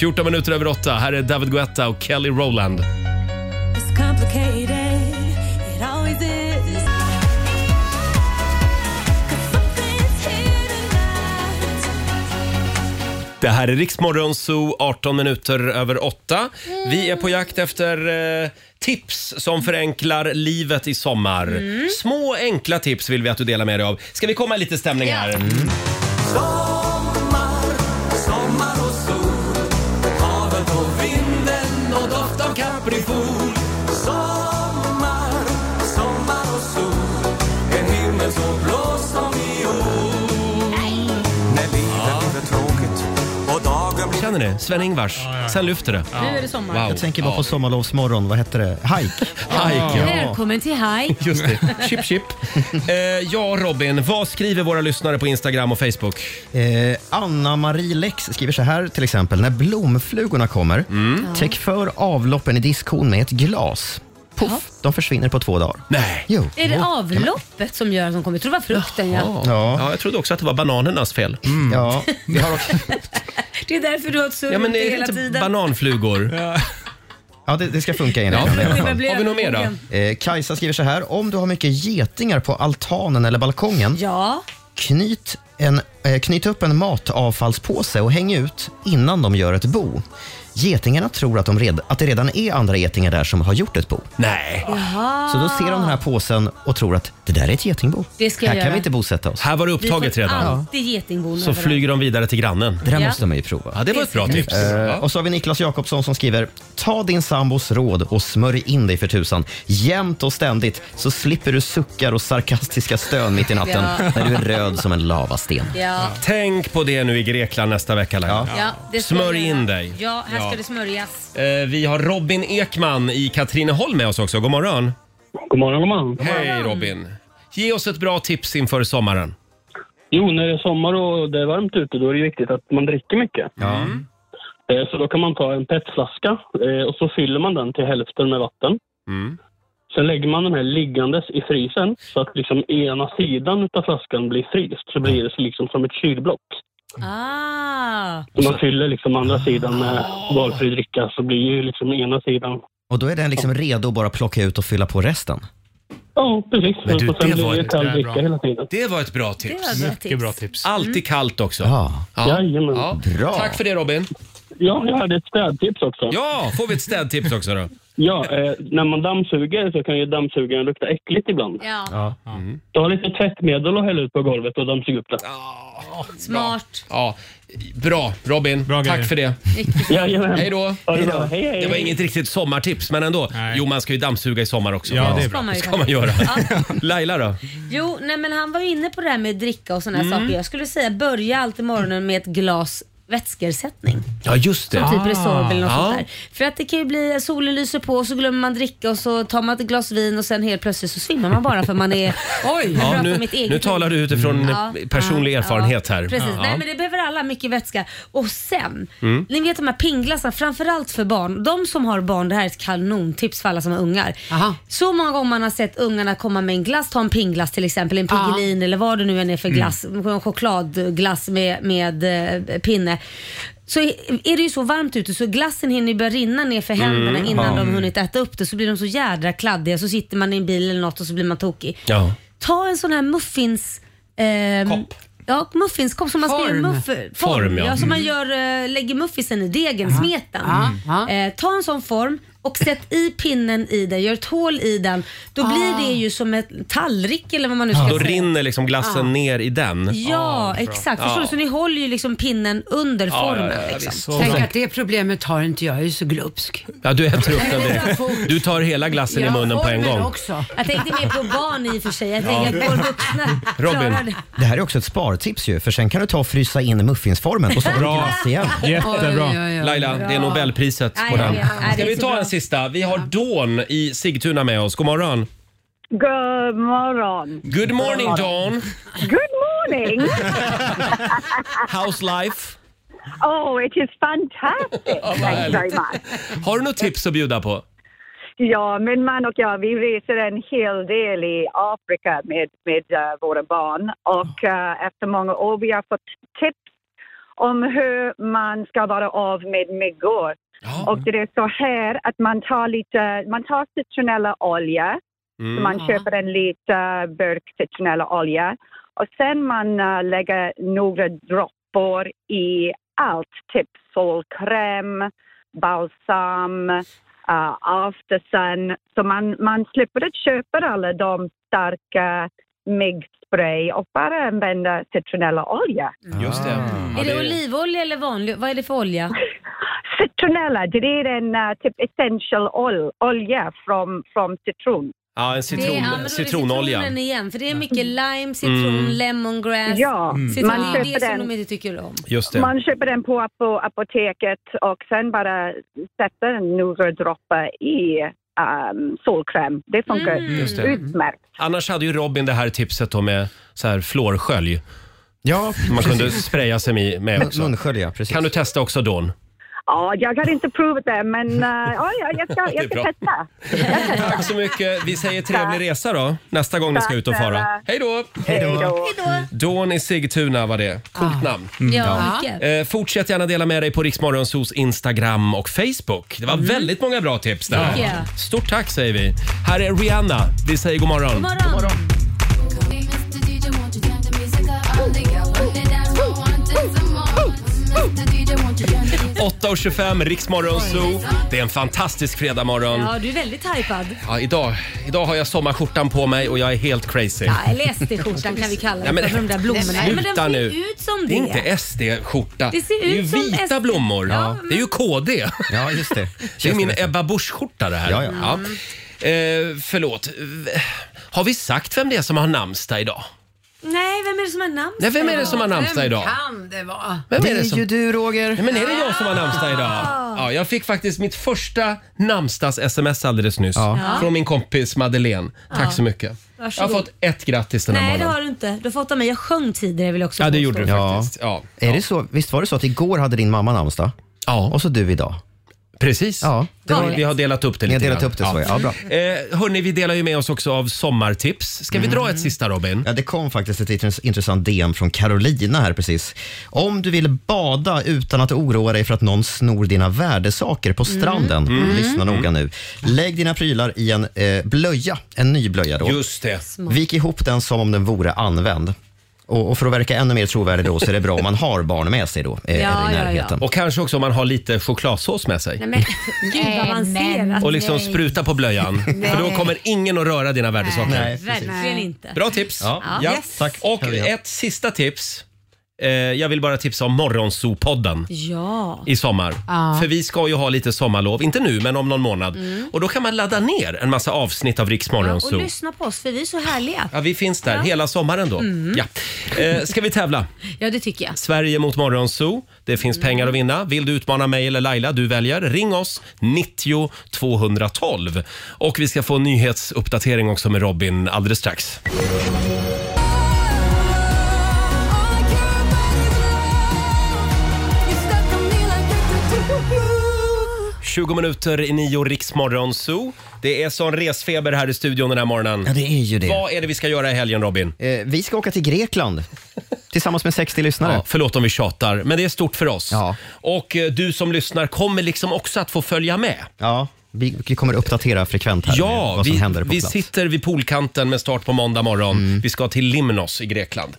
Speaker 1: 14 minuter över 8. Här är David Guetta och Kelly Rowland.
Speaker 7: It's complicated. It always is. 'Cause something's here tonight.
Speaker 1: Det här är Riksmorgon Zoo, 18 minuter över 8. Vi är på jakt efter eh, tips som förenklar livet i sommar. Små enkla tips vill vi att du delar med dig av. Ska vi komma i lite stämning här?
Speaker 9: Sommar, sommar och sol Havet och vinden och doft av kaprifol Sommar, sommar och sol En himmel så blå som viol När livet blir för tråkigt och dagen blir
Speaker 1: Känner ni? Sven-Ingvars. Sen lyfter det.
Speaker 2: Nu är det sommar.
Speaker 1: Wow.
Speaker 3: Jag tänker bara
Speaker 1: Ja.
Speaker 3: på sommarlovsmorgon, vad hette det? Hike.
Speaker 1: Hike, ja.
Speaker 2: Välkommen till Haj.
Speaker 1: Just det. Chip, chip. Eh, ja, Robin. Vad skriver våra lyssnare på Instagram och Facebook?
Speaker 3: Eh, Anna-Marie Lex skriver så här till exempel. När blomflugorna kommer, täck för avloppen i diskhon med ett glas. Puff, de försvinner på två dagar.
Speaker 1: Nej.
Speaker 3: Jo.
Speaker 2: Är det avloppet som gör att de kommer? Jag tror det var frukten ja.
Speaker 3: Ja.
Speaker 1: Ja, jag trodde också att det var bananernas fel. Mm.
Speaker 3: Ja, vi har också,
Speaker 2: Det är därför du har ett surr
Speaker 1: Ja,
Speaker 2: runt
Speaker 1: men
Speaker 2: dig
Speaker 1: är det
Speaker 2: hela
Speaker 1: inte
Speaker 2: tiden.
Speaker 1: bananflugor?
Speaker 3: ja det, det ska funka enligt
Speaker 1: Ja.
Speaker 3: henne i alla
Speaker 2: Jag
Speaker 3: fall.
Speaker 2: blir
Speaker 1: Har vi något mer då?
Speaker 2: övermogen.
Speaker 3: Eh, Kajsa skriver så här. Om du har mycket getingar på altanen eller balkongen,
Speaker 2: Ja.
Speaker 3: knyt, en, eh, knyt upp en matavfallspåse och häng ut innan de gör ett bo. Getingarna tror att, de red, att det redan är andra getingar där som har gjort ett bo.
Speaker 1: Nej.
Speaker 2: Jaha.
Speaker 3: Så då ser de den här påsen och tror att det där är ett getingbo.
Speaker 2: Det ska jag
Speaker 3: här kan
Speaker 2: göra.
Speaker 3: vi inte bosätta oss.
Speaker 1: Här var det
Speaker 2: Vi får
Speaker 1: upptaget redan.
Speaker 2: alltid getingbon
Speaker 1: Så
Speaker 2: överallt.
Speaker 1: flyger de vidare till grannen.
Speaker 3: Det där
Speaker 2: Ja.
Speaker 3: måste man ju prova.
Speaker 1: Ja, det var ett bra tips.
Speaker 3: Eh, och så har vi Niklas Jakobsson som skriver Ta din sambos råd och smörj in dig för tusan jämt och ständigt så slipper du suckar och sarkastiska stön mitt i natten
Speaker 2: Ja.
Speaker 3: när du är röd som en lavasten.
Speaker 2: Ja.
Speaker 1: Tänk på det nu i Grekland nästa vecka, Laila.
Speaker 2: Ja, det ska
Speaker 1: Smörj
Speaker 2: jag göra.
Speaker 1: in dig.
Speaker 2: Ja, här
Speaker 1: Ja.
Speaker 2: ska det smörjas.
Speaker 1: Eh, Vi har Robin Ekman i Katrineholm med oss också. God morgon.
Speaker 14: God morgon, god morgon.
Speaker 1: Hej Robin. Ge oss ett bra tips inför sommaren.
Speaker 14: Jo, när det är sommar och det är varmt ute då är det viktigt att man dricker mycket.
Speaker 1: Mm.
Speaker 14: Eh, Så då kan man ta en petflaska eh, och så fyller man den till hälften med vatten.
Speaker 1: Mm.
Speaker 14: Sen lägger man den här liggandes i frysen så att liksom ena sidan av flaskan blir fryst. Så blir det liksom som ett kylblock.
Speaker 2: Ah.
Speaker 14: Så man fyller liksom andra sidan med valfri dricka så blir ju liksom ena sidan...
Speaker 3: Och då är den liksom redo att bara plocka ut och fylla på resten.
Speaker 14: Ja, precis.
Speaker 1: Men du,
Speaker 14: så sen
Speaker 1: det
Speaker 14: blir
Speaker 1: var-
Speaker 14: det
Speaker 1: det
Speaker 14: kall
Speaker 8: där är bra.
Speaker 14: dricka hela tiden.
Speaker 1: Det var ett bra tips.
Speaker 2: Det var bra tips.
Speaker 8: Mycket bra tips.
Speaker 1: Alltid kallt också.
Speaker 3: Mm. Ja.
Speaker 14: Jajamän.
Speaker 1: Ja.
Speaker 3: Bra.
Speaker 1: Tack för det Robin.
Speaker 14: Ja, jag hade ett städtips också.
Speaker 1: Ja, får vi ett städtips också då?
Speaker 14: Ja, eh, när man dammsuger så kan ju dammsugaren lukta äckligt ibland.
Speaker 2: Ja,
Speaker 3: Ja.
Speaker 1: Mm.
Speaker 14: Ta lite tvättmedel och häll ut på golvet och dammsug upp det.
Speaker 2: smart.
Speaker 1: Ja, bra Robin.
Speaker 8: Bra
Speaker 1: Tack
Speaker 8: grejer.
Speaker 1: för det.
Speaker 14: Jajamän.
Speaker 1: Hej då.
Speaker 14: Ha det bra. Hej, hej.
Speaker 1: Det var inget riktigt sommartips men ändå.
Speaker 8: Nej.
Speaker 1: Jo, man ska ju dammsuga i sommar också.
Speaker 8: Ja, det är
Speaker 2: ska
Speaker 8: bra.
Speaker 2: man ju
Speaker 1: kan man göra.
Speaker 2: Ja.
Speaker 1: Laila då?
Speaker 2: Jo, nej men han var ju inne på det här med dricka och sådana
Speaker 1: Mm.
Speaker 2: här saker. Jag skulle säga börja alltid morgonen med ett glas vätskeersättning.
Speaker 1: Ja, just det. Ah.
Speaker 2: Som typ Resorb eller något
Speaker 1: Ja.
Speaker 2: sånt där. För att det kan ju bli, solen lyser på och så glömmer man dricka och så tar man ett glas vin och sen helt plötsligt så svimmar man bara för man är... Oj, jag pratar
Speaker 1: Ja,
Speaker 2: om
Speaker 1: nu,
Speaker 2: mitt eget
Speaker 1: nu talar du utifrån
Speaker 2: Ja,
Speaker 1: eh, personlig
Speaker 2: ja,
Speaker 1: erfarenhet
Speaker 2: ja,
Speaker 1: här.
Speaker 2: Precis.
Speaker 1: Ja.
Speaker 2: Nej, men det behöver alla mycket vätska. Och sen,
Speaker 1: Mm.
Speaker 2: ni vet de här pingglassarna, framförallt för barn. De som har barn, det här är ett kanontips för alla som har ungar.
Speaker 6: Aha.
Speaker 2: Så många gånger man har sett ungarna komma med en glass, ta en pingglass till exempel, en pigelin
Speaker 1: Mm.
Speaker 2: eller vad det nu än är för glass, en chokladglass med, med eh, pinne. så är är det ju så varmt ute så glassen hinner ju börja rinna ner för händerna
Speaker 1: Mm,
Speaker 2: innan
Speaker 1: ja.
Speaker 2: de hunnit äta upp det. Så blir de så jädra kladdiga så sitter man i en bil eller något och så blir man tokig.
Speaker 1: Ja.
Speaker 2: Ta en sån här muffins... Eh, kopp. Ja, muffinskopp som man ska
Speaker 6: Form.
Speaker 2: göra muff-
Speaker 6: Form, ja.
Speaker 2: ja. som man
Speaker 6: Mm.
Speaker 2: gör, eh, lägger muffisen i degen, smeten. Eh, ta en sån form och sätt i pinnen i den, gör ett hål i den. Då blir det ju som en tallrik eller vad man nu ska
Speaker 1: Då
Speaker 2: säga.
Speaker 1: rinner liksom glassen
Speaker 2: Ja.
Speaker 1: ner i den.
Speaker 2: Ja,
Speaker 6: Ah,
Speaker 2: exakt.
Speaker 1: Ja.
Speaker 2: Förstår du? Så ni håller ju liksom pinnen under
Speaker 1: Ja,
Speaker 2: formen.
Speaker 1: ja, ja, visst.
Speaker 2: liksom.
Speaker 1: Så-
Speaker 6: Tänk att det problemet har inte jag, jag är ju så glupsk.
Speaker 1: Ja, du äter upp den direkt.
Speaker 6: Fort.
Speaker 1: Du tar hela glassen i
Speaker 6: Ja,
Speaker 1: munnen på en
Speaker 6: formen
Speaker 1: gång.
Speaker 6: Också.
Speaker 2: Jag tänkte mer på barn i och för sig. Jag
Speaker 3: Ja.
Speaker 2: tänker att vår vuxna klarar det.
Speaker 3: Det här är också ett spartips ju, för sen kan du ta och frysa in muffinsformen och så blir det
Speaker 1: Bra.
Speaker 3: glass igen.
Speaker 1: Jättebra. Laila, det är Nobelpriset på
Speaker 2: Nej, jag
Speaker 1: den.
Speaker 2: vet. Nej, det
Speaker 1: Ska
Speaker 2: är
Speaker 1: vi
Speaker 2: så
Speaker 1: ta
Speaker 2: bra.
Speaker 1: en sista? Vi har Dawn i Sigtuna med oss. God morgon.
Speaker 15: God morgon.
Speaker 1: Good morning Dawn.
Speaker 15: Good morning.
Speaker 1: How's life?
Speaker 15: oh, it is fantastic. Thank you very much.
Speaker 1: Har du något tips att bjuda på?
Speaker 15: Ja, min man och jag, vi reser en hel del i Afrika med, med eh, våra barn och eh, efter många år vi har fått tips om hur man ska vara av med myggor. Och det är så här att man tar lite, man tar citronella olja,
Speaker 7: Mm.
Speaker 15: så man
Speaker 7: Ja.
Speaker 15: köper en liten burk citronella olja och sen man eh, lägger några droppar i allt, typ solkräm, balsam, uh, aftersun. Så man, man slipper att köpa alla de starka myggspray och bara använda citronella olja.
Speaker 1: Just det. Ja,
Speaker 2: Är det olivolja eller vanlig? Vad är det för olja?
Speaker 15: Citronella, det är en eh, typ essential ol- olja från, från citron.
Speaker 1: Ja, en
Speaker 2: det är,
Speaker 1: citron,
Speaker 2: ja, men då är det
Speaker 1: citronolja.
Speaker 2: citronen igen, för det är mycket lime, citron,
Speaker 1: Mm.
Speaker 2: lemongrass.
Speaker 15: Ja,
Speaker 1: Mm.
Speaker 2: citron,
Speaker 15: man
Speaker 2: det är
Speaker 15: köper
Speaker 2: det som
Speaker 15: den.
Speaker 2: de inte tycker om.
Speaker 1: Just det.
Speaker 15: Man köper den på apo- apoteket och sen bara sätter några droppar i um, solkräm. Det funkar
Speaker 1: Mm. Just det.
Speaker 15: utmärkt.
Speaker 1: Annars hade ju Robin det här tipset då med så här fluorskölj.
Speaker 3: Ja,
Speaker 1: man
Speaker 3: precis.
Speaker 1: kunde spraya sig med- med
Speaker 3: Mun-
Speaker 1: också.
Speaker 3: munskölj, ja, precis.
Speaker 1: Kan du testa också Dawn?
Speaker 15: Ja, jag har inte provat det, men eh, ja, ja, jag ska,
Speaker 1: Det är
Speaker 15: jag ska
Speaker 1: bra.
Speaker 15: testa.
Speaker 1: Tack så mycket. Vi säger trevlig resa då nästa gång ni ska ut och fara.
Speaker 15: Hej
Speaker 1: då!
Speaker 15: Hej då!
Speaker 1: Dawn i Sigtuna var det. Coolt namn.
Speaker 2: Ja, mycket.
Speaker 1: Eh, fortsätt gärna dela med dig på Riksmorgonsos Instagram och Facebook. Det var
Speaker 2: Mm.
Speaker 1: väldigt många bra tips där.
Speaker 2: Ja.
Speaker 1: Stort tack säger vi. Här är Rihanna. Vi säger god morgon.
Speaker 2: God morgon.
Speaker 7: Ooh,
Speaker 1: 8.25, Riksmorgonso. Det är en fantastisk fredagmorgon.
Speaker 2: Ja, du är väldigt hypad.
Speaker 1: Ja, idag, idag har jag sommarskjortan på mig och jag är helt crazy.
Speaker 2: Ja, eller SD-skjortan kan vi kalla
Speaker 1: Ja,
Speaker 2: det
Speaker 1: men-
Speaker 2: för, för de där blommorna. Ja, men den
Speaker 1: Sluta
Speaker 2: ser
Speaker 1: nu.
Speaker 2: ut som
Speaker 1: Det
Speaker 2: det.
Speaker 1: är inte SD-skjorta.
Speaker 2: Det ser
Speaker 1: är ju
Speaker 2: ut som
Speaker 1: vita
Speaker 2: SD.
Speaker 1: blommor.
Speaker 2: Ja,
Speaker 1: Det är ju KD.
Speaker 3: Ja, just det.
Speaker 1: Det är ju min Ebba Busch-skjorta det här.
Speaker 3: Ja, ja.
Speaker 1: Eh, förlåt. Eh, Har vi sagt vem det är som har namnsdag idag?
Speaker 2: Nej, vem är det som har namnsdag
Speaker 1: Nej, vem är det som har namnsdag
Speaker 6: Vem
Speaker 1: idag?
Speaker 6: kan det vara?
Speaker 1: Vem är det som...
Speaker 3: du Roger.
Speaker 1: Nej, men är det jag som har namnsdag idag?
Speaker 2: Ah.
Speaker 1: Ja, jag fick faktiskt mitt första namnsdags-sms alldeles nyss.
Speaker 2: Ja.
Speaker 1: Från min kompis Madeleine. Tack
Speaker 2: Ja.
Speaker 1: så mycket.
Speaker 2: Varsågod.
Speaker 1: Jag har fått ett grattis den här
Speaker 2: Nej, det
Speaker 1: morgonen.
Speaker 2: har du inte. Du har fått av mig. Jag sjöng tidigare vill jag också påstå.
Speaker 1: Ja.
Speaker 3: Är det så, visst var det så att igår hade din mamma namnsdag?
Speaker 1: Ja.
Speaker 3: Och så du idag?
Speaker 1: Precis.
Speaker 3: Ja.
Speaker 1: Det har, vi har delat upp det
Speaker 3: Ni
Speaker 1: lite
Speaker 3: har delat
Speaker 1: grann.
Speaker 3: upp det så, ja. Ja, bra.
Speaker 1: Eh, hörni, vi delar ju med oss också av sommartips. Ska vi
Speaker 2: Mm.
Speaker 1: dra ett sista Robin?
Speaker 3: Ja, det kom faktiskt ett intress- intressant DM från Carolina här precis. Om du vill bada utan att oroa dig för att någon snor dina värdesaker på stranden,
Speaker 1: Mm.
Speaker 3: lyssna
Speaker 1: Mm.
Speaker 3: noga nu. Lägg dina prylar i en eh, blöja, en ny blöja då.
Speaker 1: Just det.
Speaker 3: Vik ihop den som om den vore använd. Och, och för att verka ännu mer trovärdig då så är det bra om man har barn med sig då, eh,
Speaker 2: Ja,
Speaker 3: eller i
Speaker 2: ja, ja.
Speaker 3: närheten.
Speaker 1: Och kanske också om man har lite chokladsås med sig.
Speaker 2: Nej, men gud vad avancerat.
Speaker 1: Och liksom spruta på blöjan.
Speaker 2: Nej.
Speaker 1: För då kommer ingen att röra dina värdesaker.
Speaker 2: Nej, verkligen inte.
Speaker 1: Bra tips.
Speaker 2: Ja.
Speaker 1: Ja.
Speaker 2: Yes.
Speaker 1: Tack. Och ett sista tips. Eh, jag vill bara tipsa om Morgonzoo-podden
Speaker 2: Ja.
Speaker 1: i sommar.
Speaker 2: Ja.
Speaker 1: För vi ska ju ha lite sommarlov, inte nu men om någon månad.
Speaker 2: Mm.
Speaker 1: Och då kan man ladda ner en massa avsnitt av Riks
Speaker 2: Och
Speaker 1: Morgonzoo.
Speaker 2: lyssna på oss för vi är så härliga.
Speaker 1: Ja, vi finns där
Speaker 2: Ja.
Speaker 1: hela sommaren då.
Speaker 2: Mm.
Speaker 1: Ja. Eh, ska vi tävla?
Speaker 2: Ja, det tycker jag.
Speaker 1: Sverige mot Morgonzoo. Det finns pengar att vinna. Vill du utmana mig eller Laila, du väljer. Ring oss, 90 212. Och vi ska få en nyhetsuppdatering också med Robin alldeles strax. 20 minuter i nio Riksmorgon Zoo. Det är sån resfeber här i studion den här morgonen. Ja,
Speaker 3: det är ju det.
Speaker 1: Vad är det vi ska göra i helgen, Robin?
Speaker 3: Eh, vi ska åka till Grekland tillsammans med 60 lyssnare.
Speaker 1: Ja, förlåt om vi tjatar, men det är stort för oss. Och eh, du som lyssnar kommer liksom också att få följa med.
Speaker 3: Ja, vi, vi kommer uppdatera frekvent här med
Speaker 1: Ja,
Speaker 3: vad som
Speaker 1: vi,
Speaker 3: händer på
Speaker 1: vi
Speaker 3: plats. Mm.
Speaker 1: sitter vid poolkanten med start på måndag morgon. Vi ska till Limnos i Grekland.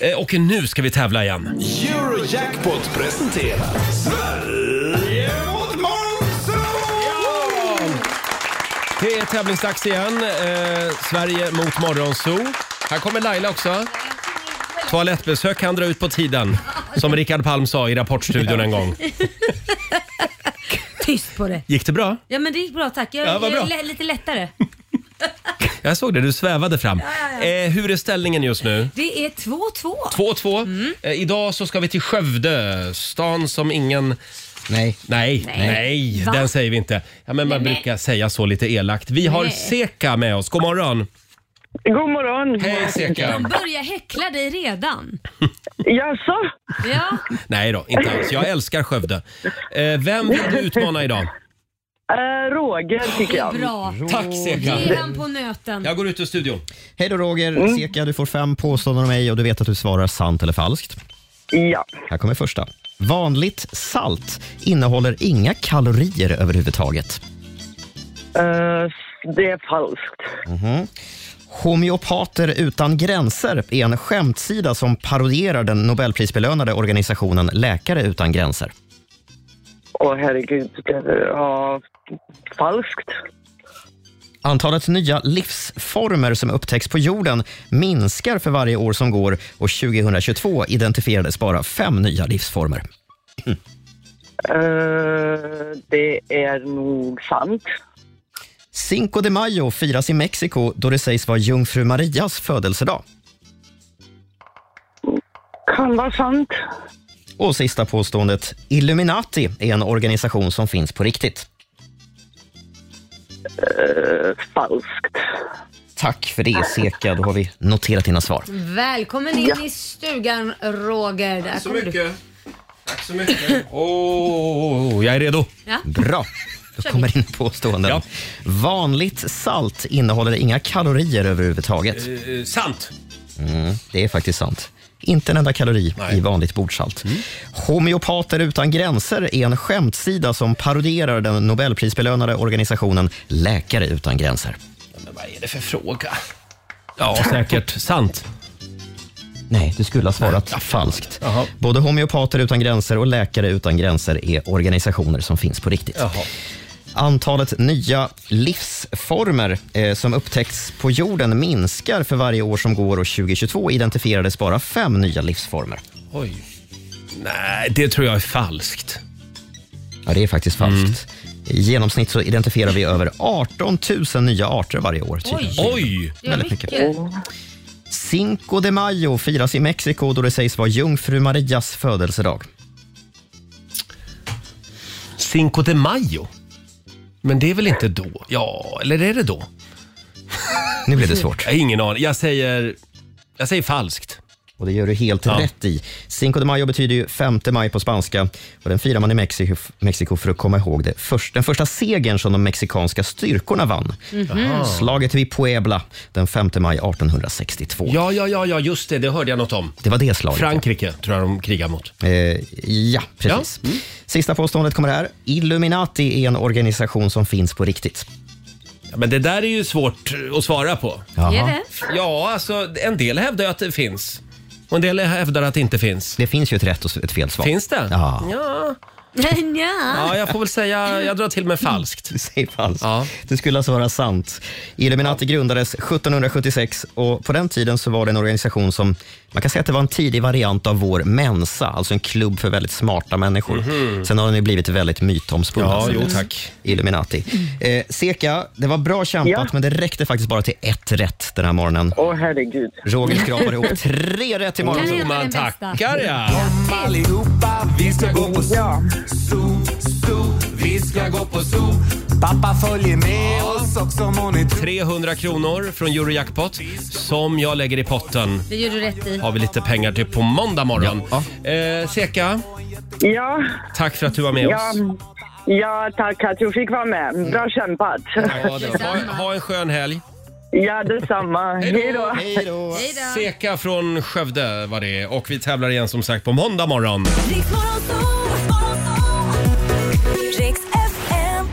Speaker 1: Eh, Och nu ska vi tävla igen.
Speaker 9: Eurojackpot presenterar Sverige mot Månsson!
Speaker 1: Det är tävlingsdags igen. Eh, Sverige mot Morgonzoo. Här kommer Laila också. Toalettbesök kan dra ut på tiden, som Rickard Palm sa i Rapportstudion en gång.
Speaker 2: Tyst på det.
Speaker 1: Gick det bra?
Speaker 2: Ja men det gick bra tack. Jag,
Speaker 1: Ja, vad
Speaker 2: jag är
Speaker 1: bra.
Speaker 2: le- lite lättare.
Speaker 1: Jag såg det, du svävade fram. Eh, hur är ställningen just nu?
Speaker 2: Det är 2-2.
Speaker 1: 2-2.
Speaker 2: Mm.
Speaker 1: Eh, idag så ska vi till Skövde, stan som ingen...
Speaker 3: Nej.
Speaker 1: Nej,
Speaker 2: Nej.
Speaker 1: nej,
Speaker 2: Va?
Speaker 1: den säger vi inte. Ja, men man
Speaker 2: Nej, nej.
Speaker 1: brukar säga så lite elakt. Vi har
Speaker 2: Nej.
Speaker 1: Seka med oss. God morgon!
Speaker 12: God morgon!
Speaker 1: Hej Seka!
Speaker 2: De börjar Eh, häckla dig redan.
Speaker 12: Jaså?
Speaker 2: Ja.
Speaker 1: Nej då, inte alls. Jag älskar Skövde. Eh, vem vill du utmana idag?
Speaker 12: Eh, Roger tycker jag.
Speaker 2: Bra.
Speaker 1: Tack, Seka.
Speaker 2: Ge han på nöten.
Speaker 1: Jag går ut ur studion.
Speaker 3: Hej då Roger,
Speaker 1: Mm.
Speaker 3: Seka du får fem påståenden om mig och du vet att du svarar sant eller falskt.
Speaker 12: Ja.
Speaker 3: Här kommer första. Vanligt salt innehåller inga kalorier överhuvudtaget.
Speaker 12: Eh, det är falskt.
Speaker 3: Mhm. Homeopater utan gränser är en skämtsida som parodierar den Nobelprisbelönade organisationen Läkare utan gränser.
Speaker 12: Åh herregud. Ja, falskt.
Speaker 3: Antalet nya livsformer som upptäcks på jorden minskar för varje år som går och 2022 identifierades bara fem nya livsformer.
Speaker 12: Eh, det är nog sant.
Speaker 3: Cinco de Mayo firas i Mexiko då det sägs vara jungfru Marias födelsedag.
Speaker 12: Kan vara sant.
Speaker 3: Och sista påståendet. Illuminati är en organisation som finns på riktigt.
Speaker 12: Eh, falskt.
Speaker 3: Tack för det, Seka. Då har vi noterat dina svar.
Speaker 2: Välkommen in i stugan Roger. Där kommer du.
Speaker 1: Tack så mycket. Åh, jag är redo.
Speaker 2: Ja.
Speaker 3: Bra. Då
Speaker 2: Kör
Speaker 3: kommer in påståenden. Vanligt salt innehåller inga kalorier överhuvudtaget.
Speaker 1: Eh, sant.
Speaker 3: Mm, det är faktiskt sant. Inte en enda kalori i vanligt bordsalt.
Speaker 1: Mm.
Speaker 3: Homeopater utan gränser är en skämtsida som parodierar den Nobelprisbelönade organisationen Läkare utan gränser.
Speaker 1: Men vad är det för fråga? Ja, säkert. Sant.
Speaker 3: Nej, du skulle ha svarat falskt. Både Homeopater utan gränser och Läkare utan gränser är organisationer som finns på riktigt. Antalet nya livsformer eh, som upptäckts på jorden minskar för varje år som går och 2022 identifierades bara fem nya livsformer.
Speaker 1: Oj. Nej, det tror jag är falskt. Mm.
Speaker 3: Ja, det är faktiskt falskt. I genomsnitt så identifierar vi över 18 000 nya arter varje år. tydligen.
Speaker 1: Oj!
Speaker 3: Det är Väldigt mycket. Cinco de Mayo firas i Mexiko då det sägs vara jungfru Marias födelsedag.
Speaker 1: Cinco de Mayo? Men det är väl inte då? Ja, eller är det då?
Speaker 3: Nu blev det svårt.
Speaker 1: Jag har ingen aning. Jag säger, jag säger falskt.
Speaker 3: Och det gör du helt rätt i. Cinco de Mayo betyder ju 5 maj på spanska och den firar man i Mexiko, Mexiko för att komma ihåg det. Först, den första segern som de mexikanska styrkorna vann.
Speaker 1: Mhm.
Speaker 3: Slaget vid Puebla den 5 maj 1862.
Speaker 1: Ja, ja, ja, ja, just det. Det hörde jag något om.
Speaker 3: Det var det slaget.
Speaker 1: Frankrike tror jag de krigar mot.
Speaker 3: Eh, ja, precis.
Speaker 1: Mm.
Speaker 3: Sista påståendet kommer här. Illuminati är en organisation som finns på riktigt.
Speaker 1: Ja, men det där är ju svårt att svara på.
Speaker 3: Jaha. Är det?
Speaker 1: Ja, alltså en del hävdar ju att det finns. Och en del hävdar att det inte finns.
Speaker 3: Det finns ju ett rätt och ett fel svar.
Speaker 1: Finns det?
Speaker 3: Ja.
Speaker 1: Ja. Ja,
Speaker 2: ja.
Speaker 1: jag får väl säga, jag drar till med falskt.
Speaker 3: Mm. Du säger falskt. Det skulle alltså vara sant. Illuminati grundades 1776 och på den tiden så var det en organisation som, man kan säga att det var en tidig variant av vår Mensa, alltså en klubb för väldigt smarta människor.
Speaker 1: Mhm.
Speaker 3: Sen har den ju blivit väldigt mytomspunnen.
Speaker 1: Ja,
Speaker 3: sen
Speaker 1: jo,
Speaker 3: dess.
Speaker 1: tack.
Speaker 3: Illuminati. Eh, Seka, det var bra kämpat, men det räckte faktiskt bara till ett rätt den här morgonen.
Speaker 12: Åh herregud.
Speaker 3: Roger skrapar ihop tre rätt i
Speaker 9: Kan
Speaker 3: morgon.
Speaker 9: hända Man den bästa. tackar,
Speaker 1: ja.
Speaker 9: Kom allihopa, vi ska gå på zoo, zoo, zoo. Vi ska gå på zoo. Pappa följer med oss också om hon är
Speaker 1: 300 kronor från Eurojackpot som jag lägger i potten.
Speaker 2: Det gör du rätt i.
Speaker 1: Har vi lite pengar till på måndag morgon. Eh, Seka,
Speaker 12: Ja.
Speaker 1: tack för att du var med
Speaker 12: ja.
Speaker 1: oss.
Speaker 16: Ja, tack att du fick vara med. Bra kämpat.
Speaker 1: Ja, det var. Ha, ha en skön helg.
Speaker 16: Ja, detsamma. Hej då.
Speaker 1: Seka från Skövde var det och vi tävlar igen som sagt på måndag morgon.
Speaker 7: Riks FM.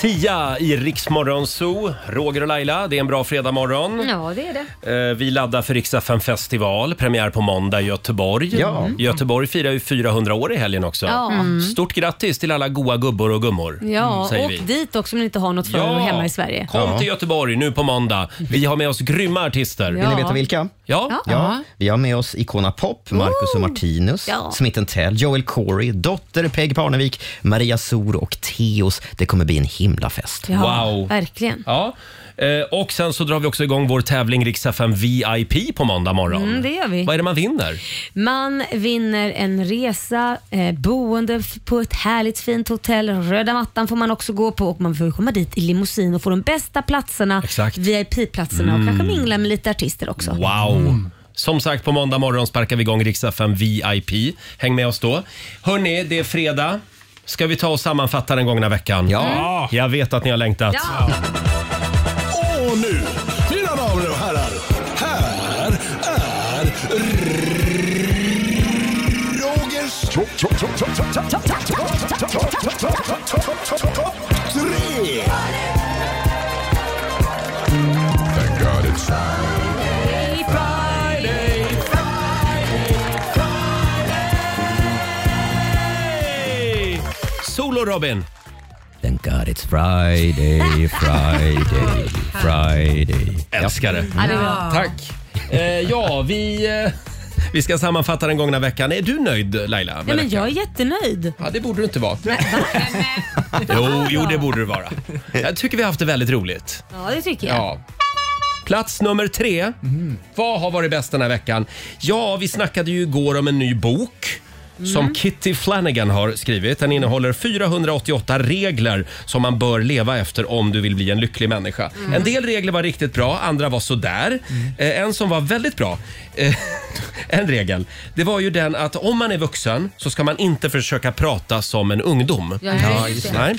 Speaker 1: Sia i Riksmorgon Zoo. Roger och Laila, det är en bra fredagmorgon.
Speaker 2: Ja, det är det.
Speaker 1: Eh, Vi laddar för Riksa festival, premiär på måndag i Göteborg.
Speaker 2: Ja. Mm.
Speaker 1: Göteborg firar ju 400 år i helgen också.
Speaker 2: Ja. Mm.
Speaker 1: Stort grattis till alla goa gubbor och gummor.
Speaker 2: Ja,
Speaker 1: Mm, säger
Speaker 2: åk
Speaker 1: vi.
Speaker 2: dit också om ni inte har något för
Speaker 1: Ja.
Speaker 2: hemma i Sverige.
Speaker 1: Kom till Göteborg nu på måndag. Vi har med oss grymma artister.
Speaker 2: Vill ni Ja. veta
Speaker 3: vilka?
Speaker 1: Ja.
Speaker 3: Ja, vi har med oss Icona Pop, Marcus och Martinus,
Speaker 1: Ja.
Speaker 3: Smith Tell, Joel Corey, Dotter, Peg Parnevik, Maria Sor och Theos. Det kommer bli en himla fest.
Speaker 2: Ja,
Speaker 1: Wow.
Speaker 2: Verkligen.
Speaker 1: Ja. Eh, Och sen så drar vi också igång vår tävling Riksa VIP på måndag morgon.
Speaker 2: Mm, det gör vi.
Speaker 1: Vad är det man vinner?
Speaker 2: Man vinner en resa, eh, boende f- på ett härligt fint hotell. Röda mattan får man också gå på och man får komma dit i limousin och få de bästa platserna, VIP-platserna
Speaker 1: Mm.
Speaker 2: och kanske mingla med lite artister också.
Speaker 1: Wow! Som sagt, på måndag morgon sparkar vi igång Riksa VIP. Häng med oss då. Hörni, det är fredag. Ska vi ta och sammanfatta den gångna veckan?
Speaker 9: Ja.
Speaker 1: Jag vet att ni har längtat.
Speaker 9: Och nu, mina damer och herrar, här är Rogers... Topp tre! Thank God it's Friday, Friday,
Speaker 1: Hej! Solo Robin.
Speaker 3: Thank God it's Friday, Friday, Friday.
Speaker 1: Älskar det.
Speaker 3: Ja, det är bra.
Speaker 1: Tack. Eh, ja, vi, eh, vi ska sammanfatta den gångna veckan. Är du nöjd Laila? med
Speaker 2: Ja, men
Speaker 1: veckan?
Speaker 2: jag är jättenöjd.
Speaker 1: Ja, det borde du inte vara. Jo, jo, det borde du vara. Jag tycker vi har haft det väldigt roligt.
Speaker 2: Ja, det tycker jag.
Speaker 1: Ja. Plats nummer tre.
Speaker 9: Mhm.
Speaker 1: Vad har varit bäst den här veckan? Ja, vi snackade ju igår om en ny bok.
Speaker 9: Mm.
Speaker 1: Som Kitty Flanagan har skrivit. Den innehåller 488 regler som man bör leva efter om du vill bli en lycklig människa.
Speaker 9: Mm.
Speaker 1: En del regler var riktigt bra, andra var sådär. Eh, en som var väldigt bra, eh, en regel, det var ju den att om man är vuxen så ska man inte försöka prata som en ungdom.
Speaker 9: Ja, Ja, just det. det.
Speaker 1: Nej.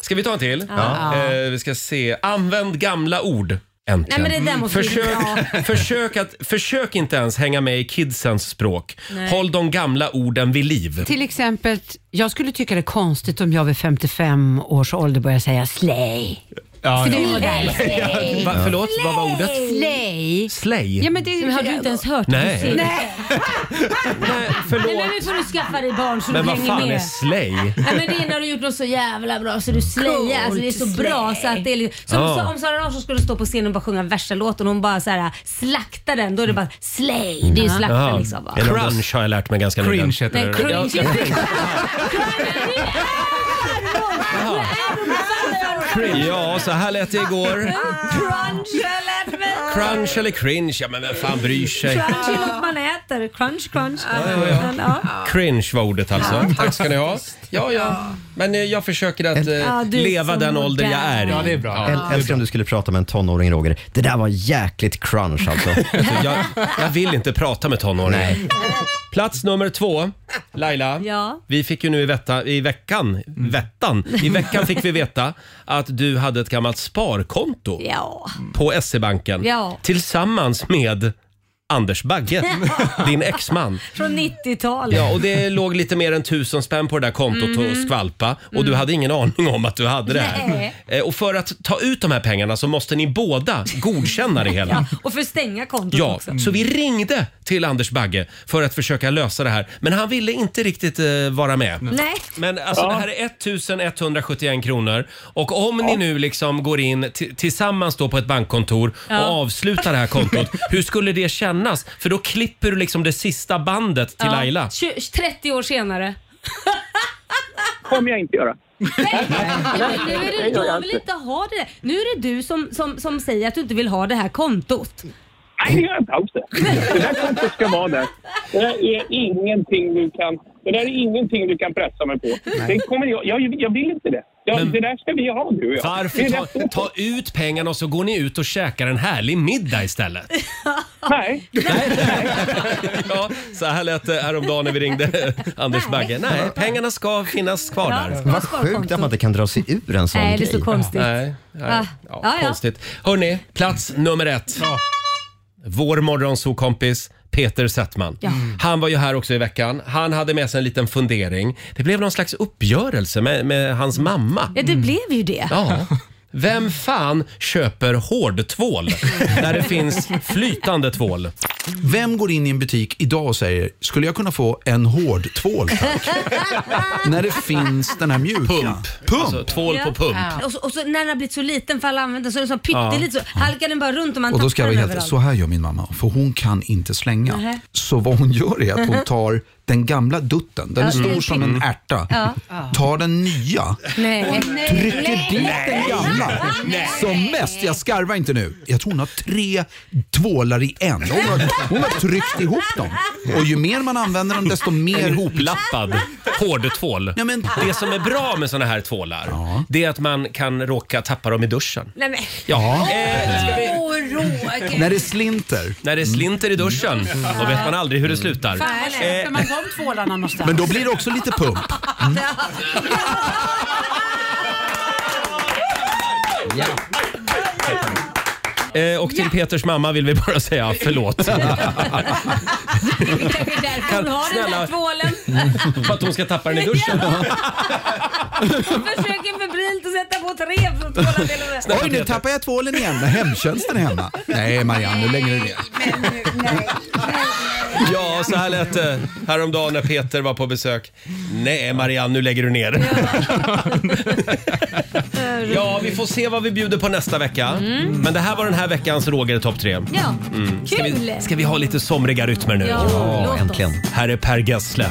Speaker 1: Ska vi ta en till?
Speaker 9: Ja.
Speaker 1: Eh, vi ska se. Använd gamla ord.
Speaker 9: Nej,
Speaker 1: Äntligen.
Speaker 9: men det där måste vi
Speaker 1: försök, försök, att, försök inte ens hänga med i kidsens språk.
Speaker 6: Nej.
Speaker 1: Håll de gamla orden vid liv.
Speaker 6: Till exempel, jag skulle tycka det är konstigt om jag vid 55 års ålder börjar säga slay.
Speaker 1: Ja,
Speaker 6: För det är ju där.
Speaker 1: Ja, va, förlåt, vad var ordet?
Speaker 6: Slay.
Speaker 1: Slay?
Speaker 6: Ja, men det,
Speaker 2: Men har du inte ens hört det?
Speaker 1: Nej.
Speaker 2: Du ser-
Speaker 1: Nej. Nej, förlåt.
Speaker 2: Nej, men nu får du skaffa dig barn så
Speaker 1: Men
Speaker 2: du
Speaker 1: vad
Speaker 2: hänger
Speaker 1: fan
Speaker 2: med.
Speaker 1: är slay?
Speaker 2: Nej, men det är när du gjort något så jävla bra så du
Speaker 6: Coolt,
Speaker 2: slayar. Alltså, det är så bra så att det är liksom, som
Speaker 1: Ja.
Speaker 2: så, om Sara Larsson skulle stå på scenen och bara sjunga värsta låten och hon bara så här, slaktar den. Då är det bara slay. Det är ju slakta
Speaker 1: Ja.
Speaker 2: liksom. Va?
Speaker 1: Mm. Ah. Crunch har jag lärt mig ganska nyligen.
Speaker 8: Cringe heter
Speaker 2: Nej,
Speaker 8: det.
Speaker 2: cringe.
Speaker 1: Ja, ja,
Speaker 2: Jaha.
Speaker 1: cringe. Ja, så här lät det igår.
Speaker 2: Crunch eller
Speaker 1: Crunch eller cringe? Ja, men vem fan bryr sig?
Speaker 2: Crunch är något man äter. Crunch, crunch. Men, ja.
Speaker 1: Cringe var ordet alltså.
Speaker 2: Ja.
Speaker 1: Tack ska ni ha. Ja, ja. Men eh, jag försöker att eh,
Speaker 2: Ja, du är
Speaker 1: leva
Speaker 2: så
Speaker 1: den ålder jag
Speaker 2: modern.
Speaker 1: är i.
Speaker 2: Ja, det är bra.
Speaker 1: Ja.
Speaker 3: Äl- Älskar om du skulle prata med en tonåring, Roger. Det där var jäkligt crunch alltså.
Speaker 1: Alltså, jag, jag vill inte prata med tonåringar. Plats nummer två. Laila,
Speaker 2: Ja.
Speaker 1: vi fick ju nu i, vetta, i veckan,
Speaker 2: Mm.
Speaker 1: vettan, i veckan fick vi veta att du hade ett gammalt sparkonto
Speaker 2: Ja.
Speaker 1: på SE-banken
Speaker 2: Ja.
Speaker 1: tillsammans med Anders Bagge, din exman.
Speaker 2: Från 90-talet.
Speaker 1: Ja, och det låg lite mer än tusen spänn på det där kontot
Speaker 2: Mhm.
Speaker 1: och skvalpa och du
Speaker 2: Mm.
Speaker 1: hade ingen aning om att du hade det här.
Speaker 2: Nej.
Speaker 1: Eh, Och för att ta ut de här pengarna så måste ni båda godkänna det hela.
Speaker 2: Ja, och för att stänga kontot
Speaker 1: Ja, mm,
Speaker 2: också.
Speaker 1: så vi ringde till Anders Bagge för att försöka lösa det här. Men han ville inte riktigt eh, vara med.
Speaker 2: Nej.
Speaker 1: Men alltså
Speaker 2: Ja.
Speaker 1: det här är 1171 kronor och om ni nu liksom går in t- tillsammans då på ett bankkontor
Speaker 9: Ja.
Speaker 1: och avslutar det här kontot, hur skulle det kännas? För då klipper du liksom det sista bandet till
Speaker 2: Ja.
Speaker 1: Laila.
Speaker 2: Tju- 30 år senare.
Speaker 13: kommer jag inte göra.
Speaker 2: Nej, nu är det,
Speaker 13: Det gör jag
Speaker 2: jag vill
Speaker 13: inte.
Speaker 2: inte ha det. Nu är det du som, som, som säger att du inte vill ha det här kontot.
Speaker 13: Nej, det gör jag inte alls det. Det där kontot ska vara där. Det där är ingenting du kan, det där är ingenting du kan pressa mig på. Det kommer jag, jag, jag vill inte det.
Speaker 1: Ja,
Speaker 16: det där ska vi ha nu. Ja.
Speaker 1: Varför ta, ta ut pengarna och så går ni ut och käkar en härlig middag istället?
Speaker 16: Nej.
Speaker 1: Ja, så här lät det häromdagen när vi ringde Anders Bagge. Nej, pengarna ska finnas kvar där.
Speaker 3: Vad sjukt att man inte kan dra sig ur en sån
Speaker 1: Nej, det är
Speaker 3: grej.
Speaker 1: så konstigt. Nej, nej.
Speaker 2: Ah. Ja,
Speaker 1: Ja, Konstigt. Hörni, plats nummer ett. Vår morgonsokompis Peter Settman.
Speaker 2: Ja.
Speaker 1: Han var ju här också i veckan. Han hade med sig en liten fundering. Det blev någon slags uppgörelse med, med hans mamma.
Speaker 2: Ja, det blev ju det.
Speaker 1: Ja. Vem fan köper hårdtvål där det finns flytande tvål?
Speaker 17: Vem går in i en butik idag och säger, skulle jag kunna få en hård tvål tack? När det finns den här mjuka. Alltså, Pump. pump.
Speaker 1: tvål
Speaker 2: Ja. Och, så, och så när den har blivit så liten för alla användare så är den så pytteliten så halkar den bara runt och man
Speaker 17: Och då ska jag
Speaker 2: tappar
Speaker 17: vara
Speaker 2: den
Speaker 17: helt,
Speaker 2: överallt.
Speaker 17: så här gör min mamma, för hon kan inte slänga.
Speaker 2: Nähä.
Speaker 17: Så vad hon gör är att hon tar den gamla dutten, den är
Speaker 2: Ja,
Speaker 17: stor
Speaker 2: mm.
Speaker 17: som en ärta,
Speaker 2: Ja.
Speaker 17: tar den nya
Speaker 2: Nej.
Speaker 17: Trycker dit den gamla som mest. Jag skarvar inte nu. Jag tror hon har tre tvålar i en. Hon har, hon har tryckt ihop dem. Och ju mer man använder dem desto mer...
Speaker 1: En ihoplappad hårdtvål.
Speaker 17: Ja, men...
Speaker 1: Det som är bra med såna här tvålar, det är att man kan råka tappa dem i duschen.
Speaker 2: Nej, men.
Speaker 1: Ja.
Speaker 2: Åh, Roger.
Speaker 17: slinter.
Speaker 1: När det slinter Mm. i duschen, då vet man aldrig hur det slutar.
Speaker 6: Fan, var
Speaker 2: Eh.
Speaker 6: köper man de tvålarna någonstans?
Speaker 1: Men då blir det också lite pump. Eh, och till Peters mamma vill vi bara säga förlåt.
Speaker 2: Det kanske är därför hon
Speaker 1: Kan-
Speaker 2: har den
Speaker 1: snälla.
Speaker 2: där tvålen.
Speaker 1: För att hon ska tappa den i duschen.
Speaker 2: Hon försöker febrilt att sätta på tre från tvålen till och med.
Speaker 17: Oj, nu tappar jag tvålen igen. Hemtjänsten är hemma. Nej, Marianne, nu lägger du ner.
Speaker 1: Ja, så här lät det häromdagen när Peter var på besök. Nej, Marianne, nu lägger du ner. Ja, vi får se vad vi bjuder på nästa vecka.
Speaker 2: Mm.
Speaker 1: Men det här var den här veckans Roger i topp tre.
Speaker 2: Ja,
Speaker 1: Mm. Ska, vi,
Speaker 2: Kul.
Speaker 1: ska vi ha lite somriga rytmer nu?
Speaker 2: Ja, Ja, låt oss. äntligen.
Speaker 1: Här är Per Gessle.